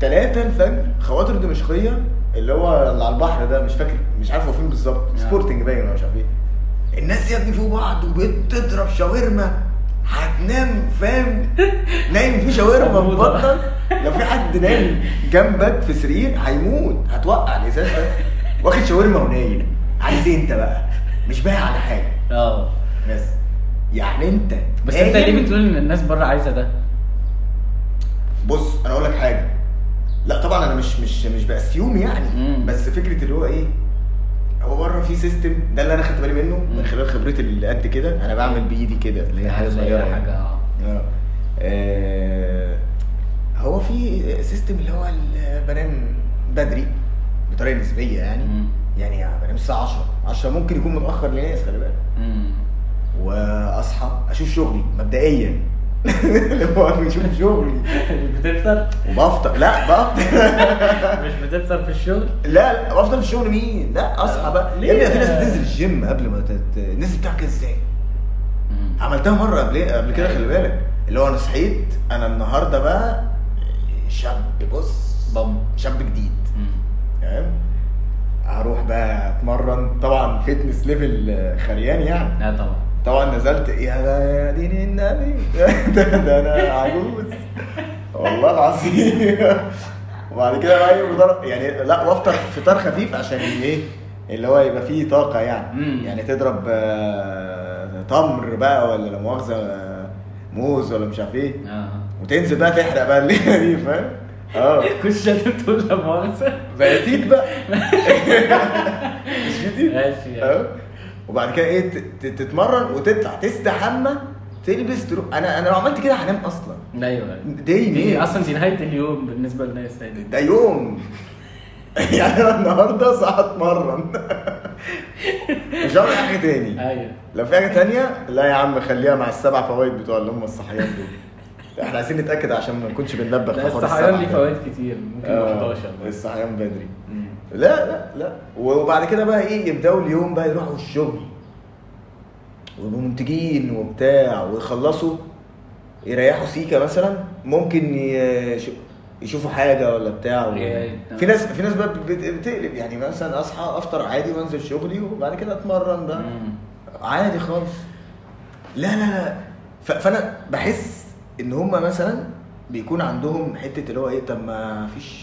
تلاتة الفجر خواطر دمشقيه اللي هو اللي على البحر ده مش فاكر مش عارف هو فين بالظبط سبورتنج باين ولا مش عارف ايه الناس يا ابني فوق بعض وبتضرب شاورما هتنام فاهم نايم في شاورما في
صمودة.
بطنك لو في حد نايم جنبك في سرير هيموت هتوقع الازاز ده واخد شاورما ونايم عايز ايه انت بقى مش بايع على حاجه
اه
بس يعني انت
بس انت
نايم-
ليه بتقول ان الناس بره عايزه ده؟
بص انا اقول لك حاجه لا طبعا انا مش مش مش باسيوم يعني
مم.
بس فكره اللي هو ايه هو بره في سيستم ده اللي انا خدت بالي منه
مم.
من خلال خبرتي اللي قد كده انا بعمل بايدي كده اللي هي حاجه
اللي هي
صغيره يعني.
حاجه اه
آه. آه. هو في سيستم اللي هو ال- بنام بدري بطريقه نسبيه يعني
مم.
يعني بنام الساعه 10 10 ممكن يكون متاخر لناس خلي بالك
مم.
واصحى اشوف شغلي مبدئيا اللي هو بشوف شغلي
مش بتفطر
وبفطر لا بفطر
مش بتفطر في الشغل
لا لا بفضل في الشغل مين؟ لا اصحى بقى
ليه؟
يا ابني في ناس بتنزل الجيم قبل ما تت... الناس بتاعك ازاي؟ عملتها مره قبل إيه؟ قبل كده خلي بالك اللي هو انا صحيت انا النهارده بقى شاب بص
بام
شاب جديد تمام؟ هروح بقى اتمرن طبعا فتنس ليفل خريان يعني
لا طبعا
طبعا نزلت يا ده يا دين النبي ده, ده انا عجوز والله العظيم وبعد كده بقى ايه مضر- يعني لا وافطر فطار خفيف عشان ايه اللي هو يبقى فيه طاقه
مم.
يعني يعني تضرب آه، تمر بقى ولا لا مؤاخذه آه، موز ولا مش عارف ايه
اه
وتنزل بقى تحرق بقى الليله دي فاهم اه
كنت شايف تقول لا مؤاخذه
بقيتيت بقى مش جديد
ماشي. يعني.
أهو. وبعد كده ايه ت- ت- تتمرن وتطلع تستحمى تلبس تروح انا انا لو عملت كده هنام اصلا
ايوه دي
دي مين
اصلا دي نهايه اليوم بالنسبه للناس يعني
ده يوم يعني انا النهارده صح اتمرن مش هعمل حاجه تاني
ايوه
لو في حاجه تانية لا يا عم خليها مع السبع فوائد بتوع اللي هم الصحيان دول احنا عايزين نتاكد عشان ما نكونش
لا
بننبه في حوار
الصحيان
السبع
ليه
ده.
فوائد كتير ممكن
آه،
11 بس.
الصحيان بدري
مم.
لا لا لا وبعد كده بقى ايه يبداوا اليوم بقى يروحوا الشغل ويبقوا منتجين وبتاع ويخلصوا يريحوا سيكه مثلا ممكن يش- يشوفوا حاجه ولا بتاع و...
يعني-
في ناس في ناس بقى بت- بتقلب يعني مثلا اصحى افطر عادي وانزل شغلي وبعد كده اتمرن بقى
مم.
عادي خالص لا لا لا ف- فانا بحس ان هما مثلا بيكون عندهم حته اللي هو ايه طب ما فيش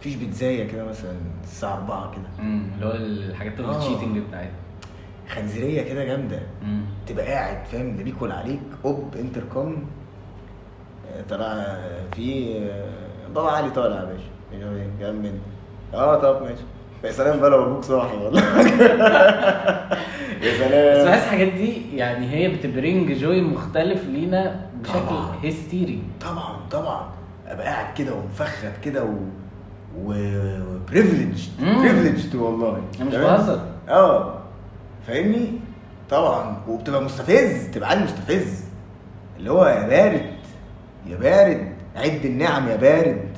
فيش بيتزايه كده مثلا الساعه 4 كده
مم. اللي هو الحاجات
آه.
التشيتنج بتاعتها
خنزيريه كده جامده
مم.
تبقى قاعد فاهم اللي بيكول عليك اوب انتركم آه، طلع في آه، بابا علي طالع يا باشا يا جنب مني. اه طب ماشي يا سلام بقى لو ابوك صاحي والله يا سلام
بس بحس الحاجات دي يعني هي بتبرينج جوي مختلف لينا بشكل
طبعاً.
هستيري
طبعا طبعا ابقى قاعد كده ومفخد كده و و بريفليجد
مم.
بريفليجد والله
أنا مش
تمام؟
بهزر.
اه فاهمني طبعا وبتبقى مستفز تبقى عيل مستفز اللي هو يا بارد يا بارد عد النعم يا بارد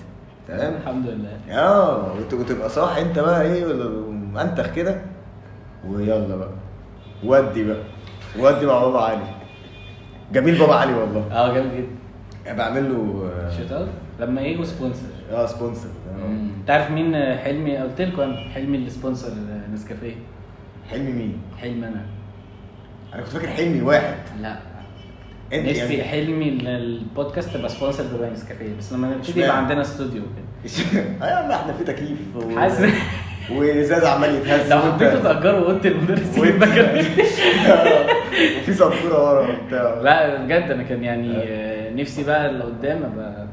تمام
الحمد لله
اه وت- وتبقى صاحي انت بقى ايه ولا- منتخ كده ويلا بقى ودي بقى ودي مع بابا علي جميل بابا علي والله
اه جامد جدا
يعني بعمل له
شوت اوت لما يجوا سبونسر
اه سبونسر
انت عارف مين حلمي قلت لكم انا حلمي اللي سبونسر نسكافيه
حلمي مين؟
حلم انا
انا كنت فاكر حلمي واحد
لا
انت
نفسي
يعني
حلمي ان البودكاست تبقى سبونسر ببقى نسكافيه بس لما نبتدي
اشمعنى؟
يبقى عندنا استوديو كده
اه يا عم احنا في تكييف و...
حاسس
وازاز عمال يتهز
لو
وانت-
حبيتوا تأجروا اوضه المدرسين
وانت-
يبقى جميل.
آه، وفي سبوره ورا وبتاع
لا بجد انا كان يعني آه، نفسي بقى اللي قدام ابقى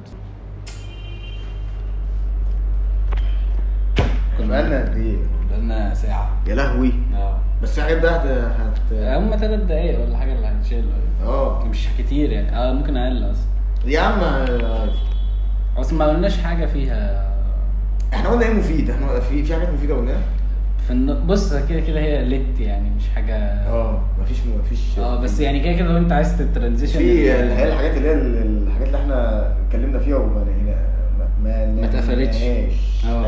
كنا بقالنا قد ايه؟
بقالنا ساعه
يا لهوي
اه
بس الحاجات ده هت هت-
هم ثلاث دقايق ولا حاجه اللي هنشيلها
اه
مش كتير يعني اه ممكن اقل اصلا
يا عم آه، عادي.
اصلا ما قلناش حاجه فيها
احنا قلنا ايه مفيد احنا في في حاجات مفيده قلناها
في الن... بص كده كده هي ليت يعني مش حاجه
اه مفيش مفيش
اه بس يعني كده كده لو انت عايز الترانزيشن
في هي الحاجات اللي هي ال- الحاجات اللي احنا اتكلمنا فيها وما هنا ما
ما اتقفلتش.
اه
اه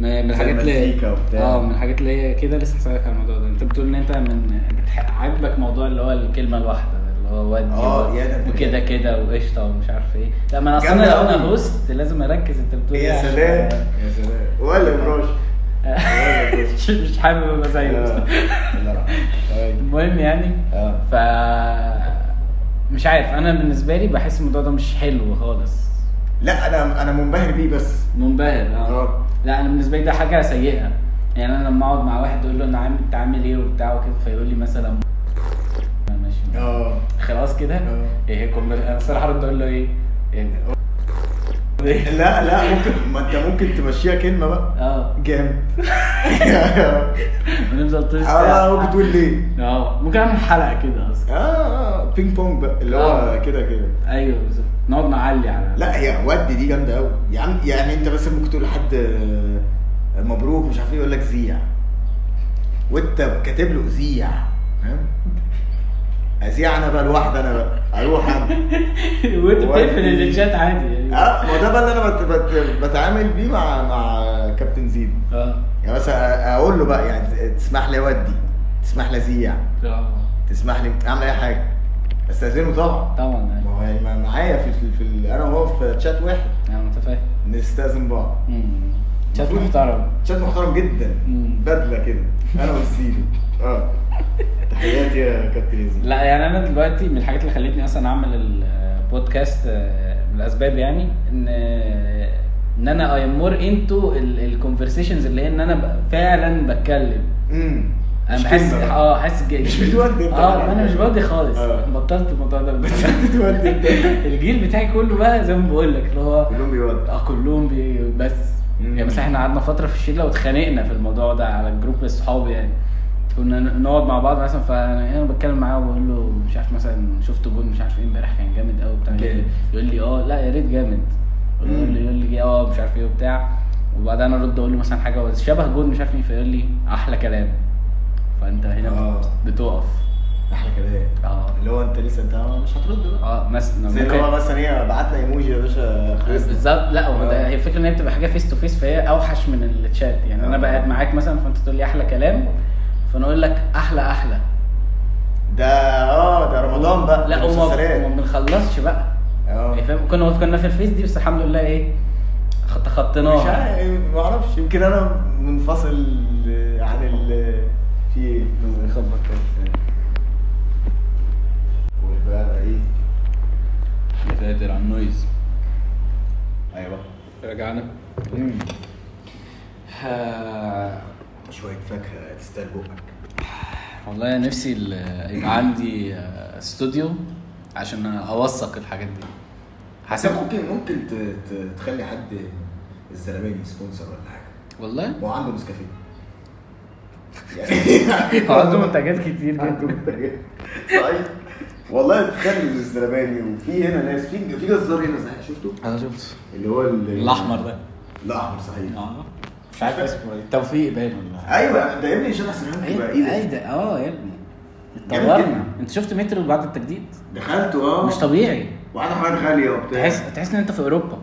ما- من
زي
الحاجات اللي
المزيكا وبتاع.
اه من الحاجات اللي هي كده لسه هسألك على الموضوع ده انت بتقول ان انت من بتح... عاجبك موضوع اللي هو الكلمه الواحده ده، اللي هو ودي
اه،
و-
يا ده
وكده
بجد.
كده وقشطه ومش عارف ايه لا ما انا اصلا
جامدة
لو انا
أوي.
هوست لازم اركز انت بتقول ايه
يا
عشان-
سلام يا سلام ولا بروش ولا بروش
مش- مش حابب ابقى زيه
لا،
أصلاً.
لا. طيب.
المهم يعني
اه
ف مش عارف انا بالنسبه لي بحس الموضوع ده مش حلو خالص
لا انا انا منبهر بيه بس
منبهر
آه.
اه لا انا بالنسبه لي ده حاجه سيئه يعني انا لما اقعد مع واحد اقول له انا عامل انت عامل ايه وبتاع وكده فيقول لي مثلا أنا ماشي
اه
خلاص كده
آه.
ايه كم انا الصراحه ارد اقول له ايه يعني
لا لا ممكن ما انت ممكن تمشيها كلمه بقى
اه
جامد
ونفضل طول
اه ممكن
الساعه
تقول ليه
اه ممكن اعمل حلقه كده اصلا
اه اه بينج بونج بقى اللي
آه.
هو كده كده
ايوه بالظبط نقعد نعلي على
لا هي ودي دي جامده قوي يا عم يعني انت بس ممكن تقول لحد آه، مبروك مش عارف ايه يقول لك زيع وانت كاتب له زيع فاهم ازيع انا بقى لوحدي انا بقى اروح انا
وانت بتقفل
ودي.
الشات عادي يعني
اه ما ده بقى اللي انا بت بت بتعامل بيه مع مع كابتن زيد
اه
يعني مثلا اقول له بقى يعني تسمح لي اودي تسمح لي ازيع
آه.
تسمح لي اعمل اي حاجه استاذنه طبعا
طبعا
ما
يعني.
هو يعني معايا في في, في ال- انا وهو في تشات واحد
انا متفاهم
نستاذن بعض
مم. شات
المفروض-
محترم
شات محترم جدا
مم.
بدله كده انا والسيدي اه تحياتي يا كابتن يزن
لا يعني انا دلوقتي من الحاجات اللي خلتني اصلا اعمل البودكاست آه، من الاسباب يعني ان آه، ان انا اي ام مور انتو الكونفرسيشنز اللي هي ان انا ب- فعلا بتكلم
امم
انا بحس اه حاسس ج-
مش بتودي انت
اه
بقى.
ما انا مش بودي خالص
آه.
بطلت الموضوع ده
بتودي انت.
الجيل بتاعي كله بقى زي ما بقول لك اللي هو
كلهم بيودوا
اه كلهم بي بس
مم.
يعني مثلا احنا قعدنا فتره في الشله واتخانقنا في الموضوع ده على الجروب الصحاب يعني كنا ن- نقعد مع بعض مثلا فانا انا بتكلم معاه وبقول له مش عارف مثلا شفت جول مش عارف ايه امبارح كان جامد قوي بتاع
جامد.
يقول لي اه لا يا ريت جامد يقول لي يقول لي اه مش عارف ايه وبتاع وبعدين انا ارد اقول له مثلا حاجه شبه جول مش عارف ايه فيقول لي احلى كلام فانت هنا
آه.
بت- بتقف
احلى كلام
اه
اللي هو انت لسه انت مش هترد بقى
اه مثلا
زي اللي
ممكن-
هو مثلا ايه بعت لنا ايموجي يا باشا خلصنا
بالظبط لا هو
آه.
ده هي الفكره ان هي بتبقى حاجه فيس تو فيس فهي اوحش من الشات يعني انا
آه.
بقعد معاك مثلا فانت تقول لي احلى كلام فانا اقول لك احلى احلى
ده اه ده رمضان بقى
لا
ده
وما
مسلسلات.
وما بنخلصش بقى
اه
يعني فاهم كنا كنا في الفيس دي بس الحمد لله ايه خ-
مش
تخطيناها
عارف يعني ما اعرفش يمكن انا منفصل عن ال في ايه
يخبط كده.
قول بقى ايه
نتقدر على النويز
ايوه
رجعنا آه،
شويه فاكهه تستاهل بقك
والله نفسي ال- يبقى عندي آه، استوديو عشان اوثق الحاجات دي
بس ممكن ممكن ت- ت- تخلي حد الزلماني سبونسر ولا حاجه
والله
هو عنده نسكافيه يعني
عنده منتجات كتير جدا
طيب والله تخلي الزرباني وفي هنا ناس في في جزار هنا صحيح شفته
انا شفته
اللي هو ال-
الاحمر ده
الاحمر صحيح
اه مش عارف اسمه ايه توفيق باين ولا
ايوه ده يا ابني شارع سليمان
ايه
بيبقى
ايه
ايه ده؟
ده اه يا ابني
جامد
اتطورنا
جدا.
انت شفت مترو بعد التجديد
دخلته اه
مش طبيعي
وعلى حوار غاليه وبتاع
تحس تحس ان انت في اوروبا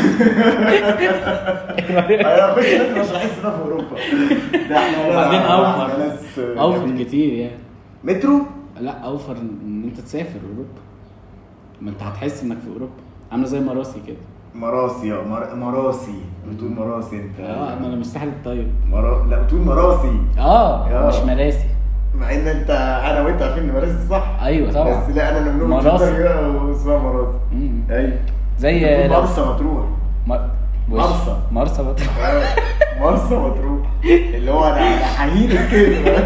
أيوة. انا مش مش هحس ده في اوروبا ده احنا لا-
وبعدين
احنا
اوفر
ناس-
اوفر كتير يعني
مترو
لا اوفر ان انت تسافر اوروبا ما انت هتحس انك في اوروبا عامله زي مراسي كده
مراسي اه مر... مراسي بتقول مراسي انت
اه ما انا مش ساحل الطيب
مرا... لا بتقول مراسي
اه
آه.
مش مراسي
مع ان انت انا وانت عارفين ان مراسي صح
ايوه طبعا
بس لا انا لما بنقول
مراسي.
مراسي آه، اسمها مراسي
مم.
ايوه
زي
بتقول
لو-
مرسى مطروح
مر- وش.
مرسى.
مرسى بطل
آه، مرسى مطروح اللي هو انا أنا حهين الكلمه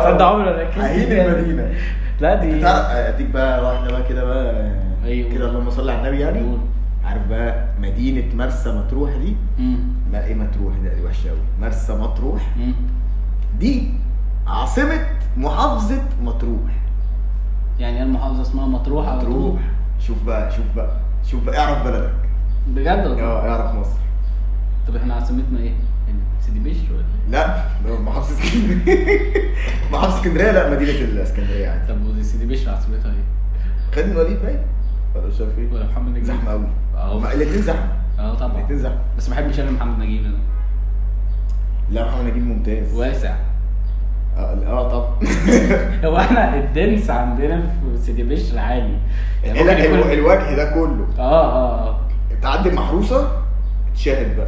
تصدق عمري ما ركزت
حهين
فيها.
المدينه
لا دي
تعرف اديك بقى واحده بقى كده بقى
أيوة.
كده اللهم صل على النبي يعني
قول.
عارف بقى مدينه مرسى مطروح دي
مم.
لا ايه مطروح ده دي وحشه قوي مرسى مطروح
مم.
دي عاصمه محافظه مطروح
يعني إيه المحافظه اسمها مطروح على طول؟
مطروح شوف بقى شوف بقى شوف بقى اعرف بلدك
بجد والله
اه اعرف مصر
طب احنا عاصمتنا ايه؟ سيدي بشر ولا إيه؟
لا ده محافظه اسكندريه محافظه اسكندريه لا مدينه الاسكندريه عادي
طب ودي سيدي بشر عاصمتها ايه؟
خالد وليد باين ولا مش عارف ايه
ولا محمد نجيب؟
زحمه قوي
اه
الاثنين زحمه
اه طبعا
الاثنين زحمه
بس ما بحبش انا محمد نجيب انا
لا محمد نجيب ممتاز
واسع
اه آه، طب
هو احنا الدنس عندنا في سيدي بشر عالي يعني
لا،
ممكن
الو-
يكون-
الوجه ده كله
اه اه اه
تعدي محروسه تشاهد بقى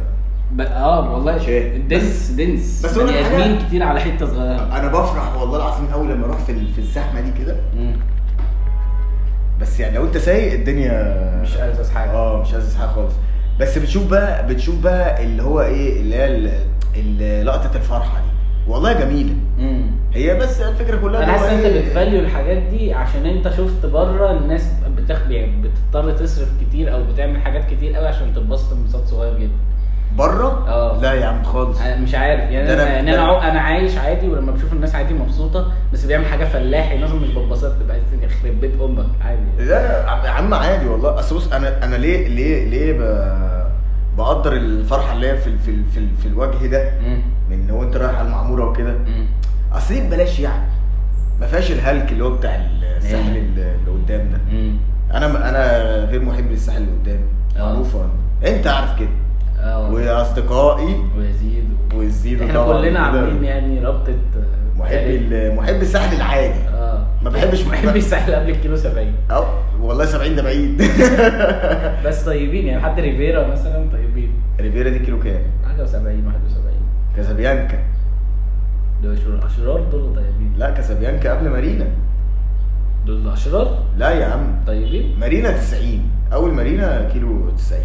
ب- اه والله
شيء.
الدنس دنس
بس أقول لك
بني
حاجة.
ادمين كتير على حته صغيره
انا بفرح والله العظيم قوي لما اروح في ال- في الزحمه دي كده
مم.
بس يعني لو انت سايق الدنيا
مش ألذذ حاجة.
اه مش ألذذ حاجه خالص بس بتشوف بقى بتشوف بقى اللي هو ايه اللي هي ال- ال- لقطه الفرحه دي والله جميله
مم.
هي بس الفكره كلها
انا
اللي هو
حاسس ان انت
إيه-
بتفاليو الحاجات دي عشان انت شفت بره الناس بتخ... يعني بتضطر تصرف كتير او بتعمل حاجات كتير قوي عشان تتبسط انبساط صغير جدا
بره
آه.
لا يا عم خالص
انا مش عارف يعني
ده
انا
أنا-
يعني
ده
انا
أنا-
عو- انا عايش عادي ولما بشوف الناس عادي مبسوطه بس بيعمل حاجه فلاحي مثلا مش بتبسط تبقى عايز يعني يخرب بيت امك عادي
لا يا عم عادي والله اصل بص انا انا ليه ليه ليه ب... بقدر الفرحه اللي هي في ال- في ال- في, ال- في الوجه ده
مم.
من وانت رايح على المعموره وكده
مم.
اصل دي ببلاش يعني ما فيهاش الهلك اللي هو بتاع الساحل
إيه.
ال- اللي قدام ده
مم.
انا انا غير محب للساحل اللي قدام
آه.
معروفه أنا. انت عارف كده
اه
واصدقائي
ويزيد و-
والزيرو
احنا
طبعاً
كلنا
كده.
عاملين يعني رابطه آه،
محب ال- محب الساحل العادي
اه
ما بحبش
بحب الساحل قبل الكيلو 70
اه والله 70 ده بعيد
بس طيبين يعني حد ريفيرا مثلا طيبين
ريفيرا دي كيلو كام؟
حاجه و70 71
كازابيانكا
دول اشرار اشرار دول طيبين
لا كازابيانكا قبل مارينا
دول اشرار
لا يا عم
طيبين
مارينا 90 اول مارينا كيلو 90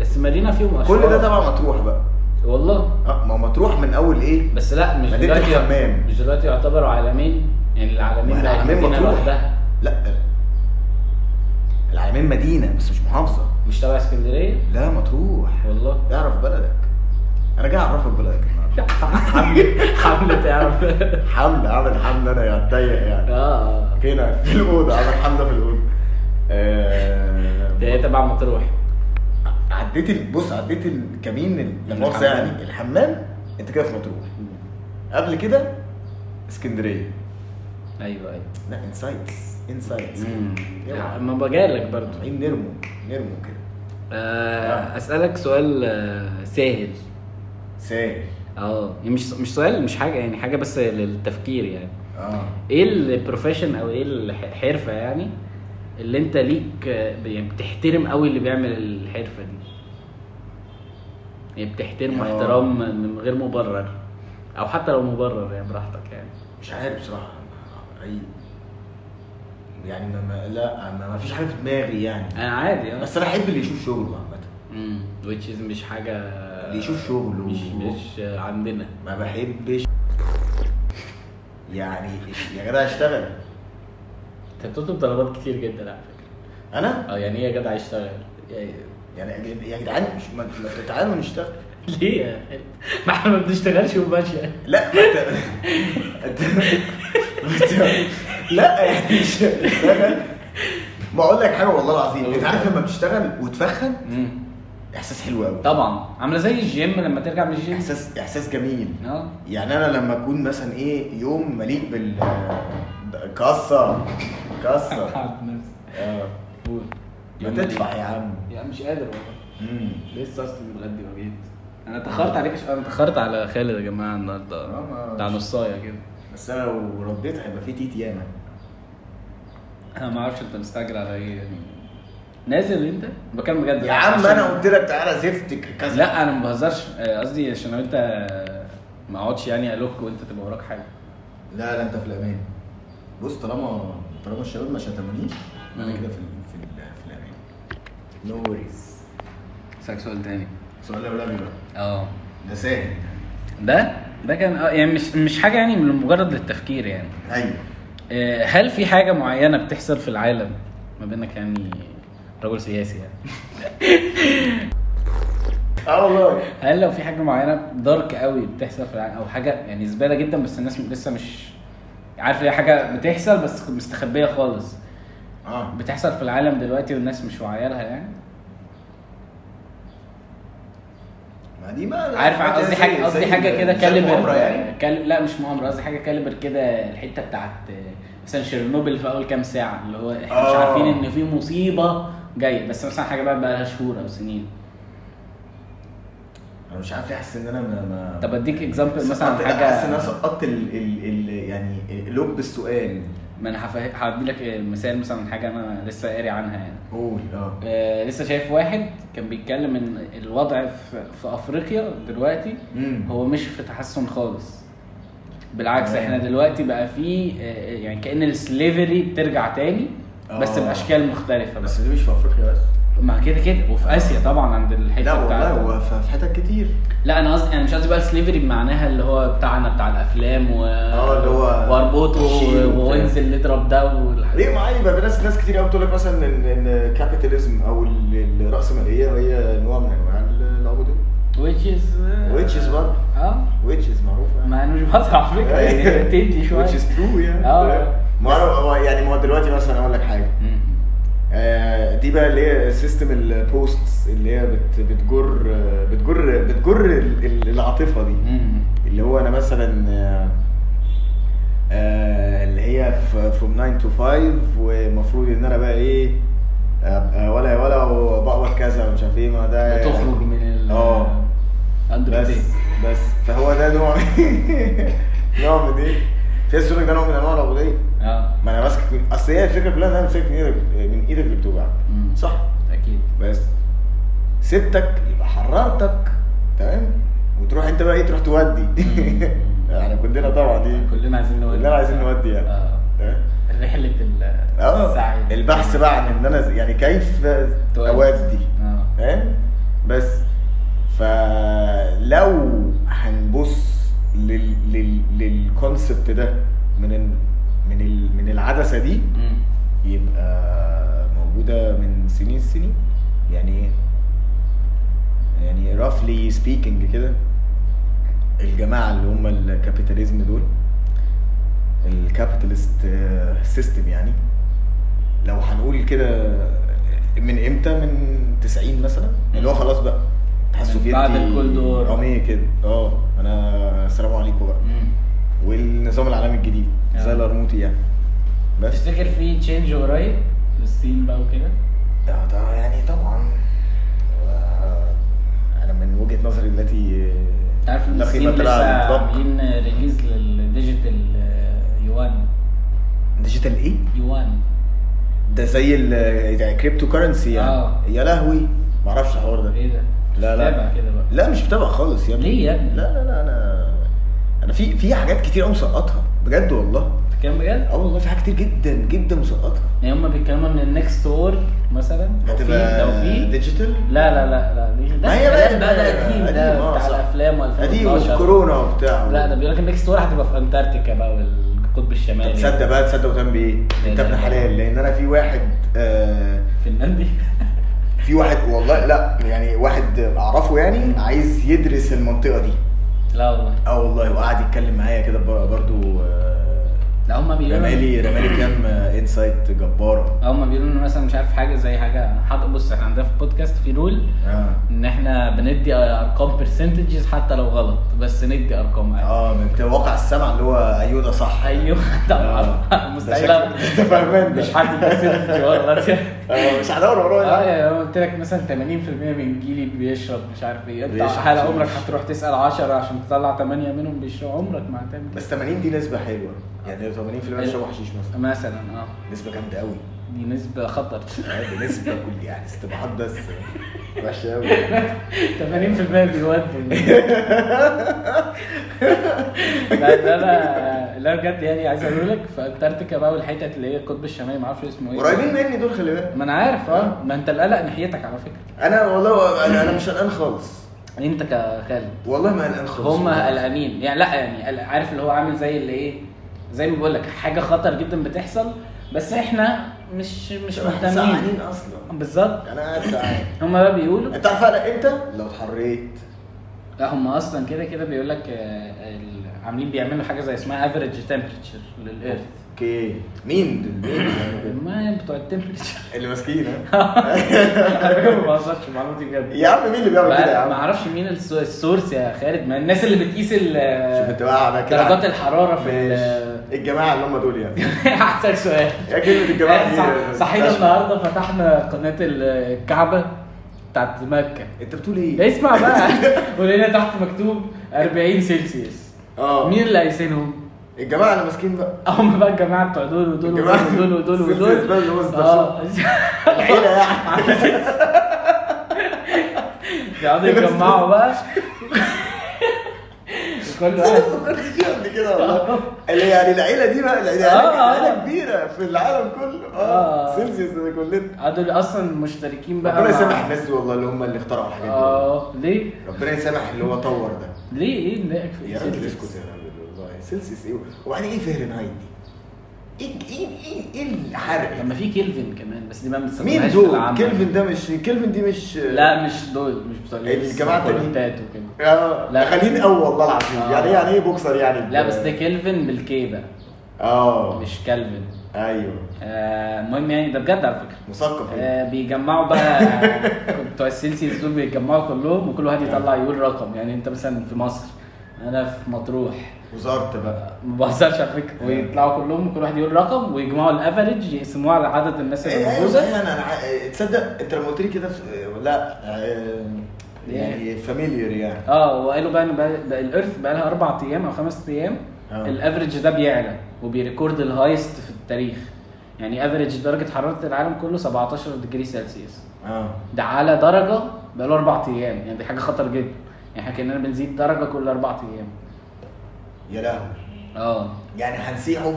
بس مارينا فيهم اشرار
كل ده طبعا مطروح بقى
والله
اه ما هو مطروح من اول ايه
بس لا مش
مدينة
دلوقتي
الحمام.
مش دلوقتي يعتبروا عالمين يعني العالمين
ما
بقت
العالمين
مدينه
مطروح.
لوحدها
لا العالمين مدينه بس مش محافظه
مش تبع اسكندريه
لا مطروح
والله
اعرف بلدك انا جاي اعرفك بلدك النهارده
حمله حمله تعرف اه
حمله عامل حمله انا يعني اتضايق يعني
آه.
هنا في الاوضه عامل حمله في الاوضه
ده هي
آه،
تبع مطروح
عديت ال- بص عديت الكمين ال- لا مؤاخذة
الحمام.
يعني الحمام انت كده في مطروح قبل كده اسكندريه
ايوه ايوه
لا انسايتس انسايتس
يعني ما بجالك برضو
عايزين نرموا نرموا كده
آه، اسالك سؤال آه، سهل
سايل
اه يعني مش مش سؤال مش حاجه يعني حاجه بس للتفكير يعني
اه
ايه البروفيشن او ايه الحرفه يعني اللي انت ليك آه، ب- يعني بتحترم قوي اللي بيعمل الحرفه دي يعني بتحترمه
آه.
احترام من غير مبرر او حتى لو مبرر يعني براحتك يعني
مش عارف بصراحه اي يعني ما ما لا ما, ما فيش حاجه في دماغي يعني
انا عادي اه
بس انا احب اللي يشوف شغله عامه
امم which is مش حاجه
اللي يشوف شغله
مش مش آه، عندنا
ما بحبش يعني يا جدع اشتغل
انت بتطلب طلبات كتير جدا على فكره
انا
إيه اه يعني ايه يا جدع اشتغل يعني
يعني يا جدعان مش- ما ما تعالوا نشتغل
ليه يا حلو؟ ما احنا ما بنشتغلش وماشيه
لا ما انت انت- انت- لا يعني مش تشتغل ما اقول لك حاجه والله العظيم انت عارف لما بتشتغل وتفخم
مم.
احساس حلو قوي
طبعا عامله زي الجيم لما ترجع من الجيم
احساس احساس جميل
اه
يعني انا لما اكون مثلا ايه يوم مليء بال كسر كسر
حرق نفسي.
اه.
قول.
ما تدفع يا عم
يا مش قادر والله
مم.
لسه اصلا متغدي وجيت انا اتاخرت عليك شويه انا اتاخرت على خالد يا جماعه النهارده
اه، ما-
بتاع نصايه كده
بس انا لو رديت هيبقى في تيت ياما
انا ما اعرفش انت مستعجل على ايه يعني نازل انت بكلم بجد
يا عم
عشان-
انا قلت لك تعالى زفتك كذا
لا انا ما بهزرش آه، قصدي عشان لو انت آه، ما اقعدش يعني الوك وانت تبقى وراك حاجه
لا لا انت في الامان بص طالما طالما الشباب ما شتمونيش انا كده في ال- في ال- في الامان نو وريز
اسالك سؤال تاني
سؤال اولاني بقى
اه
ده سهل
ده ده كان آه، يعني مش مش حاجه يعني من مجرد للتفكير يعني
ايوه
آه، هل في حاجه معينه بتحصل في العالم ما بينك يعني رجل سياسي يعني
اه والله
هل لو في حاجه معينه دارك قوي بتحصل في العالم او حاجه يعني زباله جدا بس الناس لسه مش عارف هي حاجه بتحصل بس مستخبيه خالص
اه
بتحصل في العالم دلوقتي والناس مش واعيه لها يعني
ما دي بقى
عارف قصدي حاجه قصدي حاجه كده كاليبر
يعني
كال... لا مش مؤامره قصدي حاجه كاليبر كده الحته بتاعت مثلا شيرنوبل في اول كام ساعه اللي هو احنا مش
آه.
عارفين ان في مصيبه جايه بس مثلا حاجه بقى بقى لها شهور او سنين
انا مش عارف ليه حاسس ان انا ما, ما...
طب اديك اكزامبل مثلا
سقطت- حاسس ان انا
حاجه
سقطت ال... ال... ال... يعني لب السؤال
ما انا هفه- هدي لك مثال مثلا حاجه انا لسه قاري عنها يعني
قول اه
آه، لسه شايف واحد كان بيتكلم ان الوضع في, في افريقيا دلوقتي
مم.
هو مش في تحسن خالص بالعكس
تمام.
احنا دلوقتي بقى في آه، يعني كان السليفري بترجع تاني بس
آه.
باشكال مختلفه
بس
بس
دي مش في افريقيا بس
ما كده كده وفي اسيا طبعا عند
آه. لا
الحته
والله
بتاعت
هو في- في حتت كتير
لا انا قصدي انا مش قصدي بقى السليفري بمعناها اللي هو بتاعنا بتاع الافلام و
اه، اللي هو
واربطه
شيل وبتاع.
وانزل نضرب ده والحاجات
ليه معايا بقى ناس ناس كتير قوي بتقول لك مثلا ان ان كابيتاليزم او ال- الراسماليه هي نوع من انواع ال- العبوديه
which is uh,
which is برضه
اه
which is معروفه
ما انا مش بهزر على فكره يعني بتدي شويه
which is true يعني
اه.
ما هو- هو يعني ما هو دلوقتي مثلا اقول لك حاجه آه، دي بقى اللي هي سيستم البوستس اللي هي بت- بتجر بتجر بتجر ال- ال- العاطفه دي
مم.
اللي هو انا مثلا آه، آه، اللي هي فروم 9 تو 5 ومفروض ان انا بقى ايه أبقى ولا ولا وبقبض كذا ومش عارف ايه ما ده
بتخرج من ال
اه
اندرويد
بس
إيه؟
بس فهو ده نوع نوع من ايه؟ في ناس تقول لك ده نوع من انواع العبوديه
اه
ما انا ماسكك من اصل هي الفكره كلها ان انا ماسكك من ايدك من ايدك اللي بتوجعك
مم.
صح
اكيد
بس سبتك يبقى حررتك تمام وتروح انت بقى ايه تروح تودي احنا كلنا إيه. طبعا دي
كلنا عايزين نودي
كلنا عايزين نودي يعني
اه
تمام؟
رحله ال-
اه
السعي
البحث بقى عن ان انا يعني كيف
تودي.
اودي
اه
فاهم بس فلو هنبص لل لل للكونسبت ده من ال من ال من العدسه دي
مم.
يبقى موجوده من سنين السنين يعني يعني رافلي سبيكينج كده الجماعه اللي هم الكابيتاليزم دول الكابيتالست سيستم يعني لو هنقول كده من امتى من 90 مثلا اللي هو خلاص بقى اتحاد
من
السوفيتي
بعد الكولد وور.
عمية كده اه انا السلام عليكم بقى
مم.
والنظام العالمي الجديد زي
آه.
الارموتي يعني بس
تفتكر في تشينج قريب للصين بقى وكده
اه ده يعني طبعا آه، انا من وجهه نظري التي
انت عارف ان
لا
الصين
قيمه
لسه
لها على الاطلاق
عاملين ريليز للديجيتال آه، يوان
ديجيتال ايه؟
يوان
ده زي ال زي كريبتو كرنسي يعني
آه.
يا لهوي ما اعرفش الحوار ده
ايه ده؟
لا لا
تابع كده بقى
لا مش متابع خالص يا ابني
ليه يا ابني؟
لا لا لا انا انا في في حاجات كتير قوي مسقطها بجد والله
كام بجد؟
اه والله في حاجات كتير جدا جدا مسقطها
يعني هما بيتكلموا ان النكست وور مثلا لو في
هتبقى
لو في
ديجيتال
لا لا لا لا دي ده
ما هي بقى
كلام بقى ده قديم ده
آه،
بتاع
صح.
الافلام و2012
قديم وكورونا وبتاع
لا ده بيقول لك النكست وور هتبقى في انتاركتيكا بقى والقطب الشمالي
طب تصدق بقى
إيه
تصدق وتعمل بايه؟
لا،
انت
لا،
ابن
لا.
حلال لان انا في واحد آه
فنلندي
في في واحد والله لا يعني واحد اعرفه يعني عايز يدرس المنطقه دي
لا والله
اه والله وقعد يتكلم معايا كده بر- برضو آه،
لا هم بيقولوا
رمالي رمالي كام آه، انسايت جباره
هم بيقولوا ان مثلا مش عارف حاجه زي حاجه حاجه بص احنا عندنا في بودكاست في رول
اه
ان احنا بندي ارقام برسنتجز حتى لو غلط بس ندي ارقام عادي
اه من بتاع واقع السمع اللي هو ايوه ده صح
ايوه
آه.
طبعا مستحيل
ده شكل- انت فاهمان ده.
مش حد برسنتج غلط يعني
آه، مش هدور وراه
اه
يعني.
يعني انا قلت لك مثلا 80% من جيلي بيشرب مش عارف ايه انت
بيشرب،
هل
بيشرب.
عمرك هتروح تسال 10 عشان تطلع 8 منهم بيشربوا عمرك ما هتعمل
بس 80 دي نسبه حلوه يعني 80% بيشربوا حشيش مثلا
كده. مثلا اه
نسبه جامده قوي
دي نسبه خطر 80%
آه، دي نسبه كل يعني استباحات بس وحشه قوي
بيودي لا ده انا لا بجد يعني عايز اقول لك في انتاركتيكا بقى والحتت اللي هي القطب الشمالي ما اعرفش اسمه ايه
قريبين مني دول خلي بالك
ما انا عارف اه ما انت القلق ناحيتك على فكره
انا والله انا انا مش قلقان خالص
انت كخالد
والله ما قلقان خالص
هم قلقانين يعني لا يعني قلق- عارف اللي هو عامل زي اللي ايه زي ما بقول لك حاجه خطر جدا بتحصل بس احنا مش مش
احنا
مهتمين
سقعانين اصلا
بالظبط
انا قاعد سقعان
هم بقى بيقولوا
انت عارف انا امتى؟ لو اتحريت
لا هم اصلا كده كده بيقول لك آه، ال- عاملين بيعملوا حاجه زي اسمها افريج تمبرتشر للارث
اوكي مين دول؟ مين اللي بيعملوا كده؟
ما بتوع التمبرتشر
اللي ماسكين ها؟
على فكره ما بهزرش المعلومه دي بجد
يا عم مين اللي بيعمل كده يا
ما
عم؟
اعرفش مين الس- السورس يا خالد ما الناس اللي بتقيس ال-
شوف انت بقى على كده
درجات الحراره في ال-
ماشي. الجماعه اللي هم دول يعني
احسن سؤال
يا كلمه الجماعه
آه، صح-
دي
صحينا
تشفى.
النهارده فتحنا قناه الكعبه بتاعت مكه
انت بتقول ايه؟
اسمع بقى ولقينا تحت مكتوب 40 سلسيوس
اه
مين اللي قايسينهم؟
الجماعه اللي ماسكين بقى
هم بقى الجماعه بتوع دول ودول
الجماعة-
ودول ودول ودول
سلسيوس بقى اللي هو
اه
العيله يعني
بيقعدوا يجمعوا بقى كل واحد
ما كنتش قبل كده والله اللي يعني العيله دي بقى العيله
آه.
عيلة كبيره في العالم كله اه
آه.
سيلسيوس ده كلنا
قعدوا اصلا مشتركين بقى
ربنا
مع-
يسامح الناس دي والله اللي هم اللي اخترعوا الحاجات دي
اه ليه؟
ربنا يسامح اللي هو طور ده
ليه ايه مضايقك في
يا راجل
السلسيوس؟
اسكت يا راجل والله سيلسيوس ايه وبعدين ايه فهرنهايت دي؟ ايه ايه ايه ايه الحرق
لما في كيلفن كمان بس دي بقى ما
مين
بتستخدمهاش في
دول؟
العمل
كيلفن ده مش كيلفن دي مش
لا مش دول مش بتوع
إيه، الجماعة التانيين.
التانيين وكده
اه
لا.
غاليين قوي والله العظيم
آه.
يعني ايه يعني ايه بوكسر يعني
لا بس ده كيلفن بالكي بقى
اه
مش كلفن
ايوه
آه، المهم يعني ده بجد على فكره
مثقف يعني.
آه، بيجمعوا بقى بتوع السيلسيوس دول بيجمعوا كلهم وكل واحد
آه.
يطلع يقول رقم يعني انت مثلا في مصر انا في مطروح
وزارت بقى
ما بهزرش على
آه.
فكره ويطلعوا كلهم كل واحد يقول رقم ويجمعوا الافرج يقسموه على عدد الناس اللي
ايه ايوه
موجوده
صحيح انا انا ع- إيه، تصدق انت لما قلت لي كده في- لا آه،
إيه؟
يعني فاميليير يعني
اه وقالوا بقى ان بقى- بقى الارث بقى لها اربع ايام او خمس ايام
آه.
الافرج ده بيعلى وبيريكورد الهايست في التاريخ يعني افرج درجه حراره العالم كله 17 ديجري سلسيوس
اه
ده على درجه بقاله اربع ايام يعني دي حاجه خطر جدا يعني احنا كاننا بنزيد درجه كل اربع ايام
يا لهوي
اه
يعني هنسيحه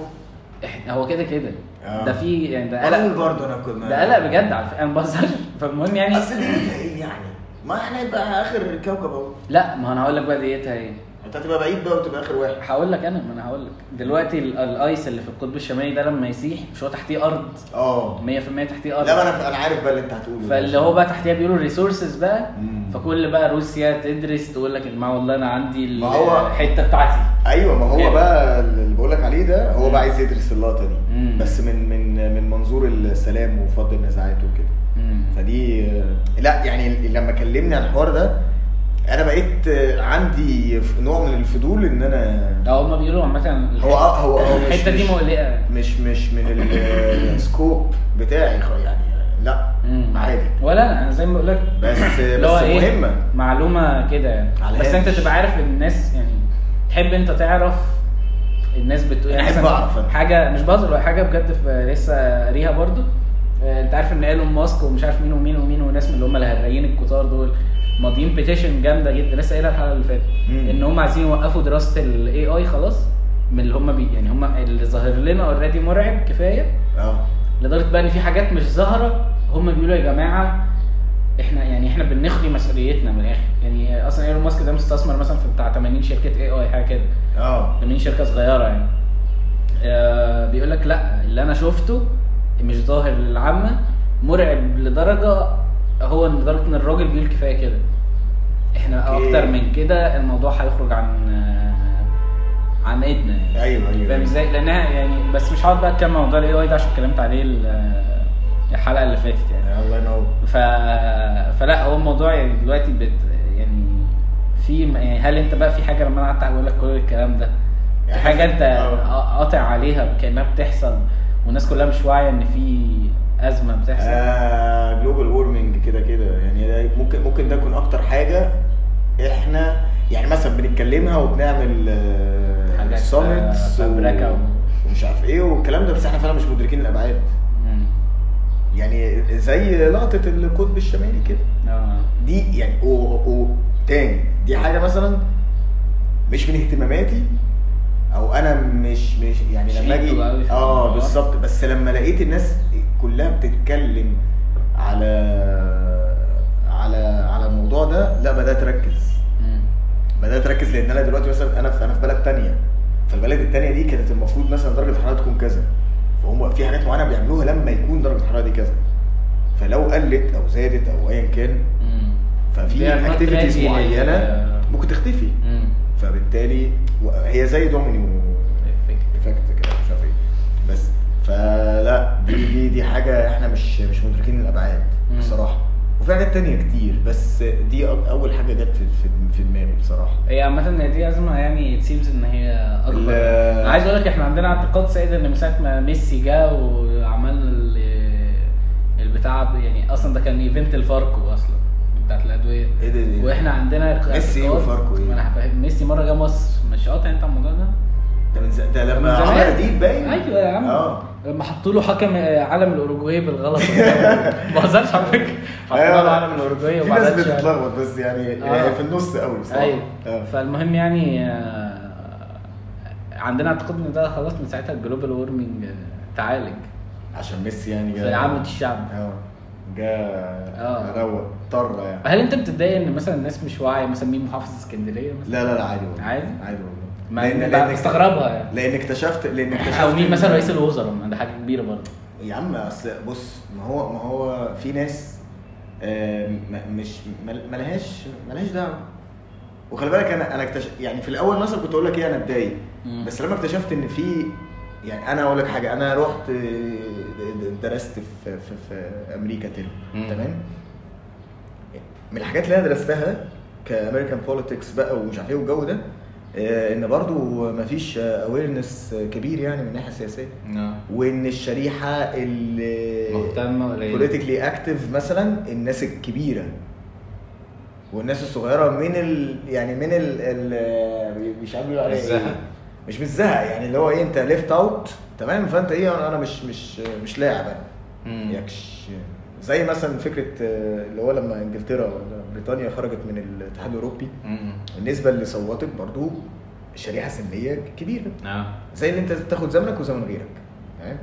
إح- هو كده كده
آه.
ده في يعني ده
قلق
قلق
برضه انا كنت
ده قلق بجد على فكره انا ما بهزرش فالمهم يعني
اصل دنيتها ايه يعني؟ ما احنا يبقى اخر كوكب اهو
لا ما انا هقول لك بقى ديتها ايه
انت هتبقى بعيد بقى وتبقى اخر واحد
هقول لك انا ما انا هقول لك دلوقتي ال- الايس اللي في القطب الشمالي ده لما يسيح مش هو تحتيه ارض
اه
100% تحتيه
لا ما
ارض
انا انا عارف بقى اللي انت هتقوله
آه. فاللي هو بقى تحتيها بيقولوا الريسورسز بقى
مم.
فكل بقى روسيا تدرس تقول لك ما والله انا عندي
ما هو-
الحته بتاعتي
ايوه ما هو
كده.
بقى اللي بقول لك عليه ده هو بقى عايز يدرس اللقطه دي
مم.
بس من من من منظور السلام وفض النزاعات وكده
مم.
فدي لا يعني لما كلمني عن الحوار ده انا بقيت عندي نوع من الفضول ان انا
لا هما بيقولوا عامة
هو هو هو مش-
الحتة دي
مش-
مقلقة
مش مش من السكوب بتاعي خ- يعني لا
مم.
عادي
ولا انا أنا زي ما بقول لك
بس
اللي هو
بس
إيه؟
مهمه
معلومة كده
على
يعني بس
الهامش.
انت تبقى عارف ان الناس يعني تحب انت تعرف الناس بتقول يعني
أنا أحب
مثلاً
أعرف أنا.
حاجة مش بهزر هو حاجة بجد في- لسه قاريها برضو آه، انت عارف ان ايلون ماسك ومش عارف مين ومين ومين وناس من اللي هم الهرايين الكتار دول ماضيين بيتيشن جامده جدا لسه قايلها الحلقه اللي فاتت
مم.
ان هم عايزين يوقفوا دراسه الاي اي خلاص من اللي هم بي يعني هم اللي ظاهر لنا اوريدي مرعب كفايه
اه
لدرجه بقى ان في حاجات مش ظاهره هم بيقولوا يا جماعه احنا يعني احنا بنخلي مسؤوليتنا من الاخر يعني اصلا ايلون ماسك ده مستثمر مثلا في بتاع 80 شركه اي اي حاجه كده
اه
80 شركه صغيره يعني آه بيقول لك لا اللي انا شفته مش ظاهر للعامه مرعب لدرجه هو إن لدرجه ان الراجل بيقول كفايه كده احنا
أوكي.
اكتر من كده الموضوع هيخرج عن آه، عن ايدنا يعني
ايوه ايوه
فاهم ازاي؟ لانها يعني بس مش هقعد بقى اتكلم عن موضوع الاي اي ده عشان اتكلمت عليه ال- الحلقه اللي فاتت يعني
الله ينور
ف... فلا هو الموضوع يعني دلوقتي بت... يعني في يعني هل انت بقى في حاجه لما انا قعدت اقول لك كل الكلام ده في
يعني
حاجه انت
آه.
قاطع عليها كانها بتحصل والناس كلها مش واعيه ان في ازمه بتحصل
آه جلوبال وورمنج كده كده يعني ده ممكن ممكن ده يكون اكتر حاجه احنا يعني مثلا بنتكلمها وبنعمل
حاجات،
سمتس
آه، فبركة و-
ومش عارف ايه والكلام ده بس احنا فعلا مش مدركين الابعاد
مم.
يعني زي لقطه القطب الشمالي كده
آه.
دي يعني و... و... تاني دي حاجه مثلا مش من اهتماماتي او انا مش مش يعني
مش
لما
حلو أوي أه.
اجي
في
اه
الموضوع.
بالظبط بس لما لقيت الناس كلها بتتكلم على على على الموضوع ده لا بدات اركز
مم.
بدات اركز لان انا دلوقتي مثلا انا في انا في بلد تانية فالبلد التانية دي كانت المفروض مثلا درجه الحراره تكون كذا فهم في حاجات معينه بيعملوها لما يكون درجه الحراره دي كذا فلو قلت او زادت او ايا كان
مم.
ففي
They are not
اكتيفيتيز
ready لل-
معينه ممكن تختفي
مم.
فبالتالي و- هي زي دومينو
Effect.
افكت كده مش عارف ايه بس فلا دي دي دي حاجه احنا مش مش مدركين الابعاد
مم.
بصراحه وفي حاجات تانية كتير بس دي أ- اول حاجه جت في في- في دماغي بصراحه
هي عامة إن دي أزمة يعني تسيمز إن هي أكبر
ال-
أنا عايز أقول لك إحنا عندنا اعتقاد سائد إن من ساعة ما ميسي جه وعملنا ال- البتاع يعني أصلا ده كان إيفنت الفاركو أصلا بتاعت الأدوية
ايه ده دي
واحنا عندنا
ميسي إيه
اعتقاد-
وفاركو إيه؟
ما انا هفهم ميسي مره جه مصر مش قاطع انت على الموضوع ده؟
ده من ز- ده
من
لما
زمان.
عمل دي باين
ايوه يا عم
اه
لما حطوا له حكم آه، علم الاوروجواي بالغلط ما بهزرش على فكره حطوا له علم الاوروجواي
آه. أيوة. في ناس
وبعدين شال.
بتتلخبط بس يعني
آه.
في النص قوي بصراحه
ايوه
آه.
فالمهم يعني آه، عندنا اعتقاد ان ده خلاص من ساعتها الجلوبال وورمنج تعالج
عشان ميسي يعني
في عامه الشعب
اه جا
اه.
روق طرة يعني
هل انت بتتضايق ان مثلا الناس مش واعيه مثلا مين محافظ اسكندريه مثلا؟
لا لا لا عادي والله
عادي؟
عادي والله
مع إن بقى مستغربها يعني.
لان اكتشفت لان اكتشفت
او مين مثلا رئيس الوزراء ما ده حاجه كبيره برضه
يا عم اصل بص ما هو ما هو في ناس آه، م- مش مل- ملهاش ملهاش دعوه وخلي بالك انا انا اكتشف يعني في الاول مثلا كنت اقول لك ايه انا اتضايق
مم.
بس لما اكتشفت ان في يعني انا اقول لك حاجه انا رحت آه، د- د- درست في في, في امريكا ترم
مم.
تمام من الحاجات اللي انا درستها كامريكان بوليتكس بقى ومش عارف ايه والجو ده آه، ان برضو مفيش اويرنس كبير يعني من الناحيه السياسيه وان الشريحه اللي
مهتمة قليل
بوليتيكلي اكتف مثلا الناس الكبيره والناس الصغيره من ال يعني من ال, ال... مش عارف بيقولوا عليها إيه.
الزهق.
مش من الزهق يعني اللي هو ايه انت ليفت اوت تمام فانت ايه انا أنا مش مش مش لاعب
مم.
انا يكش زي مثلا فكره آه، اللي هو لما انجلترا ولا بريطانيا خرجت من الاتحاد الاوروبي
مم.
النسبه اللي صوتت برضو شريحه سنيه كبيره
اه
زي اللي انت تاخد زمنك وزمن غيرك تمام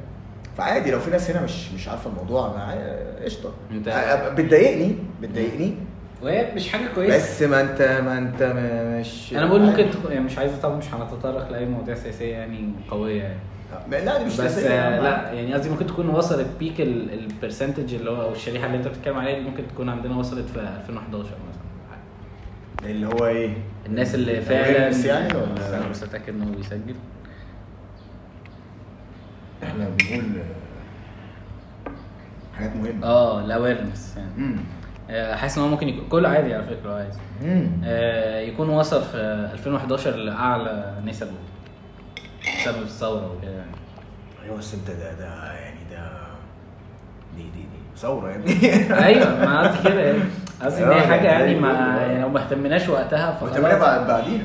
فعادي لو في ناس هنا مش مش عارفه الموضوع معايا قشطه
انت-
أ- أ- بتضايقني بتضايقني
وهي مش حاجه كويسه
بس ما انت ما انت ما- مش
انا بقول ممكن تكون يعني مش عايزه طبعا مش هنتطرق لاي مواضيع سياسيه يعني قويه يعني
لا دي مش
بس
سياسية يا
آه،
عم.
لا يعني قصدي ممكن تكون وصلت بيك البرسنتج اللي هو او الشريحه اللي انت بتتكلم عليها دي ممكن تكون عندنا وصلت في 2011 مثلا
اللي هو ايه
الناس اللي
awareness
فعلا
يعني
انا
ولا
بس اتاكد ان هو بيسجل
احنا بنقول آه، حاجات مهمه
اه الاويرنس يعني
امم
آه، حاسس ان هو ممكن يكون كله عادي على فكره لو عايز
امم
آه، يكون وصل في 2011 لاعلى نسبه بسبب الثوره وكده يعني
ايوه بس انت ده ده يعني ده دي دي دي ثوره يا ابني
ايوه ما قصدي كده يعني قصدي ان
آه،
هي حاجه يعني
يعني
ما
أيوة.
يعني لو ما اهتمناش وقتها
وانت بقى
فخلاص
بعد بعديها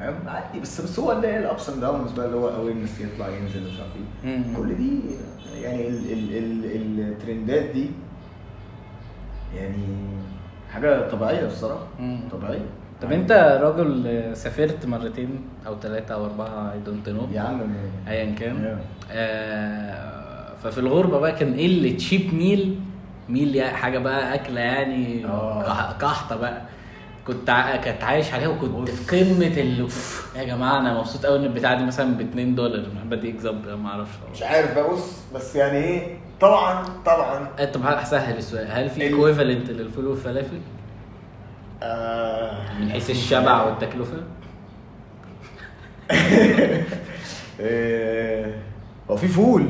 فاهم؟ عادي بس بس هو اللي الابس اند داونز بقى اللي هو اويرنس يطلع ينزل مش عارف ايه
مم.
كل دي يعني ال ال ال الترندات دي يعني حاجه طبيعيه بصراحه
مم.
طبيعيه
طب انت راجل سافرت مرتين او ثلاثه او اربعه اي دونت نو
يا عم
ايا كان
Yeah.
آه، ففي الغربه بقى كان ايه اللي تشيب ميل ميل يعني حاجه بقى اكله يعني
آه.
قح- قحطه بقى كنت ع... كنت عايش عليها وكنت في قمه ال يا جماعه انا مبسوط قوي ان البتاعه دي مثلا ب 2 دولار بدي اكذب ما اعرفش
مش عارف بقى بص بس يعني ايه طبعا طبعا
آه، طب هسهل السؤال هل في
ال-
ايكويفالنت للفول والفلافل
آه
من حيث الشبع والتكلفه؟
آه، هو في فول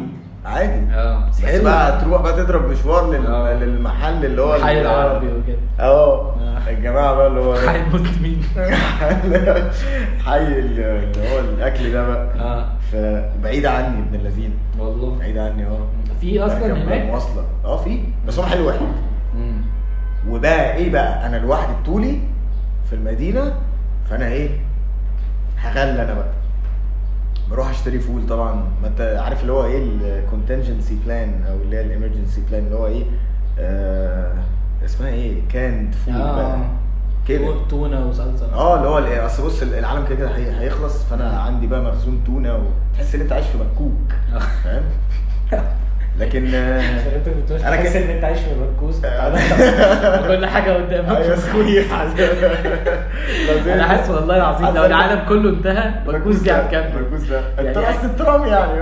عادي
اه
بس بقى تروح بقى تضرب مشوار
آه.
لل... للمحل اللي هو
الحي العربي وكده
اه
آه.
الجماعه بقى اللي هو
حي المسلمين
حي ال- اللي هو الاكل ده بقى
اه
فبعيد عني ابن اللذين
والله
بعيد عني اه
في اصلا
بركب
هناك
مواصله اه في بس هو محل واحد وبقى ايه بقى انا لوحدي بطولي في المدينه فانا ايه هغلى انا بقى بروح اشتري فول طبعا ما انت عارف اللي هو ايه الكونتنجنسي بلان او اللي هي الامرجنسي بلان اللي هو ايه آه اسمها ايه كاند فول بقى
اه
كده
تو- تونه وصلصه
اه اللي هو ال- اصل بص العالم كده كده هي- هيخلص فانا عندي بقى مخزون تونه وتحس ان انت عايش في مكوك فاهم لكن آه،
انت بتقول
أنا
تحس
كده- آه.
ان انت عايش في مركوز كل حاجه قدامك
ايوه صحيح
انا حاسس والله العظيم لو العالم كله انتهى مركوز دي هتكمل
مركوز ده انت
يعني-
قصد الترام يعني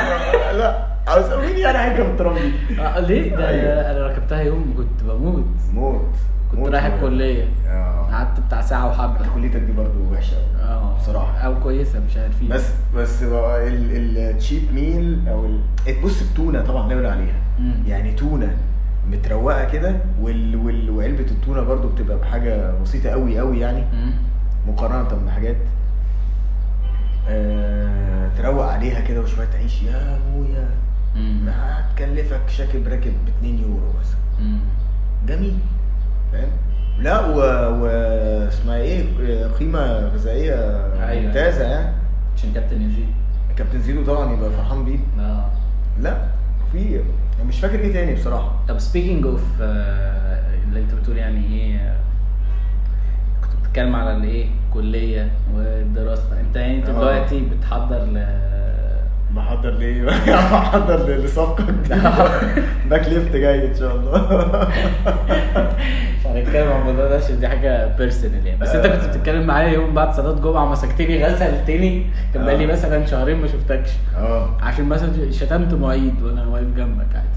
لا عاوز مين يعني هيركب الترام دي
آه، ليه ده
أيوة.
انا ركبتها يوم كنت بموت
موت
كنت
موت
رايح
موت.
الكليه
اه
قعدت بتاع ساعه
انت
وحبه
كليتك دي برضه وحشه أوي.
اه
آه، بصراحة.
او كويسه مش عارفين
بس بس بقى ال- التشيب ميل او ال- إيه، بص التونه طبعا لا يعلى عليها
مم.
يعني تونه متروقه كده وال... وال... وعلبه التونه برضو بتبقى بحاجه بسيطه قوي قوي يعني
مم.
مقارنه بحاجات آه... تروق عليها كده وشويه عيش يا ابويا
مم.
ما هتكلفك شاكب راكب ب 2 يورو مثلا
مم.
جميل فاهم لا و... و... اسمها ايه قيمه غذائية
أيوة.
ممتازه يعني
عشان كابتن يزيد
كابتن زيدو طبعا يبقى فرحان بيه
اه
لا في أنا مش فاكر ايه تاني بصراحه
طب سبيكينج اوف اللي انت بتقول يعني ايه آه، كنت بتتكلم على الايه كليه والدراسه انت يعني انت
آه.
دلوقتي بتحضر ل
بحضر ليه بحضر ل- لصفقه جديدة. باك ليفت جاي ان شاء الله
مش هنتكلم عن الموضوع ده عشان دي حاجه بيرسونال يعني بس انت كنت بتتكلم معايا يوم بعد صلاه جمعه مسكتني غسلتني كان بقالي
آه.
مثلا شهرين ما شفتكش
اه
عشان مثلا شتمت معيد وانا واقف جنبك عادي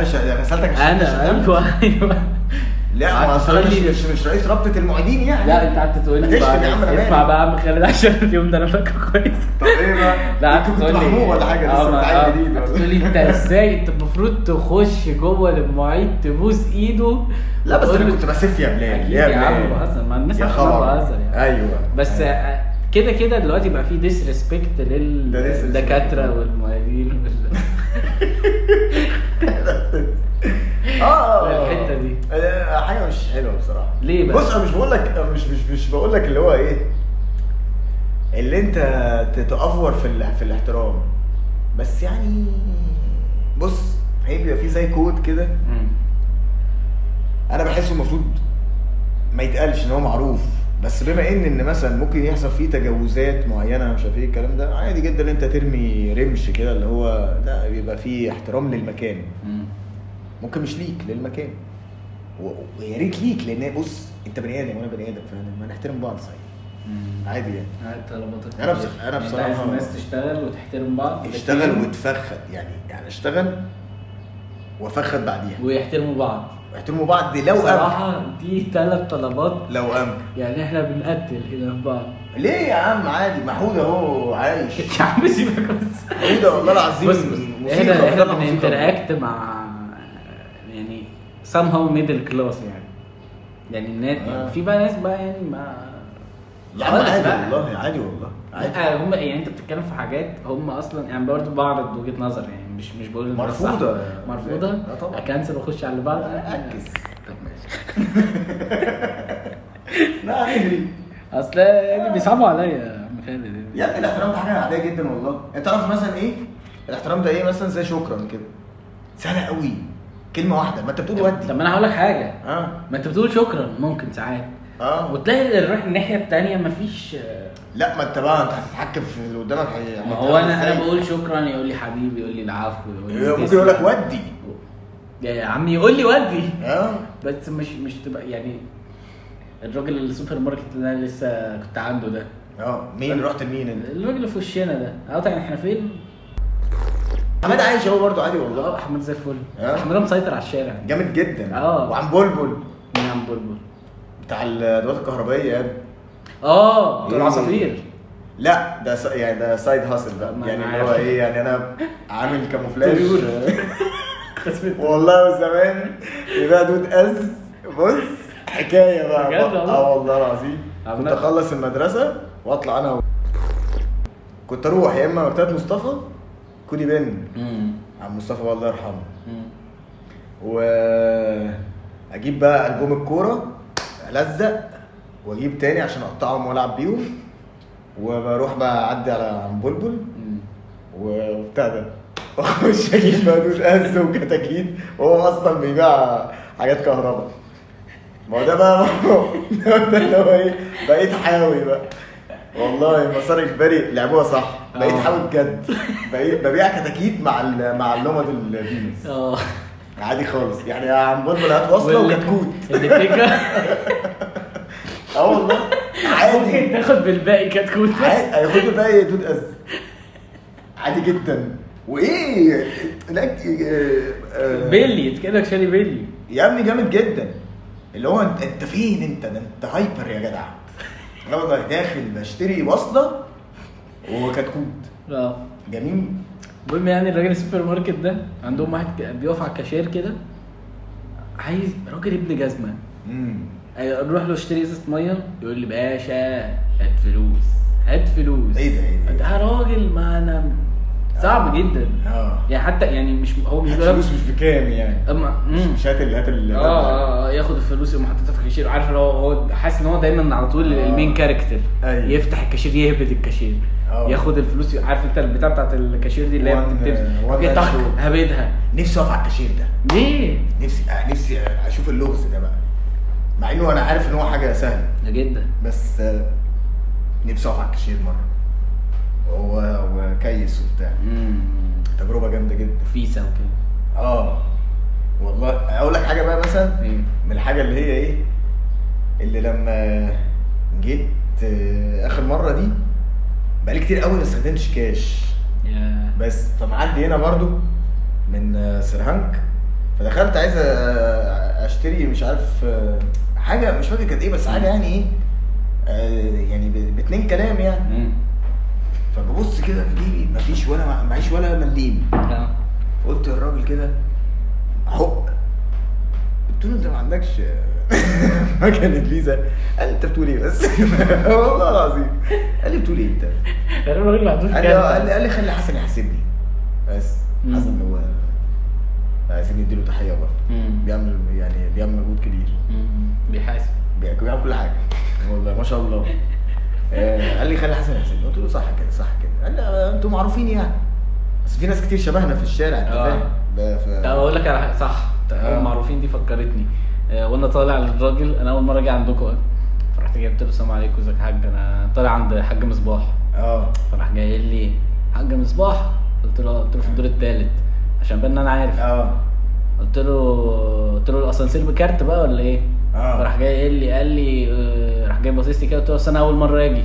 انا شا... غسلتك عشان أنت
انا
شتمت.
ايوه ايوه
لا ما
قعدت
اصل أنا
تقول
مش
لي-
مش- مش رئيس رابطه المعيدين يعني
لا انت قعدت تقول لي
هتشتم
بقى
يا عم، أنا
اسمع
مالي.
بقى يا عم خالد عشان اليوم ده انا فاكره كويس
طب ايه بقى
لا
أنت
قعدت
كنت
تقول لي
محمود ولا حاجه
اه،
لسه
ما-
بتاعي
اه،
جديد
قعدت
ولا-
تقول لي انت ازاي انت المفروض تخش جوه للمعيد تبوس ايده
لا بس
وتقول
انا
له-
كنت بسف يا بلال
اكيد يا عم بهزر ما الناس
يا
عارفة
خبر.
انا بهزر يعني
ايوه
بس
أيوة.
اه، كده كده دلوقتي بقى في ديسريسبكت
ده disrespect.
للدكاتره والمعيدين وال-
اه
الحتة دي.
آه، حاجه مش حلوه بصراحه
ليه بقى؟
بص انا مش بقول لك مش مش مش بقول لك اللي هو ايه اللي انت تتافور في ال... في الاحترام بس يعني بص هي بيبقى في زي كود كده
مم.
انا بحسه المفروض ما يتقالش ان هو معروف بس بما ان ان مثلا ممكن يحصل فيه تجاوزات معينه مش عارف ايه الكلام ده عادي جدا ان انت ترمي رمش كده اللي هو لا بيبقى فيه احترام للمكان
مم.
ممكن مش ليك للمكان و- ويا ريت ليك لان بص انت بني ادم وانا بني ادم فاحنا هنحترم بعض صحيح
مم.
عادي يعني
انت لما تكبر-
أنا بص- أنا
انت
بصراحة-
يعني عايز الناس تشتغل وتحترم بعض
اشتغل واتفخد يعني يعني اشتغل وافخد بعديها
ويحترموا بعض
واحترموا بعض لو امكن
بصراحة دي ثلاث طلبات
لو امكن
يعني احنا بنقتل هنا في بعض
ليه يا عم عادي محمود اهو عايش
يا عم سيبك بس
محمود ايه والله العظيم
بص بص
موسيقى
احنا احنا
بنطلع موسيقى.
بننتراكت مع يعني somehow middle class يعني يعني الناس
آه.
يعني في بقى ناس بقى يعني ما
يا عم
خالص
عادي
بقى.
والله عادي والله عادي
لا هم يعني انت بتتكلم في حاجات هم اصلا يعني برضه بعرض وجهه نظر يعني مش مش بقول إن ده
مرفوضة. آه،
صح. مرفوضه
لا طبعا.
اكنسل واخش على اللي بعده
اكس طب ماشي لا نهري
اصل يعني بيصعبوا عليا يا عم خالد
يا ابني الاحترام ده حاجه عاديه جدا والله انت عارف مثلا ايه الاحترام ده ايه مثلا زي شكرا كده سهله قوي كلمه واحده ما انت بتقول ودي
طب ما انا هقول لك حاجه
اه
ما انت بتقول شكرا ممكن ساعات
اه
وتلاقي اللي رايح الناحيه الثانيه مفيش آه،
لا ما انت بقى انت هتتحكم في اللي قدامك هي-
ما هو انا
إزاي؟
انا بقول شكرا يقول لي حبيبي يقول لي العفو يقول لي
إيه، ممكن
تسلم.
يقول لك ودي
يا عمي يقول لي ودي
اه
بس مش مش تبقى يعني الراجل السوبر ماركت اللي انا لسه كنت عنده ده
اه مين رحت لمين انت؟
الراجل اللي في وشنا ده اه طبعا احنا فين؟
حماد عايش اهو برضه عادي والله
اه احمد زي الفل
آه.
احمد مسيطر على الشارع
جامد جدا
آه.
وعم بلبل
مين عم بلبل
بتاع الادوات الكهربائيه يا ابني
اه
إيه؟
بتوع العصافير
لا ده س... يعني ده سايد هاسل بقى
ما
يعني
أنا
اللي هو
عارف.
ايه يعني انا عامل كاموفلاج
طيور خسفت.
والله وزمان يبقى دود از بص حكايه بقى
بجد والله؟
اه والله العظيم كنت
عمال-
اخلص المدرسه واطلع انا و... كنت اروح يا اما مكتبه مصطفى كودي بن
مم.
عم مصطفى الله يرحمه
مم.
و اجيب بقى البوم الكوره الزق واجيب تاني عشان اقطعهم والعب بيهم وبروح بقى اعدي على عم بلبل
مم.
وبتاع ده واخش اجيب مقدود قز وكتاكيت وهو اصلا بيبيع حاجات كهرباء ما هو ده بقى ده ده اللي هو ايه بقيت حاوي بقى والله مسار اجباري لعبوها صح بقيت
آه.
حاوي بجد بقيت ببيع كتاكيت مع ال- مع اللمض الفينوس
اه
عادي خالص يعني عم بلبل هات وصله
واللي-
وكتكوت
اللي بتجرى
اه والله
ممكن
عادي
تاخد بالباقي كتكوت بس
عادي هياخدوا بقى ايه دود از عادي جدا وايه لك
بيلي يتكلم شاري بيلي
آه، يا ابني جامد جدا اللي هو انت انت فين انت ده انت هايبر يا جدع انا والله داخل بشتري وصله وكتكوت
اه
جميل
المهم يعني الراجل السوبر ماركت ده عندهم واحد ك- بيقف على الكاشير كده عايز راجل ابن جزمه
امم
اروح له اشتري ازازه ميه يقول لي باشا هات فلوس هات فلوس
ايه ده ايه ده
ده راجل ما انا صعب جدا
اه
يعني حتى يعني مش هو مش بيقول
الفلوس مش بكام يعني
اما مم.
مش هات اللي هات اللي
اه اه آه، ياخد الفلوس يقوم حاططها في الكاشير عارف اللي هو هو حاسس ان هو دايما على طول
آه.
المين كاركتر
أيوة.
يفتح الكاشير يهبد الكاشير
آه.
ياخد الفلوس عارف انت البتاع بتاعت الكاشير دي اللي هي
One- آه، one
بتبتدي
man
طخ
show.
هبدها
نفسي اقف على الكاشير ده
ليه؟
نفسي آه نفسي اشوف اللغز ده بقى مع انه انا عارف ان هو حاجه سهله
ده جدا
بس آه، نفسي اقف على الكاشير مره و- وكيس وبتاع
امم
تجربه جامده جدا
فيسا وكده
اه والله اقول لك حاجه بقى مثلا
ايه
من الحاجه اللي هي ايه اللي لما جيت آه، اخر مره دي بقالي كتير قوي ما استخدمتش كاش
يا
بس فمعدي هنا برضو من آه، سرهانك فدخلت عايز آه، اشتري مش عارف آه، حاجه مش فاكر كانت ايه بس حاجه يعني ايه آه، يعني ب- باتنين كلام يعني
امم
فببص كده في جيبي مفيش ولا معيش ولا مليم قلت للراجل كده حق قلت له انت ما عندكش مكنه فيزا قال لي انت بتقول ايه بس والله العظيم قال لي بتقول ايه انت
الراجل اللي محطوط
قال لي اه، قال لي قال لي خلي حسن يحاسبني بس
مم.
حسن هو عايزين نديله تحيه برضه بيعمل يعني بيعمل مجهود كبير
بيحاسب
بيعمل بيعمل كل حاجه والله ما شاء الله آه، قال لي خلي حسن يحاسبني قلت له صح كده صح كده قال لي اه، انتوا معروفين يعني بس في ناس كتير شبهنا في الشارع انت
اه.
فاهم ب- ف-
طب اقول لك على حاجه صح طب
آه.
المعروفين دي فكرتني آه، وانا طالع للراجل انا اول مره اجي عندكم فرحت جاي قلت له السلام عليكم ازيك يا حاج انا طالع عند حاج مصباح
اه
فراح جاي لي حاج مصباح قلت له قلت له في الدور الثالث عشان بان انا عارف
اه
قلت له قلت له الاسانسير بكارت بقى ولا ايه؟
آه.
فراح جاي قال لي قال لي آه، راح جاي باصص لي كده قلت له أصل انا اول مره اجي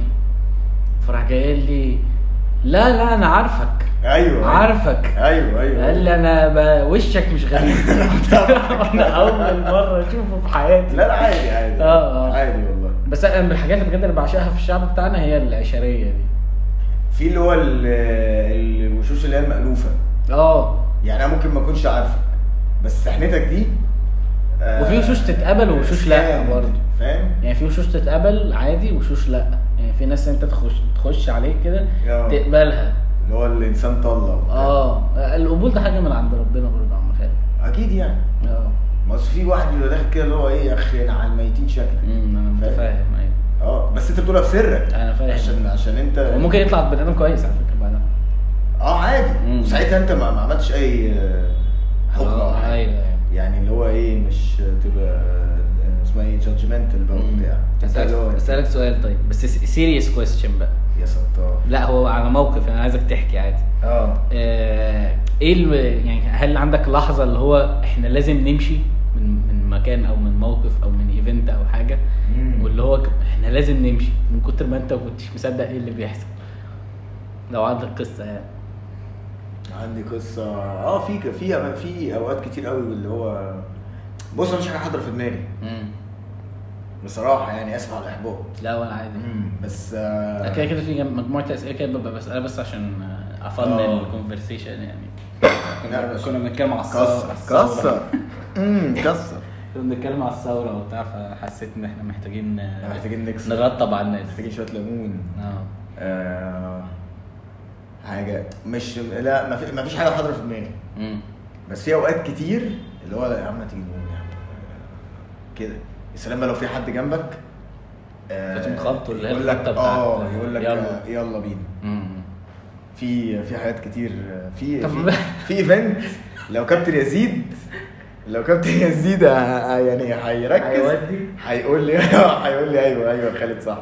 فراح جاي قال لي لا لا انا عارفك
ايوه
عارفك
ايوه ايوه
قال لي انا ب- وشك مش غريب انا اول مره اشوفه في حياتي
لا لا عادي عادي
آه، آه.
عادي والله
بس انا من الحاجات اللي بجد اللي بعشقها في الشعب بتاعنا هي العشريه دي
في اللي هو ال- الوشوش اللي هي المألوفة
اه
يعني انا ممكن ما اكونش عارفك بس سحنتك دي آه،
وفي وشوش تتقبل ووشوش لا
سكام،
برضه
فاهم؟
يعني في وشوش تتقبل عادي وشوش لا يعني في ناس انت تخش تخش عليك كده
آه.
تقبلها
اللي هو الانسان طلع وبتاع.
اه القبول ده حاجه من عند ربنا برضه عم خالد
اكيد يعني
اه
ما اصل في واحد بيبقى داخل كده اللي هو ايه يا اخي انا على الميتين شكلك
امم انا متفاهم ايوه
اه بس انت بتقولها في سرك
أنا فاهم.
عشان عشان انت
وممكن يطلع بني ادم كويس على فكره بعدها
اه عادي
مم.
وساعتها انت ما ما عملتش اي آه، حكم أو
آه،
حاجة.
ايوه ايوه
يعني اللي هو ايه مش تبقى اسمها ايه جادجمنتال بقى وبتاع أنت اللي هو
اسالك اسالك سؤال طيب بس سيريس كويستشن بقى
يا ستار
لا هو على موقف انا عايزك تحكي عادي
اه
آه، ايه الم... يعني هل عندك لحظه اللي هو احنا لازم نمشي من من مكان او من موقف او من ايفنت او حاجه
مم.
واللي احنا لازم نمشي من كتر ما انت ما كنتش مصدق ايه اللي بيحصل لو عندك قصه يعني
عندي قصه اه في ك- في في اوقات كتير قوي اللي هو بص انا مش حاجه حاضره في دماغي بصراحه يعني اسف على الاحباط
لا ولا عادي
بس
أنا
آه،
كده كده في جم- مجموعه اسئله كده ببقى بسالها بس عشان آه، افن
آه.
الكونفرسيشن يعني
لا،
كنا
بس-
كنا بنتكلم على الثوره
كسر كسر امم كسر
كنا بنتكلم على الثوره وبتاع فحسيت ان احنا محتاجين آه،
إحنا محتاجين نكسر
نرطب على الناس
محتاجين شويه ليمون
اه
آه، حاجه مش لا ما في- ما فيش حاجه حاضره في دماغي
امم
بس في اوقات كتير اللي هو لا يا عم ما تيجي نقوم يا عم كده يا سلام بقى لو في حد جنبك آه،
فتقوم خبطه اللي هي
يقول لك
الخبطة
اه
بتاعت
يقول لك
يلا.
آه، يلا بينا
امم
في في حاجات كتير آه، في
طب
في- في ايفنت لو كابتن يزيد لو كابتن يزيد آه، آه، يعني هيركز
هيودي؟
هيقول لي هيقول لي ايوه ايوه خالد صح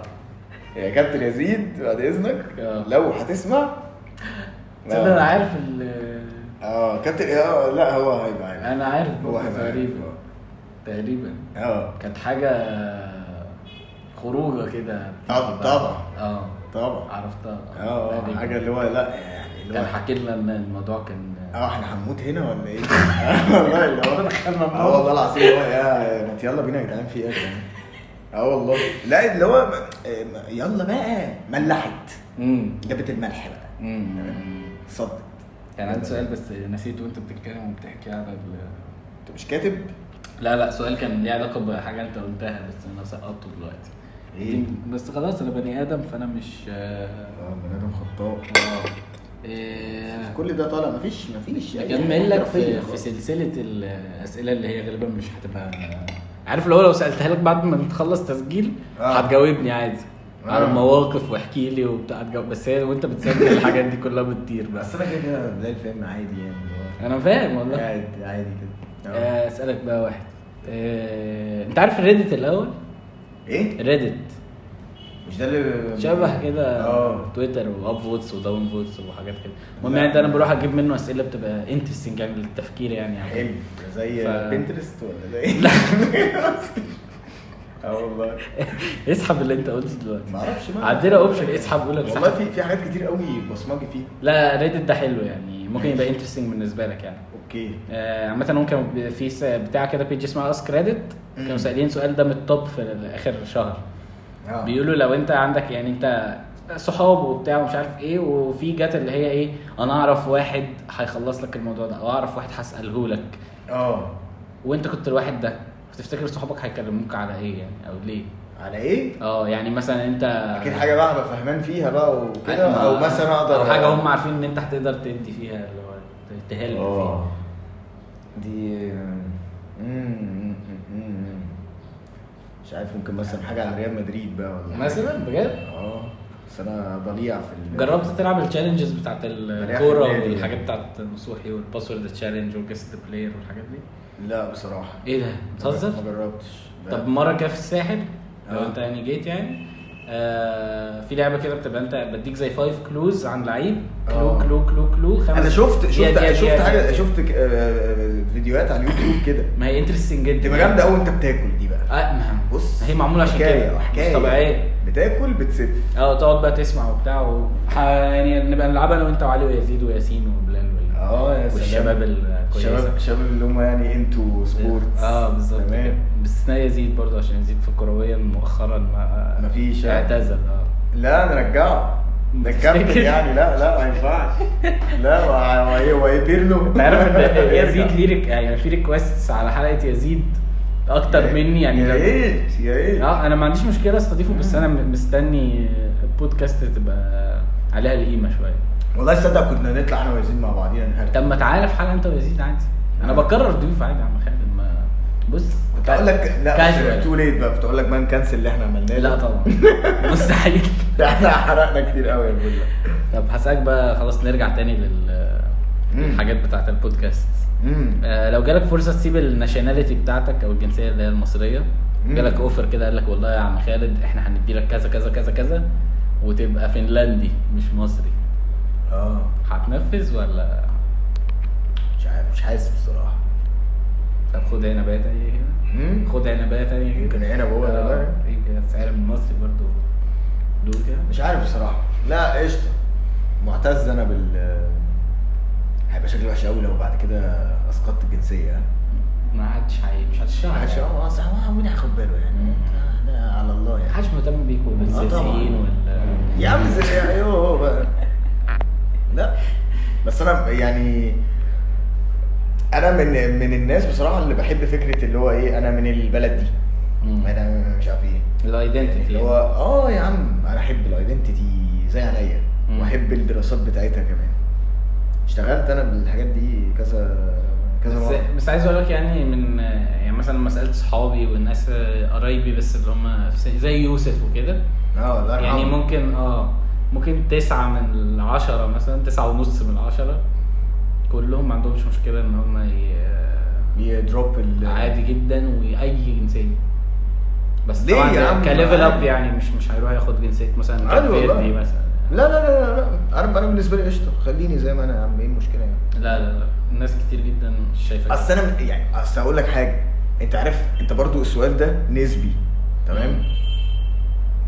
يا كابتن يزيد بعد اذنك
آه.
لو هتسمع
تصدق انا عارف ال-
اه كابتن اه لا هو هيبقى عارف.
انا عارف
هو هيبقى عارف.
تقريبا تقريبا
اه
كانت حاجه خروجه كده
طب- طبعا.
اه
طبعا
عرفتها
اه آه،
تقريباً.
حاجه اللي هو لا يعني اللي
كان
هو
حكي لنا ان الموضوع كان
اه احنا هنموت هنا ولا ايه؟ آه، والله اللي هو
دخلنا
اه والله العظيم اللي هو يا ما يلا بينا يا جدعان في ايه؟ يا جدعان؟ اه والله لا اللي هو آه، ما- يلا بقى ملحت
امم
جابت الملح بقى
امم
صدت
كان عندي سؤال بس نسيته وانت بتتكلم وبتحكي على ال...
انت مش كاتب؟
لا لا سؤال كان ليه علاقه بحاجه انت قلتها بس انا سقطته دلوقتي
ايه؟
بس خلاص انا بني ادم فانا مش آه،
اه بني ادم خطاء
آه. إيه،
اه، كل ده طالع مفيش مفيش أي
اكمل لك
حاجة
في,
يعني خرافية.
في سلسله الاسئله اللي هي غالبا مش هتبقى عارف لو لو سالتها لك بعد ما تخلص تسجيل
آه.
هتجاوبني عادي
آه.
على المواقف واحكي لي وبتاع هتجاوب بس هي وانت بتسجل الحاجات دي كلها بتطير بس
بس انا كده كده بلاقي الفيلم عادي يعني اللي هو
انا فاهم والله
قاعد عادي كده آه.
آه، اسالك بقى واحد آه، انت عارف الريدت الاول
ايه؟
ريدت
مش ده اللي
شبه كده
اه
تويتر واب فوتس وداون فوتس وحاجات كده المهم يعني ده انا بروح اجيب منه اسئله بتبقى انترستنج يعني للتفكير يعني عامة.
حلو زي
ف-
بنترست ولا زي ايه؟ اه والله
اسحب اللي انت قلته دلوقتي
ما اعرفش بقى.
عندنا اوبشن اسحب قول لك
والله
اسحب
في في حاجات كتير قوي بصمجي فيها
لا ريدت ده حلو يعني ممكن يبقى انترستنج بالنسبه لك يعني
اوكي
آه، عامة هم كانوا بي- في س- بتاع كده بيج اسمها اسك ريدت كانوا
مم.
سائلين سؤال ده من التوب في اخر شهر
آه.
بيقولوا لو انت عندك يعني انت صحاب وبتاع ومش عارف ايه وفي جت اللي هي ايه انا اعرف واحد هيخلص لك الموضوع ده او اعرف واحد هساله لك
اه
وانت كنت الواحد ده فتفتكر صحابك هيكلموك على ايه يعني او ليه
على ايه؟
اه يعني مثلا انت
اكيد حاجه بقى هبقى فاهمان فيها بقى وكده او مثلا اقدر
او حاجه هم عارفين ان انت هتقدر تدي فيها اللي هو تهلب فيها
اه دي مم. مم. مش عارف ممكن مثلا حاجه على ريال مدريد بقى ولا حاجة.
مثلا بجد
اه بس انا ضليع في ال-
جربت تلعب التشالنجز بتاعت
بلاقي
الكوره
في النادي.
والحاجات بتاعت نصوحي والباسورد تشالنج والجست بلاير والحاجات دي
لا بصراحه
ايه ده بتهزر
ما جربتش لا.
طب مره كده في الساحل لو
آه.
انت يعني جيت يعني آه في لعبه كده بتبقى انت بديك زي فايف كلوز عن لعيب كلو
آه.
كلو كلو كلو خمس
انا شفت
دقيقة،
شفت
دقيقة،
شفت
دقيقة،
حاجه
دقيقة.
شفت ك- آه، فيديوهات على اليوتيوب كده
ما هي انترستنج جدا
تبقى جامده قوي وانت بتاكل دي بقى
اه ما
بص
ما هي معموله عشان
حكايه
كده
حكايه
مش طبيعيه
بتاكل بتسف
اه تقعد بقى تسمع وبتاع و... ح- يعني نبقى نلعبها انا وانت وعلي ويزيد وياسين وبلال وال...
اه يا
والشباب
الشباب
الكويسه
الشباب اللي هم يعني انتو سبورتس
اه بالظبط
تمام
كده. باستثناء يزيد برضه عشان يزيد في الكرويا مؤخرا ما
مفيش يعني.
اعتزل اه
لا نرجعه ده الكابتن
تفتكر؟
يعني لا لا ما ينفعش لا وهيبير له
انت عارف ان يزيد ليه ريك... يعني في ريكوستس على حلقه يزيد
إيه.
اكتر مني يعني
يا
لو-
ريت يا ريت
اه انا ما عنديش مشكله استضيفه بس انا مستني البودكاست تبقى عليها القيمه شويه
والله صدق كنا نطلع انا ويزيد مع بعضينا نهاري
طب ما تعالى في حلقه انت ويزيد عادي انا بكرر ضيوف عادي يا عم خالد ما بص
آه. كنت اقول لك لا
كاجوال.
تو ليت بقى كنت اقول لك بقى نكنسل اللي احنا عملناه
لا
ده.
طبعا مستحيل
ده احنا حرقنا كتير قوي يا بولا
طب هسألك بقى خلاص نرجع تاني لل-
مم.
للحاجات بتاعت البودكاست
امم
آه، لو جالك فرصه تسيب الناشوناليتي بتاعتك او الجنسيه اللي هي المصريه
مم.
جالك اوفر كده قال لك والله يا عم خالد احنا هندي لك كذا كذا كذا كذا وتبقى فنلندي مش مصري
اه
هتنفذ ولا
مش عارف مش حاسس بصراحه
طب خد عنبايه تانية كده
امم
خد عنبايه تانية كده
يمكن عنب هو ده
آه،
بقى.
يمكن السعر من مصري برضه
دول كده
مش عارف بصراحه لا قشطه معتز انا بال هيبقى شكلي وحش قوي لو بعد كده اسقطت الجنسيه
ما حدش هي- مش
ما
هتشتغل
حدش اه صح ما مين هياخد باله يعني ده- ده على الله يعني
محدش مهتم بيكم ولا
آه، طبعاً.
السياسيين ولا
يا عم زي ايوه هو بقى لا بس انا يعني انا من من الناس بصراحه اللي بحب فكره اللي هو ايه انا من البلد دي انا مش عارف ايه
الايدنتيتي
اللي هو اه يا عم انا احب الايدنتيتي زي عليا
مم.
واحب الدراسات بتاعتها كمان اشتغلت انا بالحاجات دي كذا كذا
بس,
مره
بس عايز اقول لك يعني من يعني مثلا لما سالت صحابي والناس قرايبي بس اللي هم في سن- زي يوسف وكده
اه الله
يعني
يرحمه.
ممكن اه ممكن تسعة من العشرة مثلا تسعة ونص من العشرة كلهم ما عندهمش مشكلة ان هم ي-
يدروب ال
عادي جدا واي جنسيه بس
ليه
طبعا
يا عم؟
ده كليفل اب
عادي.
يعني مش مش هيروح ياخد جنسيه مثلا
عادي
كاب
والله.
فيردي مثلا
لا لا لا لا لا انا انا بالنسبه لي قشطه خليني زي ما انا يا عم ايه المشكله يعني
لا لا لا الناس كتير جدا مش شايفه كده.
اصل انا يعني اصل هقول لك حاجه انت عارف انت برضو السؤال ده نسبي تمام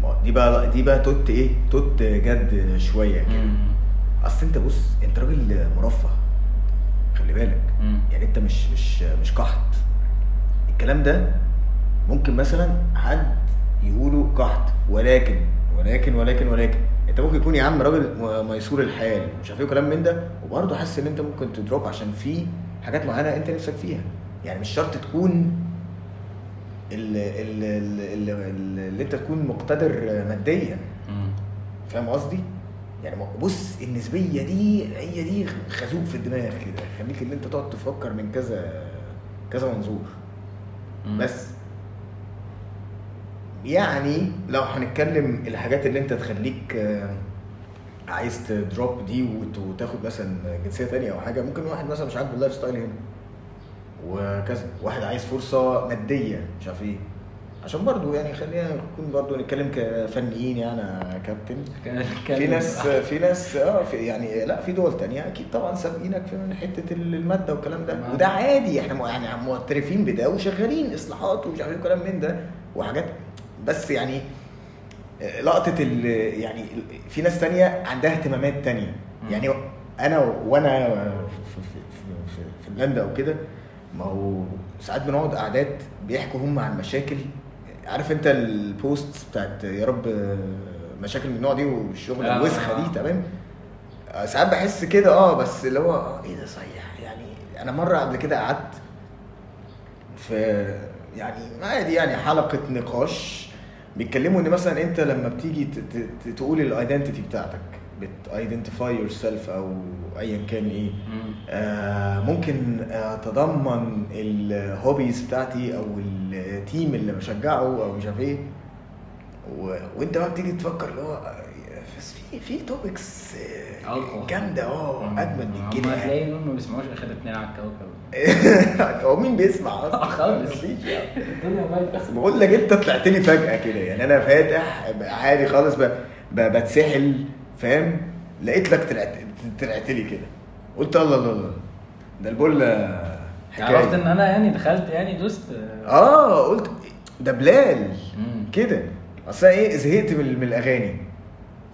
ما هو دي بقى دي بقى توت ايه توت جد شويه كده
مم.
اصل انت بص انت راجل مرفه خلي بالك
مم.
يعني انت مش مش مش قحط الكلام ده ممكن مثلا حد يقوله قحط ولكن ولكن ولكن ولكن انت ممكن يكون يا عم راجل م- ميسور الحال مش عارف ايه كلام من ده وبرضه حاسس ان انت ممكن تدروب عشان في حاجات معينه انت نفسك فيها يعني مش شرط تكون ال- ال- ال- ال- ال- اللي انت تكون مقتدر ماديا
مم.
فاهم قصدي؟ يعني ما- بص النسبية دي هي دي خازوق في الدماغ كده خليك ان انت تقعد تفكر من كذا كذا منظور
مم.
بس يعني لو هنتكلم الحاجات اللي انت تخليك آه، عايز تدروب دي وت- وتاخد مثلا جنسيه تانية او حاجه ممكن واحد مثلا مش عاجبه اللايف ستايل هنا وكذا واحد عايز فرصه ماديه مش عارف ايه عشان برضو يعني خلينا نكون برضو نتكلم كفنيين يعني يا كابتن في ناس في ناس اه في يعني لا في دول تانية اكيد طبعا سابقينك في من حته الماده والكلام ده
تمام.
وده عادي احنا م- يعني معترفين بده وشغالين اصلاحات ومش عارف إيه وكلام من ده وحاجات بس يعني آه، لقطه ال يعني ال- في ناس تانية عندها اهتمامات تانية
مم.
يعني انا و- وانا في, في, في, في فنلندا او كده ما هو ساعات بنقعد قعدات بيحكوا هم عن مشاكل عارف انت البوست بتاعت يا رب آه، مشاكل من النوع دي والشغل
آه.
الوسخه دي تمام آه، ساعات بحس كده اه بس اللي هو آه، ايه ده صحيح يعني انا مره قبل كده قعدت في يعني عادي يعني حلقه نقاش بيتكلموا ان مثلا انت لما بتيجي ت- ت- ت- تقول الايدنتيتي بتاعتك بتايدنتيفاي يور سيلف او ايا كان ايه
مم.
آه، ممكن اتضمن الهوبيز بتاعتي او التيم اللي بشجعه او مش عارف ايه و... وانت بقى بتيجي تفكر اللي هو آه، بس في آه، في توبكس
أقوى. إيه؟
جامده اه اجمل من
هم
كده يعني.
هتلاقي انهم ما بيسمعوش اخر اتنين على الكوكب
هو مين بيسمع اصلا؟
خالص.
مفيش يعني.
الدنيا بايظه
بقول لك انت طلعت لي فجاه كده يعني انا فاتح عادي خالص ب... ب... بتسحل فاهم لقيت لك طلعت طلعت لي كده قلت الله الله الله ده البول آه، حكاية.
عرفت ان انا يعني دخلت يعني دوست
اه قلت ده بلال
مم.
كده اصل أنا ايه زهقت من, من الاغاني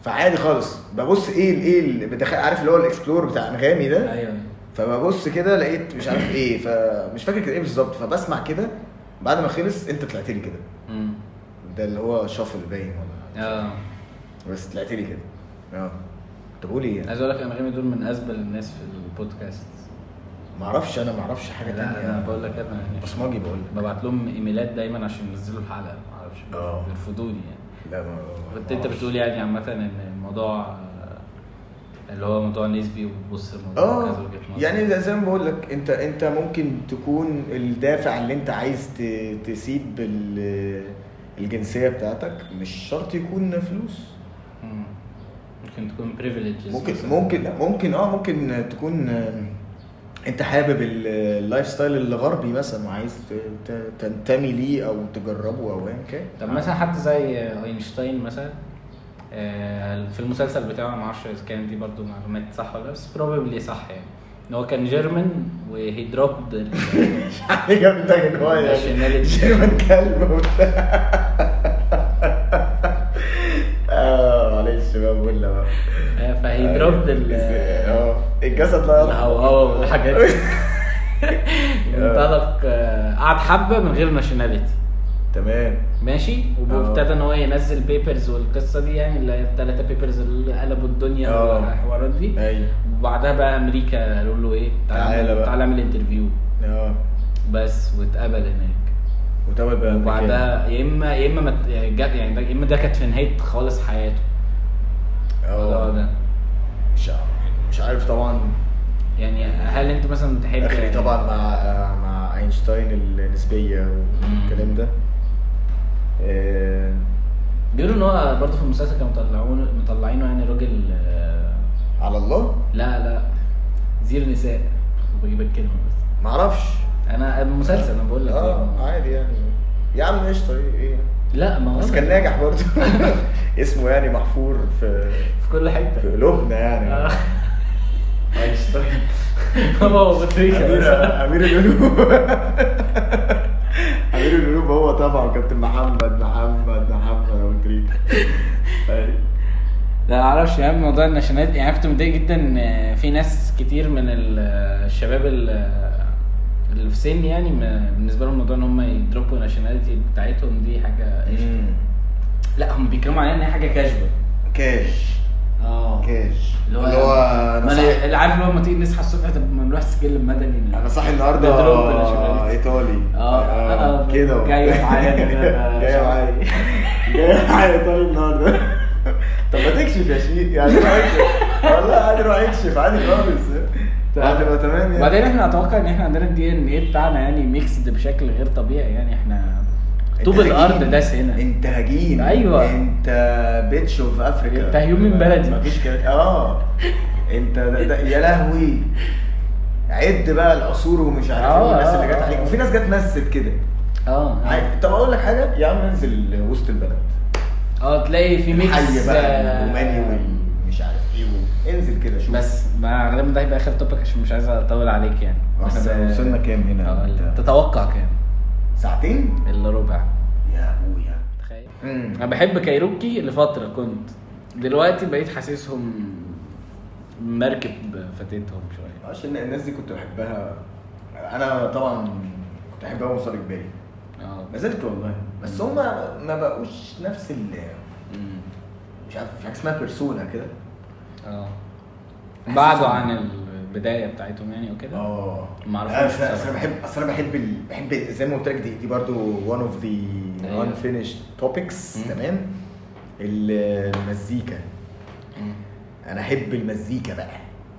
فعادي خالص ببص ايه ال- ايه اللي بدخل عارف اللي هو الاكسبلور بتاع انغامي ده
ايوه
فببص كده لقيت مش عارف ايه فمش فاكر كان ايه بالظبط فبسمع كده بعد ما خلص انت طلعت لي كده
مم.
ده اللي هو شافل باين ولا
اه
بس طلعت لي كده اه طب قول ايه يعني؟
عايز اقول لك انغامي دول من ازبل الناس في البودكاست
معرفش انا معرفش حاجه
لا انا
تانية
بقول لك انا يعني
بصمجي بقول لك
ببعت لهم ايميلات دايما عشان ينزلوا الحلقه معرفش
آه.
بيرفضوني يعني
لا ما ما
كنت انت
أعرفش.
بتقول يعني عامه ان الموضوع آه، اللي هو موضوع نسبي وبتبص الموضوع
اه يعني زي- زي ما بقول لك انت انت ممكن تكون الدافع اللي انت عايز ت- تسيب ال- الجنسيه بتاعتك مش شرط يكون فلوس
ممكن تكون بريفليجز
ممكن ممكن لا ممكن اه ممكن تكون آه، انت حابب ال- اللايف ستايل الغربي مثلا وعايز ت- ت- تنتمي ليه او تجربه او ايا كان
طب مثلا حد زي اينشتاين مثلا آه، في المسلسل بتاعه ما اعرفش اذا كان دي برضو معلومات صح ولا لا، بس بروبابلي صح يعني ان هو كان جيرمان وهي دروبد
يعني جامده ان هو يعني
Nationality.
شيرمان كلب وبتاع آه، أيوة.
فهي دروبد ال
اه الجسد لا يرحم
الهواء والحاجات دي. انطلق آه، قعد حبه من غير ناشوناليتي
تمام
ماشي
Oh.
وابتدى ان هو ينزل بيبرز والقصه دي يعني اللي هي الثلاثه بيبرز اللي قلبوا الدنيا
آه.
والحوارات دي
ايوه
وبعدها بقى امريكا قالوا له ايه
تعالى
تعالى
بقى.
تعالى اعمل انترفيو
اه
بس واتقبل هناك
وتابع بقى
وبعدها يا اما يا اما ما ت- يعني جا- يعني ده- يا اما ده كانت في نهايه خالص حياته الموضوع
اه
ده
مش مش عارف طبعا
يعني هل انت مثلا تحب يعني
اخري طبعا مع آه، مع اينشتاين النسبيه والكلام ده آه،
بيقولوا ان هو برضه في المسلسل كانوا مطلعونه مطلعينه يعني راجل آه،
على الله
لا لا زيرو نساء بجيب الكلمه بس
معرفش
انا المسلسل انا بقول لك
اه
يعني.
عادي يعني يا عم قشطه ايه إيه؟
لا ما هو
بس كان ناجح برضه اسمه يعني محفور في
في كل حته
في قلوبنا يعني
آه. هو بطريقه
أمير أمير القلوب أمير القلوب هو طبعا كابتن محمد محمد محمد أبو تريكة أيوة.
لا معرفش يعني موضوع الناشوناليتي يعني أنا كنت متضايق جدا ان في ناس كتير من ال- الشباب ال- اللي في سن يعني ما- بالنسبه لهم موضوع ان هم يدروبوا الناشوناليتي بتاعتهم دي حاجه قشطة. لا هم بيتكلموا عليها ان هي حاجه كاجوال
كاش آه.
اه
كاش
اللي
اللي
هو- يعني
هو
ما انا
أنا صاحي
اللي عارف لما تيجي نصحى الصبح طب ما نروح السجل المدني
أنا صاحي
بيضربوا كل شوية.
النهاردة إيطالي
آه، آه،
كده
جاي معايا كده.
جاي معايا جاي معايا إيطالي النهاردة طب ما تكشف يا شيخ يعني روح اكشف. والله عادي روح اكشف عادي خالص هتبقى تمام يعني
وبعدين احنا اتوقع ان احنا عندنا الدي ان ايه بتاعنا يعني ميكسد بشكل غير طبيعي يعني احنا طوب
انت
الارض
هجين.
داس هنا
انت هجين
أيوة.
انت بيتش اوف افريكا
انت هجوم من بلدي.
مفيش كده اه انت ده ده يا لهوي عد بقى العصور ومش عارف ايه
آه،
والناس
آه،
اللي جت
آه.
عليك وفي ناس جت مست كده
اه
عادي. طب اقول لك حاجه يا عم انزل وسط البلد
اه تلاقي في ميكس
الحي بقى
آه،
الروماني والمش عارف ايه وال- انزل كده شوف
بس ما غالبا ده هيبقى اخر توبك عشان مش عايز اطول عليك يعني بس
احنا
آه،
وصلنا كام
آه،
هنا
تتوقع كام؟
ساعتين
الا ربع
يا ابويا
تخيل
مم.
انا بحب كايروكي لفتره كنت دلوقتي بقيت حاسسهم مركب فاتتهم شويه
عشان الناس دي كنت بحبها انا طبعا كنت احبها وأنا صغير بالي
اه
ما زلت والله بس هما ما بقوش نفس ال
أمم.
مش عارف في حاجه اسمها بيرسونا كده
اه بعدوا عن البدايه بتاعتهم يعني وكده
اه
ما أعرفهمش
أنا- اصل أصل
بصراحة.
انا بحب اصل انا بحب ال... بحب زي ما قلت لك دي دي برضو one of the
أيوة.
unfinished topics
مم.
تمام ال- المزيكا
أمم.
انا احب المزيكا بقى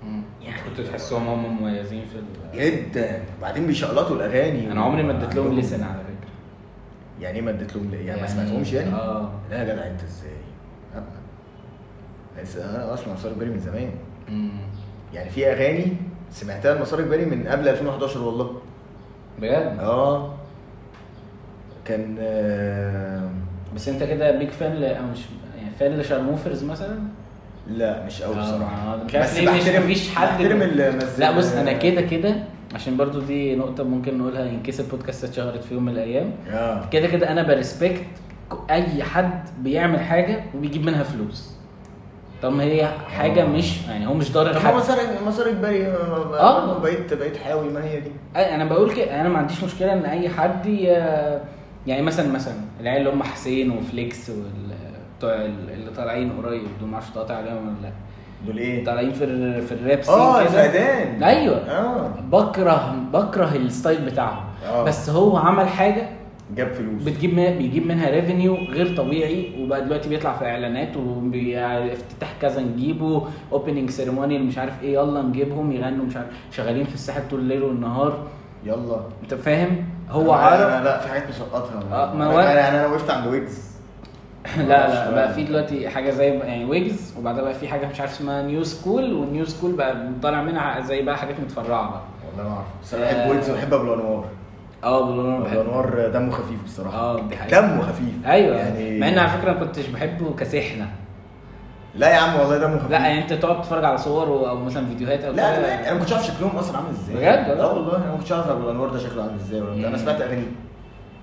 أمم. كنت تحسهم هم مميزين في ال...
جدا وبعدين بيشقلطوا الاغاني
انا عمري ما اديت لهم
وعندهم-
لسن على فكره
يعني ايه ما اديت لهم يعني ما سمعتهمش يعني؟
اه
لا يا جدع انت ازاي؟ أبقى. بس انا اصلا مسار اجباري من زمان
أمم.
يعني في اغاني سمعتها المسار اجباري من قبل 2011 والله
بجد
اه كان آه،
بس انت كده بيك فان ل... او مش يعني فان لشارموفرز مثلا
لا مش قوي
آه،
بصراحه
مش عارف ليه مش- مفيش حد-
بحترم آه. المزيكا
لا بص انا كده كده عشان برضو دي نقطه ممكن نقولها ان كيس البودكاست اتشهرت في يوم من الايام
اه
كده كده انا بريسبكت ك- اي حد بيعمل حاجه وبيجيب منها فلوس طب ما هي حاجه مش يعني هو مش ضارر
آه. طب هو
حد
مسار مسار اجباري اه
آه.
بقيت بقيت حاوي ما هي دي
أي- انا بقول كده انا ما عنديش مشكله ان اي حد ي- يعني مثلا مثلا العيال اللي هم حسين وفليكس وال- بتوع ال- اللي طالعين قريب دول ما اعرفش تقاطع عليهم ولا لا
دول ايه؟
طالعين في ال- في الراب سين
اه
كده.
الفقدان
ايوه
اه
بكره بكره الستايل بتاعهم
آه.
بس هو عمل حاجه
جاب فلوس
بتجيب ما بيجيب منها ريفينيو غير طبيعي وبقى دلوقتي بيطلع في اعلانات وافتتاح كذا نجيبه اوبننج سيريموني مش عارف ايه يلا نجيبهم يغنوا مش عارف شغالين في الساحل طول الليل والنهار
يلا
انت فاهم هو
أنا-
عارف
أنا- لا في حاجات مسقطها
آه، ما هو-
انا انا انا يعني وقفت عند ويجز
لا لا بقى في دلوقتي حاجه زي يعني ويجز وبعدها بقى في حاجه مش عارف اسمها نيو سكول والنيو سكول بقى طالع منها زي بقى حاجات متفرعه بقى
والله ما اعرف بس انا
آه،
بحب ويجز وبحب ابو الانوار آه،
اه بالون انا
ابو
بحبه
الانوار دمه خفيف بصراحه
اه دي حقيقة.
دمه خفيف
ايوه
يعني
يعني مع ان على فكره ما كنتش بحبه كسحنه
لا يا عم والله دمه خفيف
لا يعني انت تقعد تتفرج على صور و- او مثلا فيديوهات او
لا
كده.
لا، انا ما كنتش عارف شكلهم اصلا عامل ازاي
بجد والله؟
لا والله انا ما كنتش عارف ابو الانوار ده شكله عامل ازاي ولا بتاع. انا
مم.
سمعت اغانيه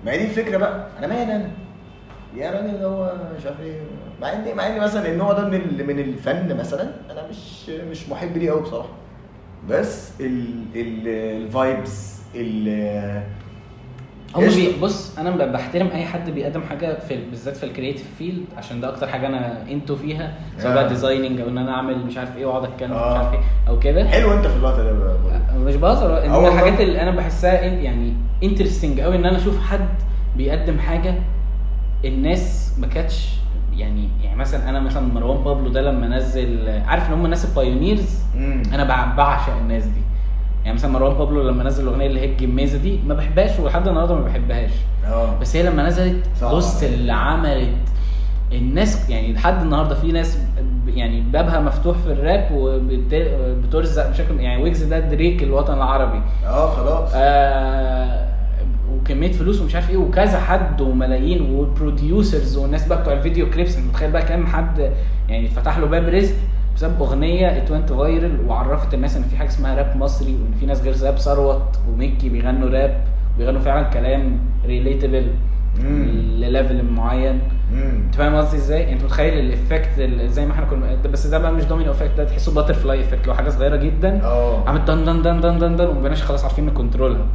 ما هي دي الفكره بقى انا مالي انا يا راجل ده هو مش عارف ايه مع ان مع ان مثلا النوع ده من ال- من الفن مثلا انا مش مش محب ليه قوي بصراحه بس الفايبس ال
هم
قشطة.
بي بص انا ب- بحترم اي حد بيقدم حاجه في ال- بالذات في الكرييتيف فيلد عشان ده اكتر حاجه انا انتو فيها سواء
آه.
بقى ديزايننج او ان انا اعمل مش عارف ايه واقعد اتكلم مش
آه.
عارف ايه او كده
حلو انت في اللقطه ده بقى برضه.
مش بهزر
آه
ان
والله.
الحاجات اللي انا بحسها إن- يعني انترستنج قوي ان انا اشوف حد بيقدم حاجه الناس ما كانتش يعني يعني مثلا انا مثلا مروان بابلو ده لما نزل عارف ان هم الناس البايونيرز
مم.
انا بع- بعشق الناس دي يعني مثلا مروان بابلو لما نزل الاغنيه اللي هي الجميزه دي ما بحبهاش ولحد النهارده ما بحبهاش
اه
بس هي لما نزلت
صعبة.
بص اللي عملت الناس يعني لحد النهارده في ناس ب- يعني بابها مفتوح في الراب وبترزق بشكل يعني ويجز ده دريك الوطن العربي
اه خلاص
آه وكميه فلوس ومش عارف ايه وكذا حد وملايين وبروديوسرز والناس بقى بتوع الفيديو كليبس انت متخيل بقى كام حد يعني اتفتح له باب رزق بسبب اغنيه اتوانت فايرل وعرفت الناس ان في حاجه اسمها راب مصري وان في ناس غير زاب ثروت وميكي بيغنوا راب بيغنوا فعلا كلام ريليتبل
مم.
لليفل معين
مم.
انت فاهم قصدي ازاي؟ انت متخيل الافكت ال- زي ما احنا كنا بس ده بقى مش دومينو افكت ده تحسه باتر فلاي افكت لو حاجه صغيره جدا
اه
عامل دن دن دن دن دن دن ومبقناش خلاص عارفين نكنترولها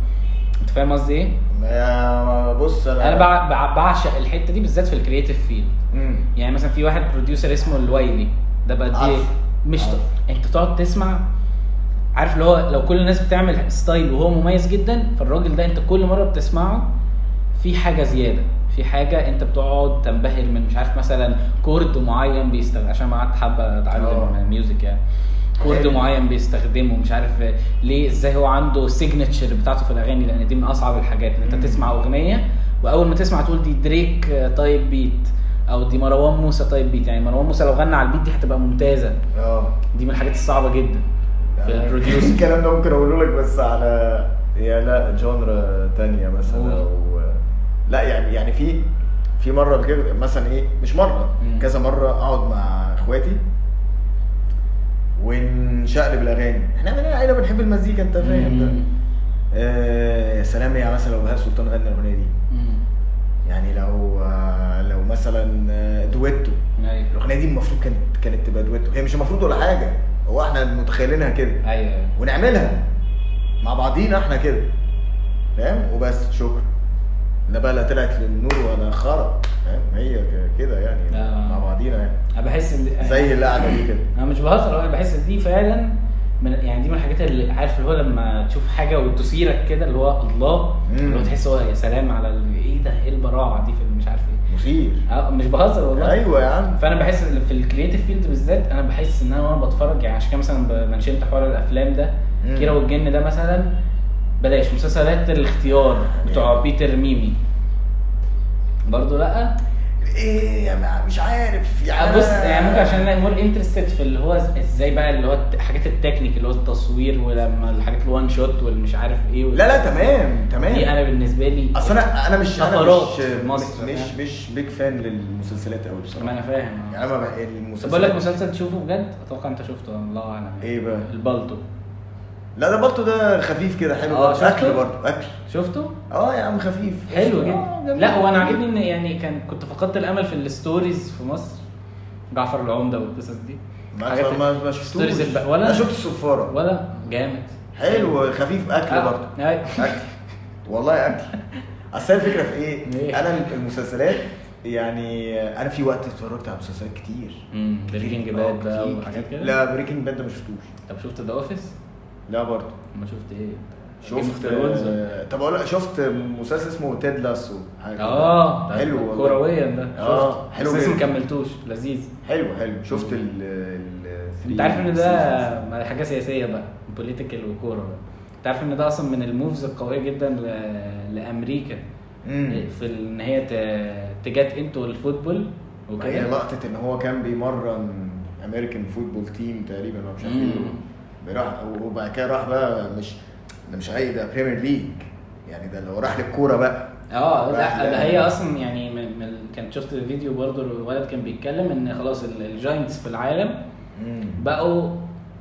انت فاهم قصدي ايه؟
يا- بص انا
انا بع- بع- بعشق الحته دي بالذات في الكرييتيف فيلد
مم.
يعني مثلا في واحد بروديوسر اسمه الوايلي ده بقى دي
عارف.
مش
عارف.
انت تقعد تسمع عارف اللي هو لو كل الناس بتعمل ستايل وهو مميز جدا فالراجل ده انت كل مره بتسمعه في حاجه زياده في حاجه انت بتقعد تنبهر من مش عارف مثلا كورد معين بيستخدم عشان ما قعدت حابه
اه.
اتعلم ميوزك يعني كورد
حلو.
معين بيستخدمه مش عارف ليه ازاي هو عنده سيجنتشر بتاعته في الاغاني لان دي من اصعب الحاجات ان انت
مم.
تسمع اغنيه واول ما تسمع تقول دي دريك آه، تايب بيت او دي مروان موسى تايب بيت يعني مروان موسى لو غنى على البيت دي هتبقى ممتازه
اه
دي من الحاجات الصعبه جدا في
يعني
البروديوسر
الكلام ده ممكن اقوله لك بس على يا لا جانرا تانية مثلا
قول.
او لا يعني يعني في في مره قبل كده مثلا ايه مش مره
مم.
كذا مره اقعد مع اخواتي ونشقلب الاغاني احنا من عيله بنحب المزيكا انت فاهم ده
مم.
آه، يا سلام يا مثلا لو بهاء سلطان غنى الاغنيه دي
مم.
يعني لو آه، لو مثلا آه، دويتو
ايوه
الاغنيه دي المفروض كانت كانت تبقى دويتو هي مش المفروض ولا حاجه هو احنا متخيلينها كده
ايوه
ونعملها مع بعضينا احنا كده فاهم وبس شكرا لا بقى لا طلعت للنور ولا خرا فاهم هي ك- كده يعني
آه.
مع بعضينا يعني
انا بحس ان
زي القعده دي كده
انا مش بهزر انا بحس ان دي فعلا من يعني دي من الحاجات اللي عارف اللي هو لما تشوف حاجه وتثيرك كده اللي هو الله
مم.
اللي هو تحس هو يا سلام على ال- ايه ده ايه البراعه دي في مش عارف ايه
مثير
اه مش بهزر والله
ايوه يا عم
فانا بحس إن في الكرييتيف فيلد بالذات انا بحس ان انا وانا بتفرج يعني عشان كده مثلا ب- منشنت حوار الافلام ده
مم.
كيرة والجن ده مثلا بلاش مسلسلات الاختيار بتوع بيتر ميمي برضه لا
ايه يا ما مش عارف يعني
آه، بص
أنا-
يعني ممكن عشان انا مور انترستد في اللي هو إز- ازاي بقى اللي هو الت- الحاجات التكنيك اللي هو التصوير ولما الحاجات الوان شوت والمش عارف ايه وال-
لا لا تمام تمام
دي انا بالنسبه لي
اصل انا انا مش انا
سفرات
مش
في مصر،
مش
يعني.
مش بيج فان للمسلسلات قوي
ما انا
بصراحه
فاهم
يعني انا ما بقى-
طب بقول لك
المسلسلات
مسلسل تشوفه بجد اتوقع انت شفته الله اعلم
ايه بقى؟
البالطو
لا ده برضه ده خفيف كده حلو
آه،
برضه.
شفته؟
اكل برضه اكل
شفته؟
اه يا عم خفيف
حلو
آه،
جدا
جميل.
لا وانا عاجبني ان يعني كان كنت فقدت الامل في الستوريز في مصر جعفر العمده والقصص دي حاجات
ما ما ما
ستوريز
شفتوش
الب- ولا
انا شفت الصفاره
ولا جامد
حلو خفيف اكل
آه،
برضه
أيوة.
اكل والله اكل اصل هي الفكره في ايه؟
إيه؟
انا المسلسلات يعني انا في وقت اتفرجت على مسلسلات كتير
امم بريكنج باد
آه،
بقى
كتير،
وحاجات
كتير.
كده
لا بريكنج باد ده ما شفتوش
طب شفت ذا اوفيس؟
لا برضه
ما شفت ايه؟
شفت
اه
آه، طب اقول لك، شفت مسلسل اسمه تيد لاسو حاجة كده.
اه
آه. حلو
حلو
والله.
كرويا ده
آه،
شفت
حلو
بس لسه
جدا.
مكملتوش لذيذ
حلو حلو شفت ال ال-
انت عارف ان ده حاجه سياسيه بقى بوليتيكال وكوره بقى انت عارف ان ده اصلا من الموفز القويه جدا ل... لامريكا
مم.
في ان هي ت- تجات انتو الفوتبول
هي
وكده
لقطة ان هو كان بيمرن امريكان فوتبول تيم تقريبا ولا مش عارف
مم.
ايه راح وبعد كده راح بقى مش ده مش عادي ده بريمير ليج يعني ده لو راح للكورة بقى
اه
راح
لا ده
لها.
هي اصلا يعني من... من... كان شفت الفيديو برضه الولد كان بيتكلم ان خلاص ال- الجاينتس في العالم بقوا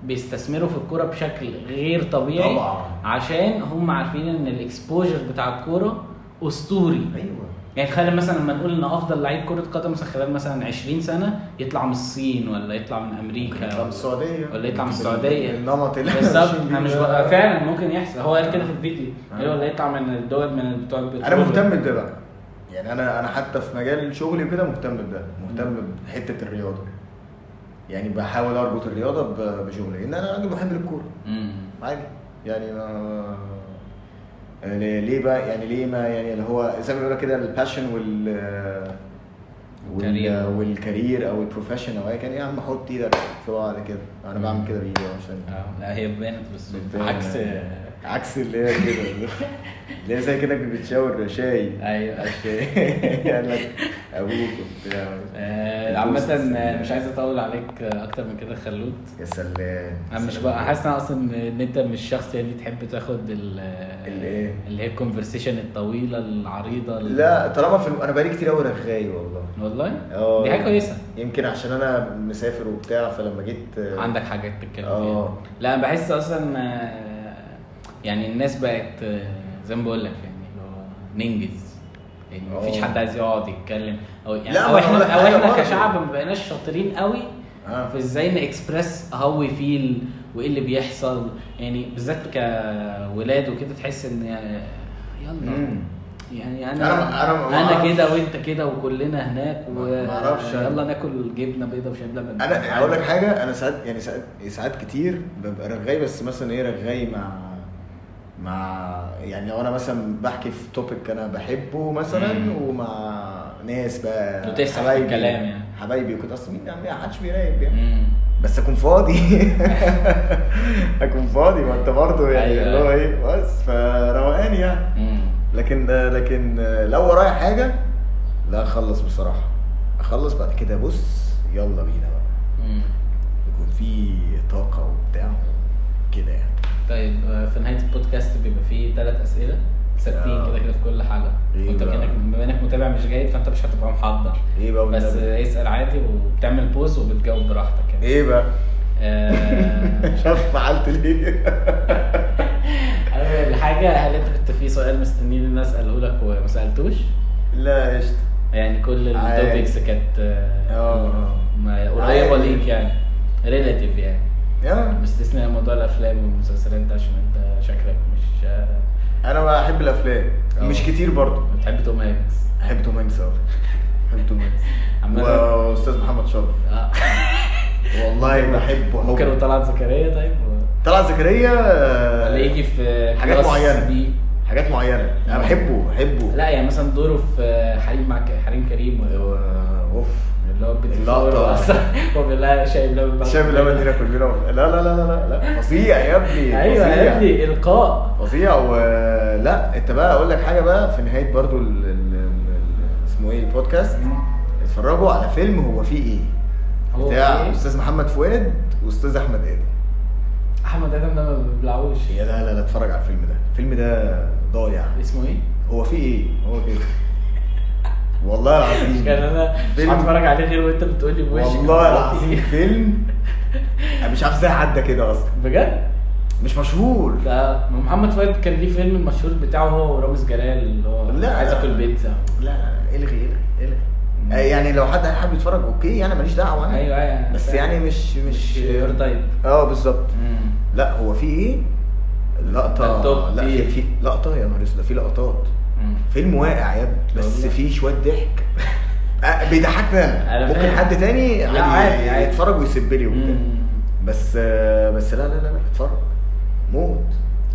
بيستثمروا في الكوره بشكل غير طبيعي
طبعاً.
عشان هم عارفين ان الاكسبوجر بتاع الكوره اسطوري
ايوه
يعني تخيل مثلا لما نقول ان افضل لعيب كره قدم خلال مثلا 20 سنه يطلع من الصين ولا يطلع من امريكا
يطلع من
ولا-
السعوديه
ولا يطلع من السعوديه
النمط اللي إحنا
بالظبط
ماشيين
انا مش
بيه
بقى
ده.
فعلا ممكن يحصل هو قال كده في الفيديو
آه.
قال ولا يطلع من الدول من بتوع
انا
البترول.
مهتم بده بقى يعني انا انا حتى في مجال شغلي وكده مهتم بده مهتم بحته الرياضه يعني بحاول اربط الرياضه ب- بشغلي لان انا راجل محب للكوره
مم.
عادي يعني ما يعني ليه بقى يعني ليه ما يعني اللي هو زي ما بيقولوا كده الباشن وال
والكارير.
وال والكارير او البروفيشن او ايا كان يا عم حط ايدك في بعض كده انا بعمل كده بايدي أهو عشان
آه، لا هي بانت بس
بتبان.
عكس
عكس اللي هي كده اللي هي زي كده بتشاور شاي
ايوه
قال لك ابوك وبتاع
آه، عامة مش عايز اطول عليك اكتر من كده خلود
يا سلام
انا مش بقى حاسس إن أنا اصلا ان انت مش الشخص يعني اللي تحب تاخد ال-
الإيه؟
اللي هي الكونفرسيشن الطويله العريضه ال-
لا طالما في انا بقالي كتير قوي رغاي والله
والله
اه
دي حاجه كويسه
يمكن عشان انا مسافر وبتاع فلما جيت آه،
عندك حاجات تتكلم فيها
آه.
لا أنا بحس اصلا آه، يعني الناس بقت آه، زي ما بقول لك يعني اللي هو ننجز يعني مفيش
آه.
حد عايز يقعد يتكلم او يعني
لا،
او
ما أنا هقول لك
احنا او
حاجة
احنا
برضه.
كشعب ما بقيناش شاطرين قوي
آه.
في ازاي نكسبرس هاو فيل وايه اللي بيحصل يعني بالذات كولاد وكده تحس ان آه، يلا
مم.
يعني
أنا-
انا
أنا ما
انا
أعرفش.
كده وانت كده وكلنا هناك
ما-
و-
ما أعرفش أنا.
يلا ناكل جبنه بيضه وشاي بلبن
انا هقول لك حاجه انا ساعات يعني ساعات ساعات كتير ببقى رغاي بس مثلا ايه رغاي مع مع يعني لو انا مثلا بحكي في توبيك انا بحبه مثلا
مم.
ومع ناس بقى
وتسرح في
حبايبي-
الكلام يعني.
حبايبي كنت اصلا مين يعني محدش بيراقب يعني
مم.
بس اكون فاضي اكون فاضي ما انت برضه يعني
أيوة.
اللي هو ايه بس فروقان يعني
مم.
لكن لكن لو ورايا حاجه لا اخلص بصراحه اخلص بعد كده بص يلا بينا بقى
مم.
يكون في طاقه وبتاع كده يعني
طيب آه، في نهايه البودكاست بيبقى فيه ثلاث اسئله ثابتين
آه.
كده كده في كل حلقه
إيه
وانت
بقى؟
كانك بما انك متابع مش جيد فانت مش هتبقى محضر
ايه بقى
بس
والنبي؟
آه، اسال عادي وبتعمل بوز وبتجاوب براحتك يعني
ايه بقى
آه،
مش عارف فعلت ليه
اول حاجه هل انت كنت في سؤال مستنيين ان أنا اساله لك وما سالتوش؟
لا قشطه
يعني كل
عادي.
التوبكس كانت آه،
آه.
ما- قريبه
عادي.
ليك يعني ريلاتيف يعني
يا
باستثناء موضوع الافلام والمسلسلات ده عشان انت شكلك مش آه،
انا بحب الافلام
آه.
مش كتير برضه
بتحب توم هانكس
بحب توم هانكس قوي بحب توم هانكس
عامة-
واستاذ محمد شرف
آه.
والله بحبه هو
ممكن وطلعت زكريا طيب
طلع زكريا آه،
ولا يجي في
حاجات
كلاس
معينة.
بي
حاجات معينه انا بحبه بحبه
لا يعني مثلا دوره في حريم مع ك- حريم كريم ولا
آه، اوف
اللي هو بيت
اللقطة.
الفور أصلا. هو بالله شايب لبن بقى.
شايف اللبن هنا كلنا لا لا لا لا لا فظيع يا ابني
ايوه
فظيع.
يا ابني القاء
فظيع ولا انت بقى اقول لك حاجه بقى في نهايه برضو ال... ال... ال... اسمه ايه البودكاست اتفرجوا على فيلم هو فيه ايه
هو
بتاع
إيه؟
استاذ محمد فؤاد واستاذ احمد ادم
احمد ادم ده ما بيبلعوش
يا لا لا لا اتفرج على الفيلم ده الفيلم ده ضايع
اسمه ايه؟
هو فيه ايه هو كده والله العظيم
كان انا مش
فيلم-
هتفرج عليه غير وانت بتقول لي بوشك
والله العظيم فيلم انا مش عارف ازاي عدى كده اصلا
بجد؟
مش مشهور
ده محمد فؤاد كان ليه فيلم المشهور بتاعه هو ورامز جلال اللي هو
لا.
عايز اكل بيتزا
لا لا الغي الغي الغي آه، يعني لو حد حابب يتفرج اوكي انا ماليش دعوه انا
ايوه ايوه
بس يعني مش
مش
مش
يور تايب
اه بالظبط لا هو في ايه
ده
لقطه
التوب
لا في,
إيه؟
في لقطه يا نهار اسود ده في لقطات فيلم واقع يا ابني بس
والله.
في شويه ضحك آه، بيضحكني
أنا
انا ممكن
فاهم.
حد تاني
لا، عادي، عادي.
يتفرج ويسب لي وبتاع
مم.
بس آه، بس لا لا لا لا، اتفرج موت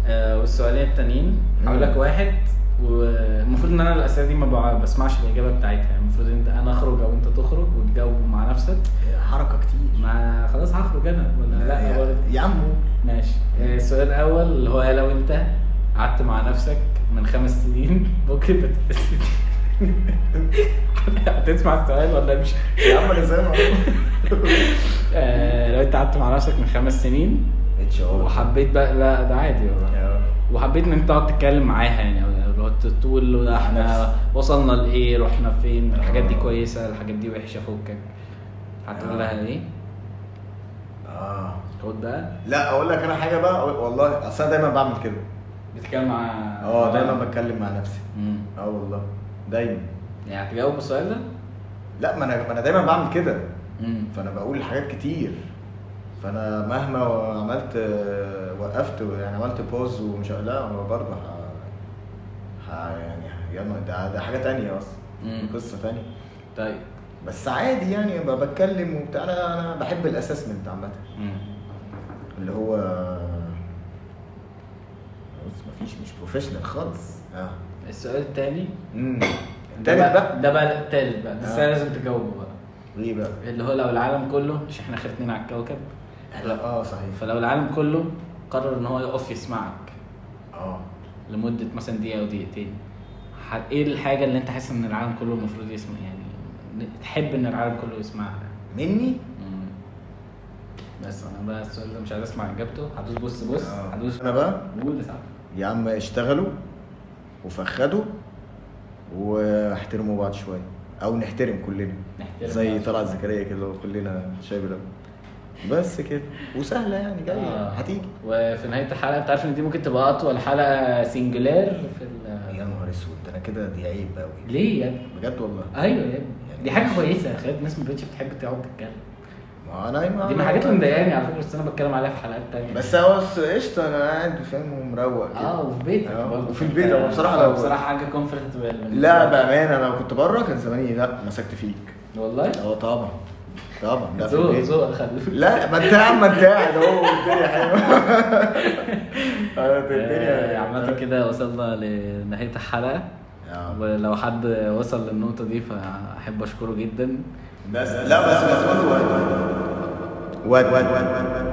آه والسؤالين التانيين هقول لك واحد والمفروض ان انا الاسئله دي ما بع- بسمعش الاجابه بتاعتها يعني المفروض انت انا اخرج او انت تخرج وتجاوب مع نفسك
حركه كتير
ما خلاص هخرج انا ولا لا برضه
يا- يا عمو
ماشي آه، السؤال الاول اللي هو لو انت قعدت مع نفسك من خمس سنين ممكن بتتسد هتسمع السؤال ولا مش
يا عم انا زي ما
آه، لو انت قعدت مع نفسك من خمس سنين
اتش ار
وحبيت بقى لا ده عادي والله وحبيت ان انت تقعد تتكلم معاها يعني أو- أو لو تقول له ده احنا وصلنا لايه رحنا فين الحاجات دي
آه.
كويسه الحاجات دي وحشه فكك هتقول لها ايه؟
اه
خد بقى
لا اقول لك انا حاجه بقى والله اصل انا دايما بعمل كده
بتتكلم مع
آه، اه دايما بتكلم مع نفسي اه والله دايما
يعني هتجاوب السؤال ده؟
لا ما انا ما انا دايما بعمل كده
امم
فانا بقول حاجات كتير فانا مهما عملت وقفت يعني عملت بوز ومش لا أنا برضه ه... ه... يعني يلا ده ده حاجه تانية اصلا
مم.
قصه تانية
طيب
بس عادي يعني ب- بتكلم وبتاع انا انا بحب الاسسمنت عامه اللي هو بص مفيش مش بروفيشنال خالص اه
السؤال التاني
امم
ده
التالت
بقى
بقى
ده بقى التالت بقى ده السؤال
آه.
لازم تجاوبه بقى
ايه بقى؟
اللي هو لو العالم كله مش احنا اخر اتنين على الكوكب لا.
اه صحيح
فلو العالم كله قرر ان هو يقف يسمعك
اه
لمده مثلا دقيقه او دقيقتين ح- ايه الحاجه اللي انت حاسس ان العالم كله المفروض يسمع يعني ن- تحب ان العالم كله يسمعها
مني؟
مم. بس انا بقى السؤال ده مش عايز اسمع اجابته هدوس بص بص
آه.
هدوس
انا بقى
قول يا صاحبي.
يا عم اشتغلوا وفخدوا واحترموا بعض شويه او نحترم كلنا
نحترم
زي
بعض.
طلعت زكريا كده وكلنا شايب الأول. بس كده وسهله يعني جايه
آه.
هتيجي
وفي نهايه الحلقه انت عارف ان دي ممكن تبقى اطول حلقه سنجلير في ال...
يا نهار اسود ده انا كده دي عيب قوي
ليه يا ابني؟
بجد والله
ايوه يا ابني دي حاجه كويسه خلي الناس ما بقتش بتحب تقعد تتكلم
ما انا ما
دي من الحاجات اللي مضايقاني على فكره بس انا بتكلم عليها في حلقات تانية
آه. بس هو بس قشطه انا قاعد فاهم ومروق كده
اه وفي بيتك
آه،
برضه. آه،
وفي البيت هو بصراحه لو
بصراحه حاجه كومفورت
لا بامانه انا لو كنت بره كان زماني لا مسكت فيك
والله
اه طبعا طبعا لا في
ذوق
البيت.
ذوق خلي بالك.
لا ما انت يا عم انت قاعد اهو الدنيا حلوه أنا
آه،
الدنيا يعني
عامة كده وصلنا لنهاية الحلقة
آه.
ولو حد وصل للنقطة دي فأحب أشكره جدا
بس لا بس بس ود ود ود ود